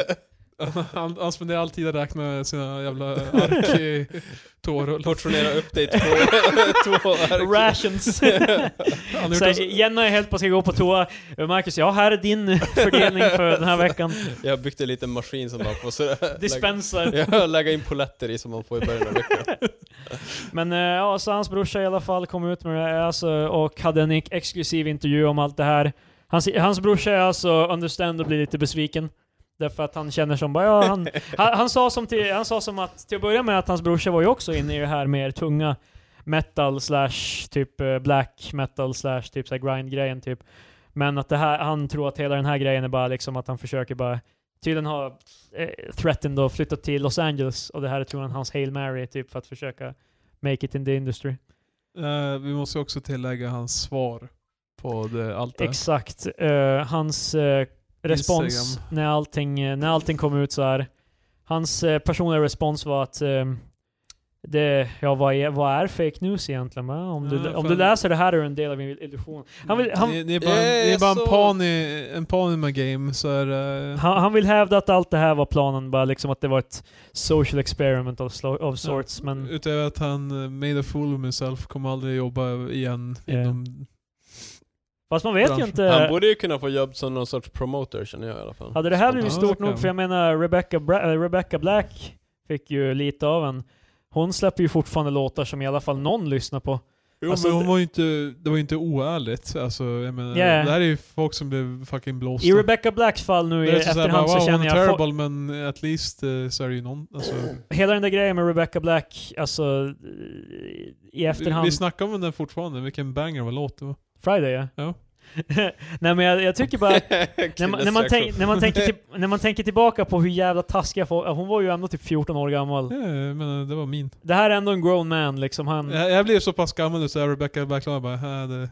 S1: Han, han spenderar all tid att räkna sina jävla ark i
S2: du,
S1: tårullar.
S2: portionera upp dig två, två ark.
S3: Rations.
S1: Han har gjort
S3: Så
S1: en
S3: här,
S1: så-
S3: Jenna är helt på att ska gå på toa. Marcus, ja här är din fördelning för den här veckan.
S2: Jag byggde en liten maskin som bara får sådär...
S3: Dispenser.
S2: lägga, ja, lägga in poletter i som man får i början av veckan.
S3: Men eh, ja, så hans brorsa i alla fall kom ut med det här, alltså, och hade en ex- exklusiv intervju om allt det här. Hans, hans brorsa är alltså understand och blir lite besviken. Därför att han känner som bara, ja, han, han, han, sa som till, han sa som att, till att börja med att hans brorsa var ju också inne i det här mer tunga metal slash typ eh, black metal slash typ så här grind-grejen typ. Men att det här, han tror att hela den här grejen är bara liksom att han försöker bara, tydligen har eh, Threatened då flyttat till Los Angeles och det här är troligen hans Hail Mary typ för att försöka make it in the industry.
S1: Eh, vi måste också tillägga hans svar på det, allt det här.
S3: Exakt. Eh, hans eh, respons
S1: Instagram.
S3: när allting, eh, när allting kom ut så här. Hans eh, personliga respons var att ehm, det, ja, vad, är, vad är fake news egentligen? Va? Om, du,
S1: Ja,
S3: om
S1: fan.
S3: du läser det här är du en del av min illusion. Han vill, han,
S1: Ni, ni är bara,
S2: Eh,
S1: ni är bara
S2: så-
S1: en pan i, en pan i my game, så är det...
S3: han, han vill hävda att allt det här var planen, bara liksom att det var ett social experiment of, slo- of sorts. Men
S1: Utöver att han eh, made a fool of himself, kommer aldrig jobba igen
S3: Ja.
S1: inom...
S3: fast man vet ju
S1: Branschen.
S3: inte.
S2: Han borde ju kunna få jobb som någon sorts promoter känner jag i alla fall.
S3: Hade det här blivit
S1: Ja,
S3: stort
S1: det kan.
S3: nog, för jag menar Rebecca, Bra- äh, Rebecca Black fick ju lite av en. Hon släpper ju fortfarande låtar som i alla fall någon lyssnar på.
S1: Jo,
S3: Alltså,
S1: men hon
S3: det-
S1: var ju inte, det var ju inte oärligt. Alltså, jag menar,
S3: Ja.
S1: Det här är ju folk som blev fucking blåsta.
S3: I Rebecca Blacks fall nu i
S1: det är så såhär bara,
S3: efterhand så
S1: wow, hon
S3: känner
S1: är
S3: jag... fo-
S1: terrible, men at least eh, så är det ju någon... Alltså,
S3: Hela den där grejen med Rebecca Black, alltså eh, i
S1: Vi,
S3: efterhand...
S1: vi snackar om den fortfarande, vilken banger var låt det var.
S3: Friday ja.
S1: Ja.
S3: Nej men jag, jag tycker bara... när, man, när, man
S2: Killesektion.
S3: tänk, när, man tänker till, när man tänker tillbaka på hur jävla taskiga folk... Hon var ju ändå typ 14 år gammal.
S1: Ja, jag menar, det var min.
S3: Det här är ändå en grown man liksom. Han,
S1: Jag, jag blev så pass gammal nu så jag Rebecca Blackland bara, "Äh, det,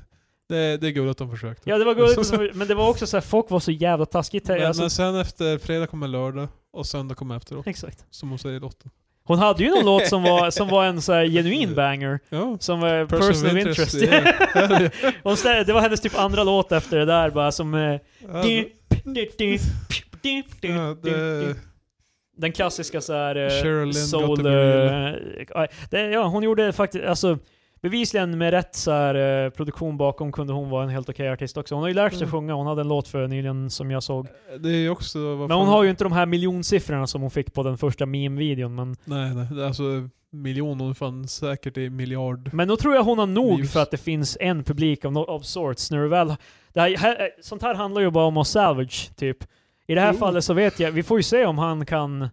S1: det, det är gulligt att de försökte.
S3: Ja det var gulligt, som- men det var också så här, folk var så jävla taskigt.
S1: men,
S3: Alltså,
S1: men sen efter fredag kommer lördag och söndag kommer efteråt,
S3: exakt.
S1: som hon säger i låten.
S3: Hon hade ju någon låt som var, som var en så här genuin banger,
S1: Ja.
S3: som var personal, interest.
S1: yeah.
S3: Hon stä- det var hennes typ andra låt efter det där bara som... eh,
S1: Ja, det- ja, det-
S3: Den klassiska såhär...
S1: Cheryl Lynn,
S3: soul...
S1: Gotta Be Real.
S3: eh, det, ja, hon gjorde faktiskt... Alltså, bevisligen med rätt så här, eh, produktion bakom kunde hon vara en helt okej artist också. Hon har ju lärt sig
S1: Mm.
S3: sjunga, hon hade en låt för nyligen som jag såg.
S1: Det är ju också... vad
S3: Men
S1: fan-
S3: hon har ju inte de här miljonsiffrorna som hon fick på den första meme-videon. Men,
S1: Nej, nej. det är Alltså, miljon, hon fann säkert i miljard.
S3: men då tror jag hon har nog
S1: Views.
S3: för att det finns en publik av, no- av sorts. När du väl, det här, här, eh, sånt här handlar ju bara om att salvage, typ. I det här
S1: Jo.
S3: fallet så vet jag, vi får ju se om han kan...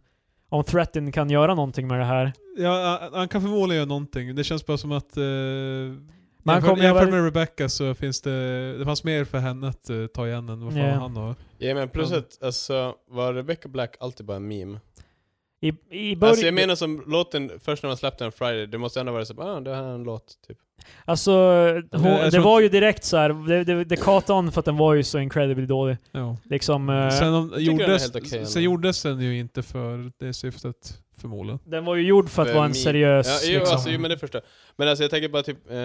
S3: Om Threaten kan göra någonting med det här.
S1: Ja, han- han kan förmodligen göra någonting. Det känns bara som att... Eh,
S3: han
S1: jämfört,
S3: kommer
S1: jämfört
S3: göra-
S1: med Rebecca så finns det... Det fanns mer för henne att eh, ta igen än vad fan
S3: Ja.
S1: han har.
S2: Ja men plus
S1: Ja.
S2: att, alltså, var Rebecca Black alltid bara en meme?
S3: I, i början...
S2: Alltså jag menar som låten, först när man släppte den Friday, det måste ändå vara så bara, ah, det här är en låt, typ.
S3: Alltså, hon,
S1: jag
S3: det
S1: tror
S3: var ju direkt så här. det, det, det katade hon för att den var ju så incredibly dålig.
S1: Ja.
S3: Liksom, eh,
S1: Sen, om,
S2: den är
S1: gjordes,
S2: helt okej,
S1: sen
S2: eller?
S1: gjordes den ju inte för det syftet, förmodligen.
S3: den var ju gjord för att
S2: För
S3: vara en
S2: meme.
S3: seriös...
S2: Ja, jo,
S3: liksom.
S2: alltså, jo, men det förstår jag. Men alltså jag tänker bara typ, eh,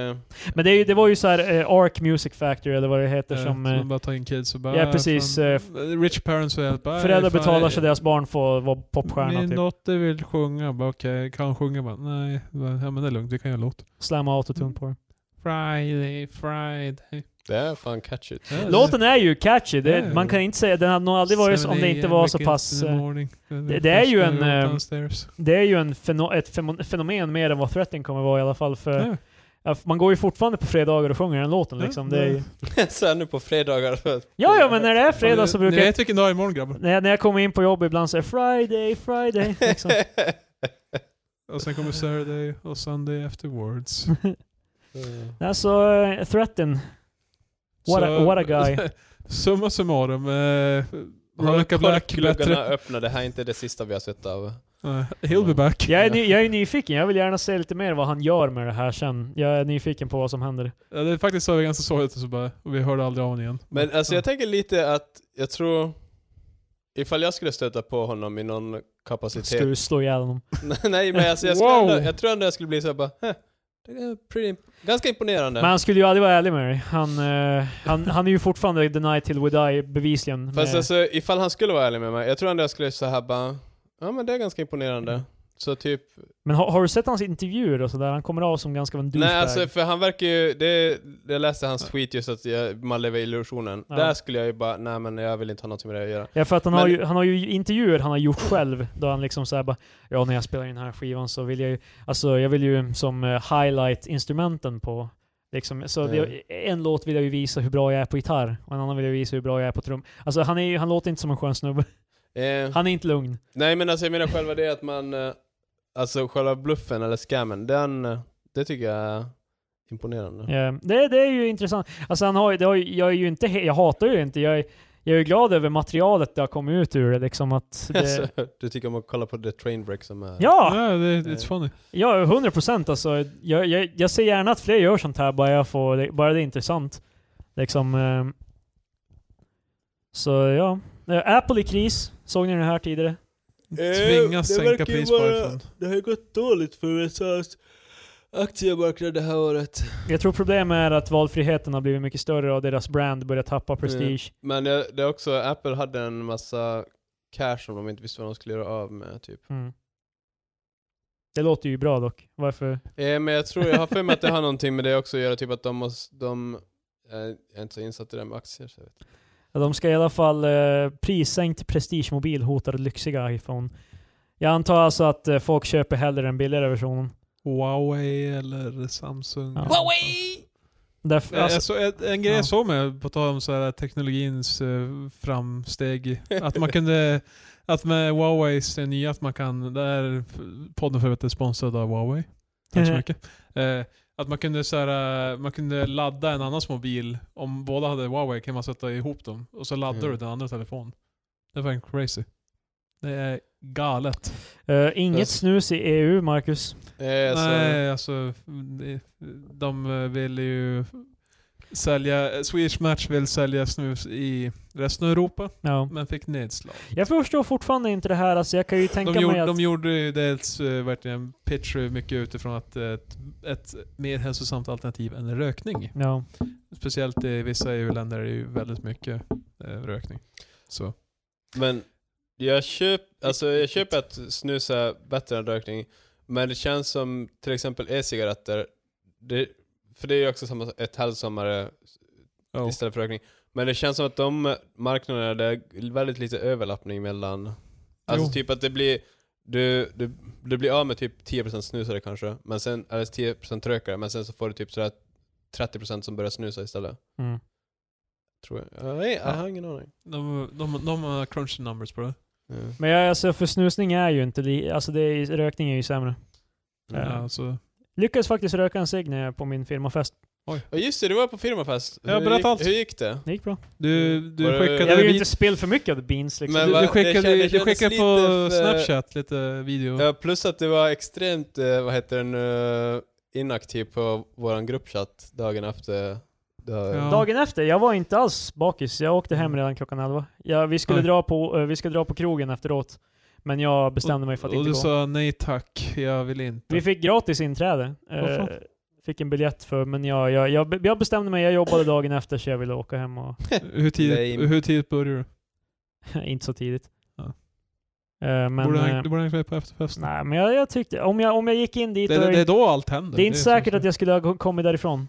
S3: Men det, är ju- det var ju så här eh, Arc Music Factory eller vad det heter
S1: Eh,
S3: som...
S1: så
S3: eh,
S1: man bara tar in kids och bara... "Ah,
S3: ja, precis,
S1: fan,
S3: eh,
S1: rich parents och hjälpa. eh,
S3: Föräldrar betalar så deras barn får vara popstjärna
S1: Min
S3: typ.
S1: dotter vill sjunga. Bara, Okej, kan hon sjunga? Bara, Nej, ja, men det är lugnt. Vi kan göra en låt.
S3: Slamma autotune på det.
S1: Friday, Friday.
S2: Det är fan catch it.
S3: Låten är ju catchy, det,
S1: Mm. Ja.
S3: man kan inte säga, den hade nog aldrig varit så- om det inte var så pass... eh, det- det är ju en, eh, Det är ju en feno, ett femo- fenomen mer än vad Threaten kommer vara i alla fall. För
S1: Ja.
S3: ja, f- man går ju fortfarande på fredagar och sjunger den låten
S1: Ja,
S3: eh, liksom.
S1: det-
S3: Det är ju,
S2: så här nu på fredagar.
S3: ja, ja, men när det är fredag så brukar
S1: Ni
S3: jag...
S1: vet vilken dag imorgon grabbar.
S3: När jag, när jag kommer in på jobb ibland så är det Friday, Friday. Liksom.
S1: Och sen kommer Saturday och Sunday afterwards.
S3: alltså, eh, Threaten. What, a,
S1: Så-
S3: what a guy.
S1: Summa summarum. Eh, Rebecca
S2: Rebecca
S1: Black
S2: Bluggarna
S1: bättre.
S2: öppna, det här är inte det sista vi har sett av.
S1: Nej, he'll be back.
S3: Jag är, ny, jag är nyfiken, jag vill gärna se lite mer vad han gör med det här sen. Jag är nyfiken på vad som händer.
S1: Ja, det är faktiskt så vi ganska sorgligt och så bara, och vi hörde aldrig av honom igen.
S2: Men alltså
S1: Mm. ja.
S2: jag tänker lite att, jag tror... Ifall jag skulle stöta på honom i någon kapacitet.
S3: Ska du slå ihjäl honom?
S2: Nej men alltså, jag, skulle
S1: Wow.
S2: ändå, jag tror ändå jag skulle bli såhär bara, "Huh, det är pretty, imp- ganska imponerande.
S3: Men han skulle ju aldrig vara ärlig med dig. Han, eh, han, han är ju fortfarande the night till we die, bevisligen. Eh,
S2: Fast
S3: med-
S2: alltså ifall han skulle vara ärlig med mig, jag tror ändå jag skulle såhär bara, ja men det är ganska imponerande. Så typ,
S3: Men har, har du sett hans intervjuer och sådär? Han kommer av som ganska av en douchebag.
S2: nej alltså för han verkar ju, det, jag läste hans tweet just att jag, man lever i illusionen.
S3: Ja.
S2: Där skulle jag ju bara, nej men jag vill inte ha något med det att göra.
S3: Ja, för att han,
S2: Men-
S3: har ju, han har ju intervjuer han har gjort själv, då han liksom såhär bara Ja, när jag spelar in den här skivan så vill jag ju, alltså jag vill ju som eh, highlight instrumenten på Liksom, så det, en låt vill jag ju visa hur bra jag är på gitarr, och en annan vill jag visa hur bra jag är på trum. Alltså han, är, ju- han låter inte som en skön snubbe.
S2: Eh,
S3: Han är inte lugn.
S2: Nej men alltså jag menar själva det att man, eh, alltså själva bluffen eller scammen, den, eh, det tycker jag är imponerande.
S3: Eh, det, det är ju intressant. Alltså han har, ju- det har, ju- jag är ju inte, he- jag hatar ju det inte. Jag är, jag är ju glad över materialet det har kommit ut ur det liksom att
S2: Alltså,
S3: det,
S2: du tycker om att kolla på The Trainwreck som är...
S3: Ja!
S1: Ja, det, it's funny.
S3: Ja, 100 procent alltså. Jag, jag, jag ser gärna att fler gör sånt här, bara, jag får, bara det är intressant. Liksom, ehm. så ja. Eh, Apple i kris, såg ni det här tidigare?
S2: Eh,
S1: Tvingas sänka pris på iPhone.
S2: Det har ju gått dåligt för USAs aktiemarknad det här året.
S3: Jag tror problemet är att valfriheten har blivit mycket större och deras brand börjar tappa prestige.
S2: Men det, det är också, Apple hade en massa cash som de inte visste vad de skulle göra av med typ.
S3: Mm. Det låter ju bra dock. Varför?
S2: Eh, men jag tror, jag har för mig att det har någonting med det också att göra, typ att de måste, de, eh, jag är inte så insatt i det här med aktier så jag vet inte.
S3: Ja, de ska i alla fall eh, prissänkt prestigemobil hotar lyxiga iPhone. Jag antar alltså att eh, folk köper hellre den billigare versionen.
S1: Huawei eller Samsung.
S3: Ja.
S2: Huawei!
S3: Därför,
S1: Jag
S3: alltså,
S1: såg- en, Eh, en grej
S3: Ja.
S1: jag såg med, på tal om så här, teknologins eh, framsteg, att man kunde, att med Huaweis det nya, att man kan, där podden för övrigt är sponsrad av Huawei. Tack så mycket. Eh, att man kunde, så här, eh, man kunde ladda en annans mobil, om båda hade Huawei kan man sätta ihop dem, och så laddar
S2: Mm.
S1: du den andra telefonen. Det är fan crazy. Det är galet.
S3: Eh, inget
S2: Yes.
S3: snus i EU, Marcus.
S2: Eh, så-
S1: Nej, alltså de, de vill ju sälja, Swedish Match vill sälja snus i resten av Europa,
S3: Ja.
S1: men fick nedslag.
S3: Jag förstår fortfarande inte det här, alltså jag kan ju tänka
S1: De gjorde,
S3: mig att...
S1: de gjorde ju dels eh, verkligen pitch mycket utifrån att eh, ett, ett mer hälsosamt alternativ än rökning.
S3: Ja.
S1: Speciellt i vissa EU-länder är det ju väldigt mycket eh, rökning. Så.
S2: Men jag, köp, alltså jag köper att snus är bättre än rökning, men det känns som till exempel e-cigaretter, det, för det är ju också samma, ett hälsosammare
S1: Oh.
S2: istället för rökning, men det känns som att de marknaderna, det är väldigt lite överlappning mellan, alltså
S1: Jo.
S2: typ att det blir, du, du, du blir av med typ 10% snusare kanske, men sen, eller 10% rökare, men sen så får du typ sådär 30% som börjar snusa istället.
S3: Mm.
S2: Tror jag. Jag, jag har ingen aning.
S1: De, de, de har crunched numbers på det.
S2: Ja.
S3: Men jag, alltså, för snusning är ju inte... li- Alltså det är, ju- rökning är ju sämre. Ja.
S1: Ja, så.
S3: Lyckades faktiskt röka en cigg när jag på min firmafest.
S2: Ja just det, du var på firmafest.
S1: Ja,
S2: Hur
S1: berätta
S2: gick-
S1: allt.
S2: Hur gick det?
S3: Det gick bra.
S1: Du,
S2: Var
S1: du
S2: det-
S1: skickade
S3: Jag vill ju
S1: vid-
S3: inte spill för mycket av beans liksom.
S2: Men
S1: du,
S2: va-
S1: du
S2: det
S1: skickade,
S2: kändes-
S1: du
S2: det kändes
S1: skickade
S2: lite
S1: på
S2: för-
S1: Snapchat lite video.
S2: Ja, plus att det var extremt, eh, vad heter den, eh, inaktiv på våran gruppchatt dagen efter. Dag.
S1: Ja. Mm.
S3: Dagen efter, jag var inte alls bakis. Jag åkte hem redan klockan 11. Ja, vi, skulle
S1: Nej.
S3: dra på, eh, vi skulle dra på krogen efteråt. Men jag bestämde mig för att
S1: och
S3: inte
S1: du
S3: gå.
S1: sa nej tack, jag vill inte.
S3: Vi fick gratis inträde. Eh,
S1: Varför?
S3: fick en biljett för, men jag, jag, jag, jag bestämde mig, jag jobbade dagen efter så jag ville åka hem och
S1: hur, tidigt,
S2: Lame.
S1: hur tidigt började du?
S3: inte så tidigt.
S1: Ja.
S3: Eh, men,
S1: borde
S3: eh,
S1: han, du borde hängt med på efterfesten.
S3: nej, men jag, jag tyckte, om jag, om jag gick in dit
S1: Det,
S3: och,
S1: det, det är då allt händer.
S3: det är inte säkert
S1: så-
S3: att jag skulle ha kommit därifrån.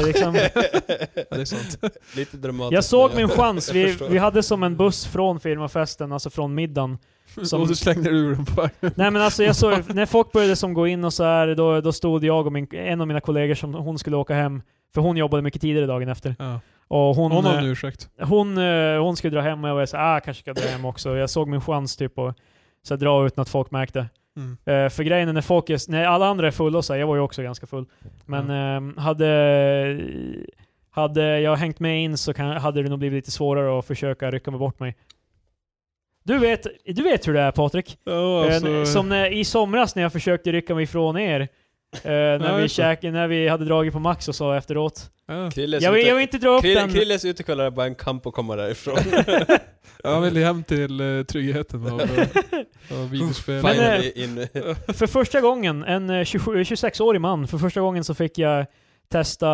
S3: är liksom,
S1: Ja, det är sant.
S2: Lite dramatiskt.
S3: jag såg
S2: men
S3: min chans.
S2: jag
S3: Vi,
S2: förstår.
S3: vi hade som en buss från firmafesten, alltså från middagen. Som-
S1: Och du slängde ur den på vägen.
S3: Nej men alltså jag såg, när folk började som gå in och så här, då, då stod jag och min, en av mina kollegor som hon skulle åka hem, för hon jobbade mycket tidigare dagen efter.
S1: Ja.
S3: Och hon,
S1: Hon har
S3: eh,
S1: en ursäkt.
S3: hon, eh, hon skulle dra hem och jag var så här, ah, kanske ska jag dra hem också. Jag såg min chans typ att så här, dra utan att folk märkte.
S1: Mm.
S3: Eh, för grejen är när folk är, när alla andra är fulla och så här, jag var ju också ganska full. Men ehm, hade, hade jag hängt med in så kan, hade det nog blivit lite svårare att försöka rycka mig bort mig. Du vet, du vet hur det är Patrik.
S1: Ja,
S3: Eh,
S1: alltså,
S3: Som när, i somras när jag försökte rycka mig ifrån er. eh, när, vi
S1: just det.
S3: käk, när vi hade dragit på Max och så efteråt.
S1: ja.
S2: Krilles,
S3: Jag vill,
S2: ute-
S3: jag vill inte dra upp
S2: Krille,
S3: den.
S2: Krilles utekväll är bara en kamp att komma därifrån.
S1: Jag vill hem till eh, tryggheten av, av videospel.
S3: Men, eh,
S2: Finally in.
S3: För första gången, en eh, 27 26-årig man, för första gången så fick jag testa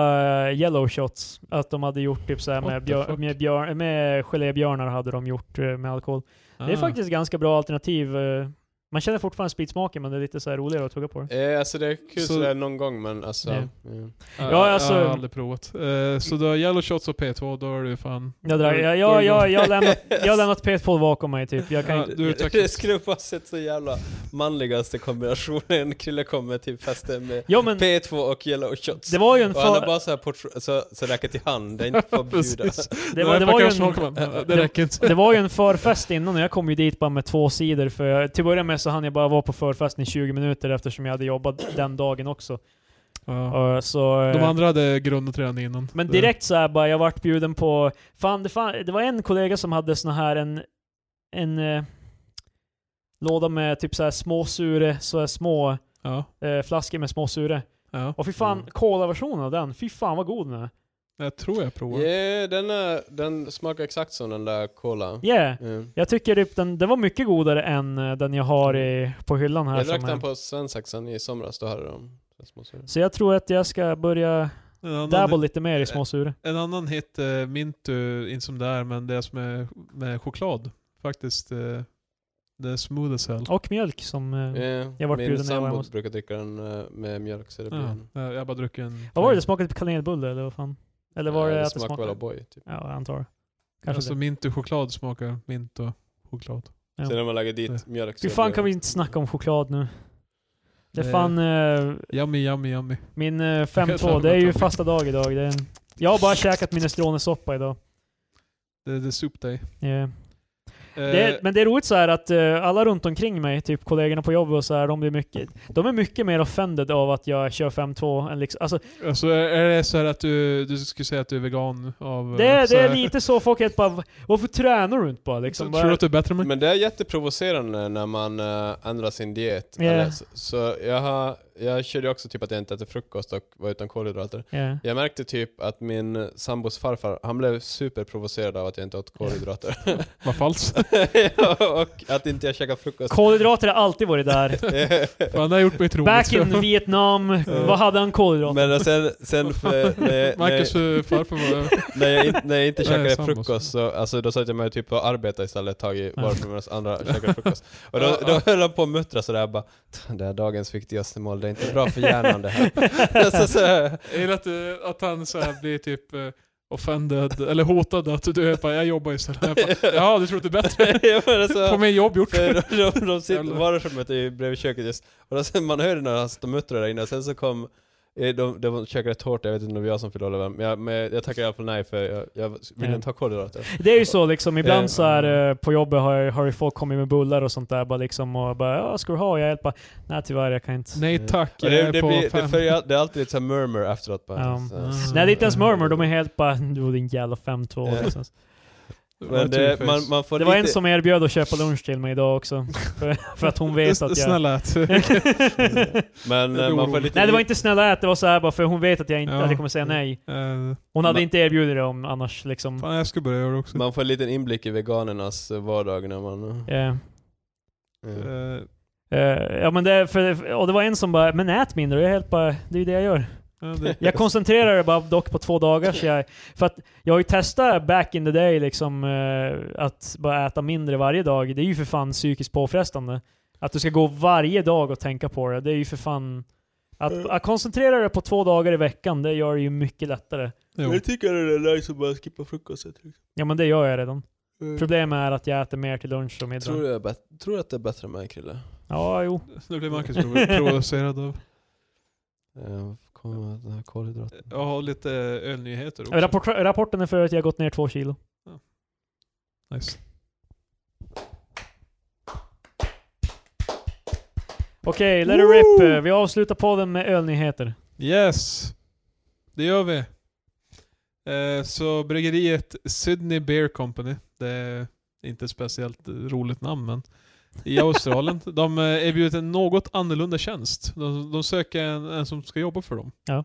S3: eh, yellow shots. Att de hade gjort typ såhär
S1: What
S3: med,
S1: the
S3: björ,
S1: fuck?
S3: med, björ, med gelébjörnar hade de gjort eh, med alkohol. Det är
S1: Ah.
S3: faktiskt ganska bra alternativ. eh. Man känner fortfarande spritsmaken men det är lite så här roligare att tugga på det.
S2: Eh, alltså det är kul
S1: Så-
S2: sådär någon gång men alltså...
S3: Ja.
S2: ja.
S1: Ja,
S3: Ja, alltså-
S1: Ah, Jag har aldrig provat. Eh, så du har Yellow Shots och P2, då är du fan...
S3: Jag, drar, jag, jag, jag, jag, har lämnat, jag har lämnat P2 bakom mig typ. Jag kan
S1: Ja,
S3: inte,
S1: du är
S2: det
S1: taktisk.
S2: skulle bara sett så jävla manligaste kombinationen. Krille kommer till festen med
S3: ja men
S2: P2 och Yellow Shots.
S3: det var ju en...
S2: och han har
S3: Fa,
S2: bara så här portr- så, så räcker till hand, det är inte förbjudet.
S1: Precis.
S3: det, var, det,
S1: här
S3: var ju
S1: packar
S3: en
S1: smaken, men, eh,
S3: det-
S1: det räcker inte.
S3: det var ju en förfest innan och jag kom ju dit bara med två sidor för jag, till början med så hann jag bara vara på förfesten i 20 minuter eftersom jag hade jobbat den dagen också.
S1: Ja.
S3: Ja, så, eh,
S1: De andra hade grundat redan innan.
S3: men
S1: Det-
S3: direkt så här bara, jag vart bjuden på... Fan, det, fan, det var en kollega som hade sån här en... En eh, låda med typ så här små sure, så här små
S1: Ja.
S3: eh, flaskor med små sure.
S1: ja.
S3: Och fy fan,
S2: Mm.
S3: Cola-versionen av den, fy fan vad god den är.
S1: Jag tror jag provar.
S2: Yeah, den, är, den smakar exakt som den där cola.
S3: Yeah.
S2: Ja.
S3: Jag tycker typ den, den var mycket godare än eh, den jag har i, på hyllan här.
S2: Jag drack
S3: som är-
S2: den på svensaxen i somras, då hade de så små suror.
S3: Så jag tror att jag ska börja
S1: En,
S3: dabba
S1: annan,
S3: lite mer i små sure.
S1: en annan hit, eh, Mintu, inte som det är, men det är som är med choklad. Faktiskt. eh, Det är smooth as hell.
S3: Och mjölk som... eh,
S2: Yeah.
S3: Jag vart bjuden
S2: Min
S3: när jag var hemma
S2: sambo
S3: hos-
S2: brukar dricka den eh, med mjölk så det blir
S1: Ja.
S2: en...
S1: Jag har bara druckit en...
S3: Vad var det? Det smakade typ kanelbulle eller vad fan? Eller var
S2: Ja,
S3: det, att det
S2: smakar väl
S3: smakade?
S2: O'boy typ.
S3: Ja, jag antar det. Kanske
S1: Alltså
S3: det.
S1: mintu-choklad smakar mint och choklad.
S3: Ja.
S2: Sen när man lägger dit
S1: Ja.
S2: mjölk så
S3: Fy fan
S2: blir
S3: kan vi
S2: det-
S3: inte snacka om choklad nu. Det är
S1: Nej.
S3: fan eh,
S1: Yummy, yummy, yummy.
S3: min eh,
S1: Jag tror
S3: 5-2.
S1: det
S3: Det är ju
S1: var
S3: fasta dag idag. Det är en... Jag har bara käkat minestronesoppa idag.
S1: Det, det är soup day.
S3: Eh,
S1: Eh,
S3: Det är, men det är roligt så här att eh, alla runt omkring mig, typ kollegorna på jobbet och så här, de blir mycket, de är mycket mer offended av att jag kör 5-2 än liksom, alltså,
S1: Alltså är är det så här att du, du skulle säga att du är vegan av... eh,
S3: det, är-
S1: så
S3: det är
S1: här-
S3: lite så folk helt bara, varför tränar du inte bara liksom?
S1: Tror du
S3: Bara,
S1: att du är bättre än mig?
S2: Men det är jätteprovocerande när man eh, ändrar sin diet.
S3: Ja.
S2: Eller så, så jag, har, jag körde ju också typ att jag inte äter frukost och var utan kolhydrater.
S3: Ja.
S2: Jag märkte typ att min sambos farfar, han blev superprovocerad av att jag inte åt kolhydrater.
S1: Vad falskt.
S2: och att inte jag käkade frukost.
S3: Kolhydrater har alltid varit där.
S1: Fan, det har gjort mig trolig.
S3: Back in Vietnam, vad hade han kolhydrater?
S2: Men då sen, sen för, när, jag- när, jag-
S1: Marcus eh, farfar var...
S2: när, jag, in- när jag inte
S1: Nej,
S2: käkade
S1: sambos.
S2: frukost så, alltså, då satt jag mig typ och arbetade istället ett tag i
S3: Ja.
S2: varför medan andra käkade frukost. Och då, då höll han på att muttra sådär bara Det här dagens viktigaste mål, det är inte bra för hjärnan det här. så, så,
S1: Jag gillar att, eh, att han så här blir typ eh, offended, eller hotad att du är bara, jag jobbar istället. Jag bara, ja, du tror att du är bättre?
S2: Ja, men alltså-
S1: Får min jobb gjort.
S2: För de, de, de sitter
S1: Jävlar.
S2: vardagsrummet är ju bredvid köket just, och då sen man hörde när han stod och muttrade där inne, sen så kom eh, de, de käkade tårta, jag vet inte om det var jag som fyllde eller vem, men jag, men jag tackar i alla fall nej för jag, jag ville
S3: Ja.
S2: inte ha kolhydrater.
S3: Det är ju så liksom,
S2: Eh,
S3: ibland så här eh, på jobbet har, jag- har ju folk kommit med bullar och sånt där bara liksom och bara ja, ska du ha? Och jag hjälper nej tyvärr jag kan inte. Nej,
S1: Nej tack,
S2: Och
S1: jag
S2: det,
S1: är
S2: det,
S1: på
S2: blir, det,
S1: fem.
S2: för jag, det är alltid lite såhär murmur efteråt bara.
S3: Ja.
S2: Så-
S1: Mm.
S2: så-
S3: det är inte ens murmur, de är helt bara du din jävla 5-2
S2: Eh.
S3: liksom.
S1: var
S2: Men det,
S1: two-face.
S2: man, man får
S3: Det var
S2: lite,
S3: en som erbjöd att köpa lunch till mig idag också. För, för att hon vet att jag...
S1: Snälla Eh, ät.
S2: men
S1: Det är
S2: eh, man får
S1: oroligt.
S2: lite...
S3: Nej det var inte snälla ät, det var så här bara för hon vet att jag inte
S1: Ja.
S3: att jag kommer säga nej.
S1: Eh,
S3: Hon hade
S2: Ma-
S3: inte erbjudit det om annars liksom.
S1: Fan, jag skulle börja göra det också.
S2: Man får en liten inblick i veganernas eh, vardag när man... eh,
S3: Eh,
S2: eh.
S1: Eh,
S3: eh, ja men det, för, och det var en som bara 'Men ät mindre' och jag helt bara 'Det är ju det jag gör'
S1: ja, det-
S3: Jag koncentrerade det bara dock på två dagar så jag, För att jag har ju testat back in the day liksom eh, Att bara äta mindre varje dag Det är ju för fan psykiskt påfrestande Att du ska gå varje dag och tänka på det Det är ju för fan
S2: Eh.
S3: Att, att koncentrera dig på två dagar i veckan, det gör det ju mycket lättare.
S1: Jo.
S2: Jag tycker det är nice att bara skippa frukosten.
S3: Ja men det gör jag redan. Problemet är att jag äter mer till lunch och middag.
S2: Mm. Tror du, är bet- tror du att det är bättre med en krille?
S3: Ja, jo.
S1: Nu blir Marcus prov- provocerad av.
S2: Eh, Kommer med den här kolhydraten.
S1: Jag har lite eh, ölnyheter också.
S3: Eh, Rapport, rapporten är för att jag har gått ner två kilo.
S1: Nice.
S3: Okej, let it
S1: Woo!
S3: rip. Eh, Vi avslutar podden med ölnyheter.
S1: Yes! Det gör vi. Eh, så bryggeriet Sydney Beer Company, det är inte ett speciellt roligt namn men, i Australien. de eh, erbjuder en något annorlunda tjänst. De, de söker en, en som ska jobba för dem.
S3: Ja.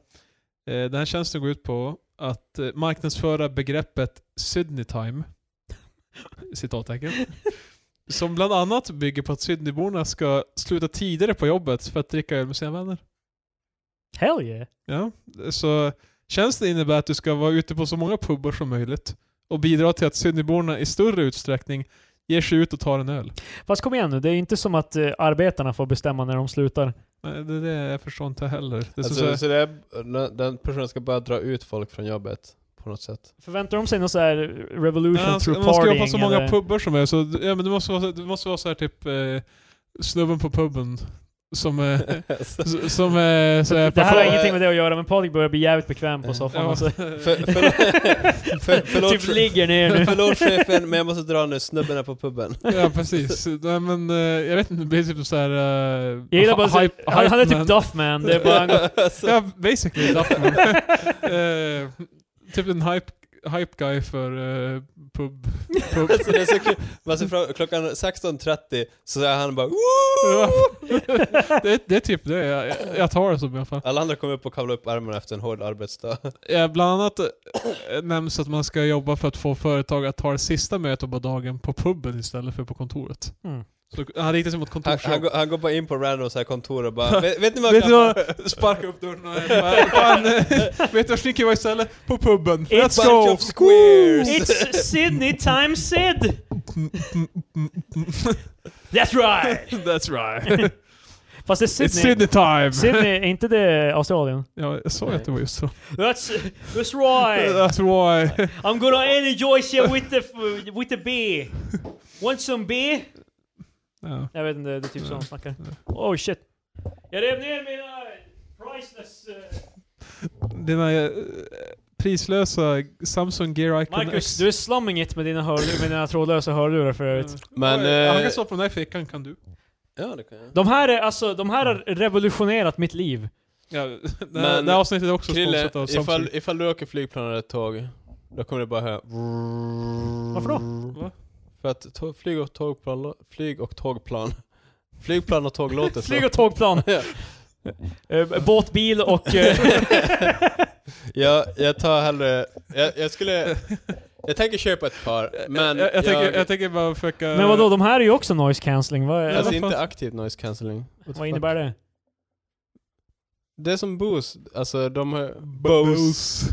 S1: Eh, den här tjänsten går ut på att eh, marknadsföra begreppet Sydney Time, citattecken, som bland annat bygger på att Sydneyborna ska sluta tidigare på jobbet för att dricka öl med sina vänner.
S3: Hell yeah!
S1: Ja, så tjänsten innebär att du ska vara ute på så många pubbar som möjligt och bidra till att Sydneyborna i större utsträckning ger sig ut och tar en öl.
S3: Fast kom igen nu, det är inte som att eh, arbetarna får bestämma när de slutar.
S1: Nej, Det är det jag förstår inte heller. Det är så,
S2: Alltså, så det är, den personen ska bara dra ut folk från jobbet på något sätt.
S3: Förväntar de sig någon så här eh, revolution
S1: Ja, alltså,
S3: through
S1: man ska
S3: partying?
S1: jobba på så många
S3: eller?
S1: pubbar som möjligt. Så, ja, men det, måste vara, det måste vara så här typ eh, snubben på puben som är... s- som är så här,
S3: Det här har
S2: Pappa-
S3: ingenting med det att göra, men Patrik börjar bli jävligt bekväm på
S2: Ja.
S3: soffan.
S1: Ja,
S3: Alltså.
S2: För, för, för, förlåt,
S3: typ ligger ner nu.
S2: förlåt chefen, men jag måste dra nu. Snubben är på puben.
S1: ja, precis. Nej, men, eh, jag vet inte, det blir typ så här... Eh,
S3: Jag gillar bara
S1: hype-
S3: att han, han är
S1: hype man.
S3: typ Duffman. Det är bara han går,
S2: Alltså,
S1: Ja, basically Duffman. Eh, typ en hype, hype guy för eh, pub. pub.
S2: Alltså det är så kul. Man ser fram, klockan 16.30 så är han bara
S1: Ja.
S2: Woo!
S1: det, det är typ det. Jag, jag- jag tar det som i alla fall.
S2: Alla andra kommer upp och kavlar upp armarna efter en hård arbetsdag.
S1: Eh, bland annat eh, nämns att man ska jobba för att få företag att ta det sista mötet på dagen på puben istället för på kontoret.
S3: Mm.
S1: Så han riktar sig mot
S2: Han, han,
S1: kontorsjobb.
S2: går, han går bara in på random så här kontor och bara Vet, vet ni vad jag
S1: Vet
S2: kan
S1: du
S2: få?
S1: vad? Sparka upp dörren och bara, Fan, eh, vet du vad snickare var istället? På puben. Let's
S2: Bunch
S1: go!
S2: of squares!
S3: It's Sydney time Sid! That's right!
S1: That's right.
S3: Fast det är
S1: It's
S3: Sydney.
S1: Sydney time!
S3: Sydney, är inte det Australien?
S1: Ja, jag sa ju att det var just så.
S3: That's, that's right!
S1: That's why.
S3: I'm gonna enjoy you with the, with the beer. Want some beer?
S1: Ja.
S3: Jag vet inte, det är typ så de snackar. Oh shit. Jag rev ner mina priceless... eh,
S1: Dina eh, prislösa Samsung Gear Icon
S3: Marcus,
S1: X.
S3: du är slumming it med dina, hörlurar, med dina trådlösa hörlurar för övrigt.
S2: Men,
S1: Oj, Han
S2: eh,
S1: kan stå på den här fickan, kan du?
S2: Ja det kan jag.
S3: De här, är, alltså, de här har revolutionerat mitt liv.
S1: Ja, det, här,
S2: Men-
S1: det här avsnittet är också
S2: Krille,
S1: sponsrat av Samsung.
S2: ifall, ifall du åker flygplan eller tåg, då kommer det bara höra Varför
S3: då?
S1: Va?
S2: För att tåg, flyg och tågplan, lå- flyg och tågplan, flygplan och tåg låter så.
S3: Flyg och tågplan.
S2: Ja.
S3: Eh, båt, bil och... eh,
S2: jag, jag tar hellre, jag, jag skulle, jag tänker köpa ett par, men
S1: jag, jag, tänker, jag tänker bara försöka...
S3: men vadå, de här är ju också noise cancelling. Vad,
S2: alltså
S1: vad
S2: inte
S1: fan?
S2: aktiv noise cancelling.
S3: vad innebär det?
S2: Det är som Bose, alltså de har... Bose.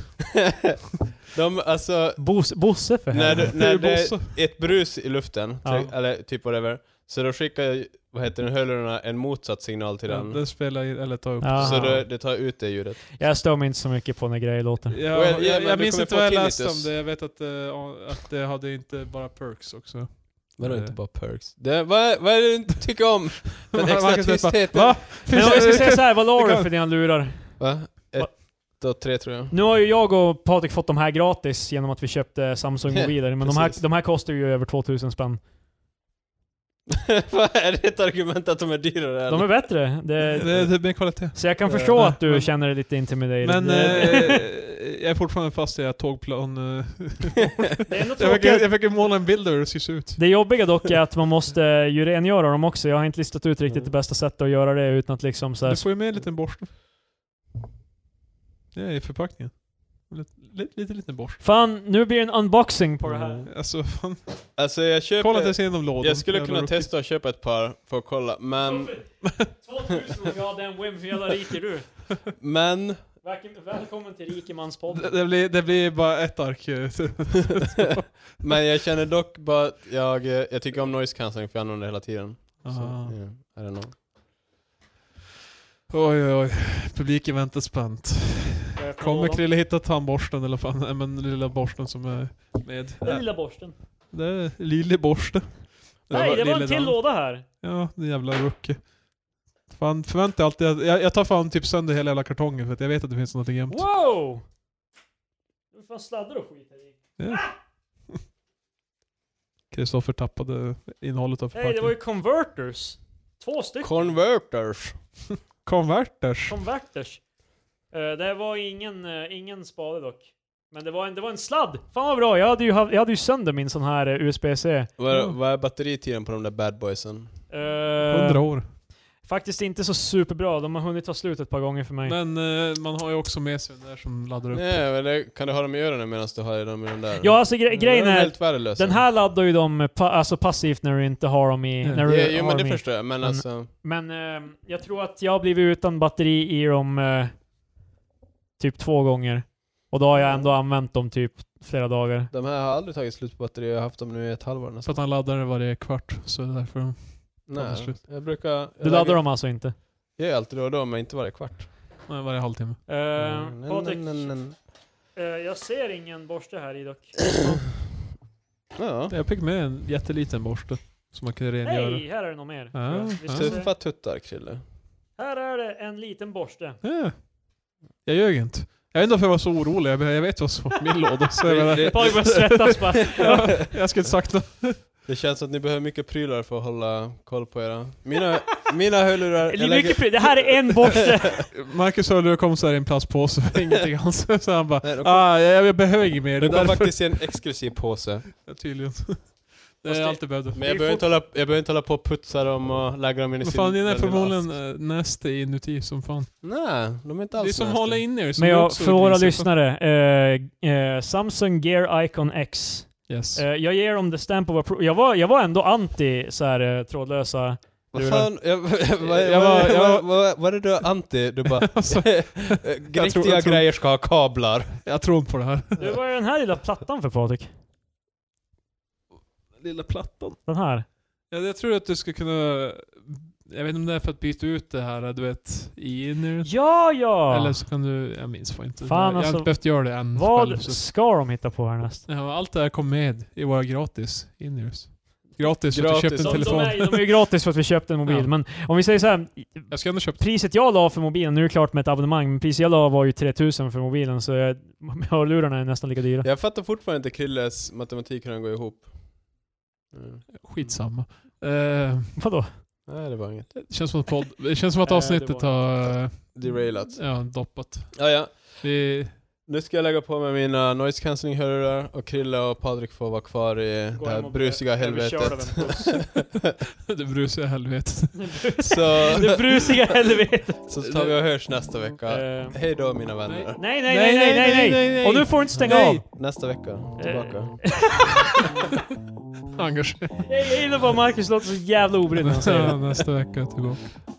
S2: de, alltså,
S3: Bos, Bosse för
S2: när,
S3: helvete.
S2: du, när
S1: Det är
S2: det
S1: Bosse.
S2: är ett brus i luften,
S3: Ja.
S2: till, eller typ whatever, så då skickar, vad heter den, hörlurarna en motsatt signal till
S1: Ja,
S2: den.
S1: det spelar in, eller tar upp.
S3: Ja.
S2: Så
S3: Aha.
S2: det, det tar ut det ljudet.
S3: Jag stör mig inte så mycket på när grejer låter.
S1: Ja,
S2: Well,
S1: jag,
S2: yeah,
S1: jag,
S2: men du
S1: minns
S2: kommer
S1: inte
S2: få
S1: vad jag läste
S2: tinnitus.
S1: om det. Jag vet att, eh, att det hade inte bara perks också.
S2: Vadå
S1: Eh.
S2: inte bara perks? Det, vad, är- vad är det du tycker om? Den extra
S1: Marcus, bara,
S2: tystheten.
S1: Va?
S3: Men om jag ska säga såhär, vad la
S1: Det
S3: du
S1: kan-
S3: för dina lurar?
S2: Va?
S3: Va?
S2: Ett och tre tror jag.
S3: Nu har ju jag och Patrik fått de här gratis genom att vi köpte Samsung-mobiler, men de här,
S2: Precis.
S3: de här kostar ju över 2000 spänn.
S2: Vad är det ett argument att de är dyrare?
S3: De är bättre. Det,
S1: Det, det blir kvalitet.
S3: Så jag kan
S2: Eh,
S3: förstå
S1: nej,
S3: att du
S1: men-
S3: känner dig lite intimidated.
S1: Men eh,
S3: det,
S1: jag är fortfarande fast i att tågplan... Eh,
S3: det, är ändå
S1: jag,
S3: tråkigt.
S1: fick, jag fick måla en bild där det ser ut.
S3: det jobbiga dock är att man måste ju rengöra dem också. Jag har inte listat ut riktigt det bästa sättet att göra det utan att liksom så här,
S1: Du får ju med en liten borste. Det är i förpackningen. Lite, lite, lite liten borste.
S3: Fan, nu blir det en unboxing på det här.
S2: Mm.
S1: Alltså fan.
S2: Alltså jag köper...
S1: Kolla att det ser igenom lådan.
S2: jag skulle
S1: Jävla
S2: kunna
S1: rookie.
S2: testa att köpa ett par för att kolla, men...
S3: 2000 och jag den Wim, för jävla rik är du.
S2: Men...
S3: Välkommen till
S1: Det,
S3: Rikemanspodden.
S1: det, blir, det blir bara ett ark. eh,
S2: men jag känner dock bara att jag, eh, jag tycker om noise cancelling för jag använder det hela tiden. Så, yeah, I don't know.
S1: Oj, oj, oj. Publiken väntar spänt. Kommer Krille hitta tandborsten eller fan, nej, men lilla borsten som är med?
S3: Den lilla borsten.
S1: Det är lille borste.
S3: Nej, det var en
S1: lille
S3: till
S1: dan-
S3: låda här.
S1: Ja, den jävla rookie. Fan, förväntar jag alltid att- jag, jag tar fan typ sönder hela jävla kartongen för att jag vet att det finns någonting jämt.
S3: Wow! Det var fan sladdar och skit här i.
S1: Kristoffer tappade innehållet av
S3: Nej, det var
S1: förpackningen.
S3: ju converters. Två stycken.
S2: Converters.
S1: Converters.
S3: Converters. Eh, det var ingen, eh, ingen spade dock. Men det var, en, det var en sladd! Fan vad bra, jag hade ju, hav- jag hade ju sönder min sån här eh, USB-C.
S2: Vad
S1: Mm.
S2: vad är batteritiden på de där bad boysen?
S3: Eh,
S1: 100 år.
S3: faktiskt inte så superbra, de har hunnit ta slut ett par gånger för mig.
S1: Men eh, man har ju också med sig den där som laddar upp.
S2: Nej, men det, kan du ha dem i öronen medan du har dem i den där?
S3: ja, alltså
S1: Mm.
S3: gre-
S2: Den
S3: grejen
S2: är
S3: är...
S2: helt värdelös.
S3: Den här laddar ju de pa- alltså passivt när du inte har dem i...
S1: Mm.
S3: När du
S2: Ja, jo
S3: har
S2: men
S3: dem
S2: det
S3: i.
S2: förstår jag, men
S3: Men-
S2: alltså...
S3: Men eh, jag tror att jag har blivit utan batteri i dem eh, typ två gånger. Och då har jag ändå använt dem typ flera dagar.
S2: De här har aldrig tagit slut på batteri, jag har haft dem nu i ett halvår
S1: För
S2: nästan.
S1: att han laddar det varje kvart, så det är därför de... tar
S2: Nej,
S1: slut.
S2: jag brukar... Jag
S3: Du laddar dem alltså inte?
S2: Jag gör alltid då och då, men inte varje kvart.
S1: Nej, varje halvtimme.
S3: Eh,
S2: Mm,
S3: Patrik,
S2: mm, mm, mm.
S3: eh, jag ser ingen borste här i dock.
S2: Ja.
S1: Jag fick med en jätteliten borste. Som man kan rengöra.
S3: Nej, här är det nog mer.
S1: Ja,
S3: Vi ska
S1: ja.
S3: se.
S2: Tuffa tuttar, Krille.
S3: Här är det en liten borste.
S1: Ja. Jag ljög inte. Jag vet inte varför jag var så orolig. Jag, jag vet vad som var i min låda. Så jag, menar,
S2: Det-
S3: Patrik börjar svettas bara.
S1: ja, jag skulle inte sagt något.
S2: Det känns som att ni behöver mycket prylar för att hålla koll på era... Mina, mina hörlurar...
S3: Det är mycket pry- Det här är en borste!
S1: Marcus Hörlur kom så här i en plastpåse med ingenting alls. Så han bara
S2: Nej, de kom-
S1: ah, jag, jag behöver inget mer. Det
S2: De
S1: är
S2: kom
S1: därför.
S2: faktiskt i en exklusiv påse.
S1: Ja, Tydligen. Det
S3: Fast
S1: är
S3: det-
S1: allt jag behövde.
S2: Men jag behöver, inte hålla, jag behöver inte hålla på och putsa dem och lägga dem in i
S1: Men
S2: sin...
S1: fan, den är
S2: den lilla
S1: förmodligen
S2: ask.
S1: eh, nasty inuti som fan.
S2: Nej, de är inte alls
S1: Det är som
S2: nasty.
S1: håller in er. som
S3: Men
S1: är
S3: jag,
S1: också
S3: för våra
S1: grisigt.
S3: lyssnare. eh, eh, Samsung Gear Icon X.
S1: Yes.
S3: Eh, jag ger dem the stamp of approval. Jag var, jag var ändå anti så här, eh, trådlösa.
S2: Vad
S3: lurar.
S2: fan, jag, vad,
S1: Jag var- jag var-
S2: vad, vad, vad är det du är anti? Du bara...
S1: Alltså,
S2: riktiga
S1: tror- jag tror-
S2: grejer ska ha kablar.
S1: jag tror inte på det här.
S3: Du, vad är den här lilla plattan för Patrik?
S1: Lilla plattan.
S3: Den här?
S1: Ja, jag tror att du ska kunna... Jag vet inte om det är för att byta ut det här, du vet, i inner.
S3: Ja, ja!
S1: Eller så kan du... Jag minns fan inte.
S3: Fan,
S1: jag har
S3: alltså.
S1: inte behövt göra det än. själv,
S3: Vad
S1: så-
S3: ska de hitta på härnäst?
S1: Ja, allt det här kom med i våra gratis in-ears. Gratis, för att du
S2: Gratis.
S1: köpte
S3: De,
S1: en
S2: Som
S1: telefon.
S3: de, är, de är ju gratis för att vi köpte en mobil,
S1: Ja.
S3: men om vi säger så här.
S1: Jag ska ändå köpa
S3: Priset jag la för mobilen, nu är det klart med ett abonnemang, men priset jag la var ju 3000 för mobilen, så jag, hörlurarna är nästan lika dyra.
S2: Jag fattar fortfarande inte Krilles matematik hur den går ihop. Mm.
S1: Skitsamma. Eh,
S3: Vadå?
S2: Nej, det var inget.
S1: det, känns som att podd, det känns som att
S3: Eh, det
S1: avsnittet
S3: var-
S1: har... eh,
S2: Derailat.
S1: Ja, doppat.
S2: Ja, ja.
S1: Vi,
S2: Nu ska jag lägga på mig mina noise cancelling hörlurar och Krille och Patrik får vara kvar i det här brusiga helvetet.
S1: det brusiga helvetet.
S2: Så,
S3: Det brusiga helvetet!
S2: så tar vi och hörs nästa vecka.
S3: Eh,
S2: Hej då mina vänner.
S3: nej, nej, nej, nej, nej, nej! Och nu får du inte stänga
S1: Nej.
S3: av!
S2: Nästa vecka, tillbaka.
S1: Engage.
S3: Jag gillar bara Marcus låter så jävla obrydd när han säger det.
S1: Nästa vecka tillbaka.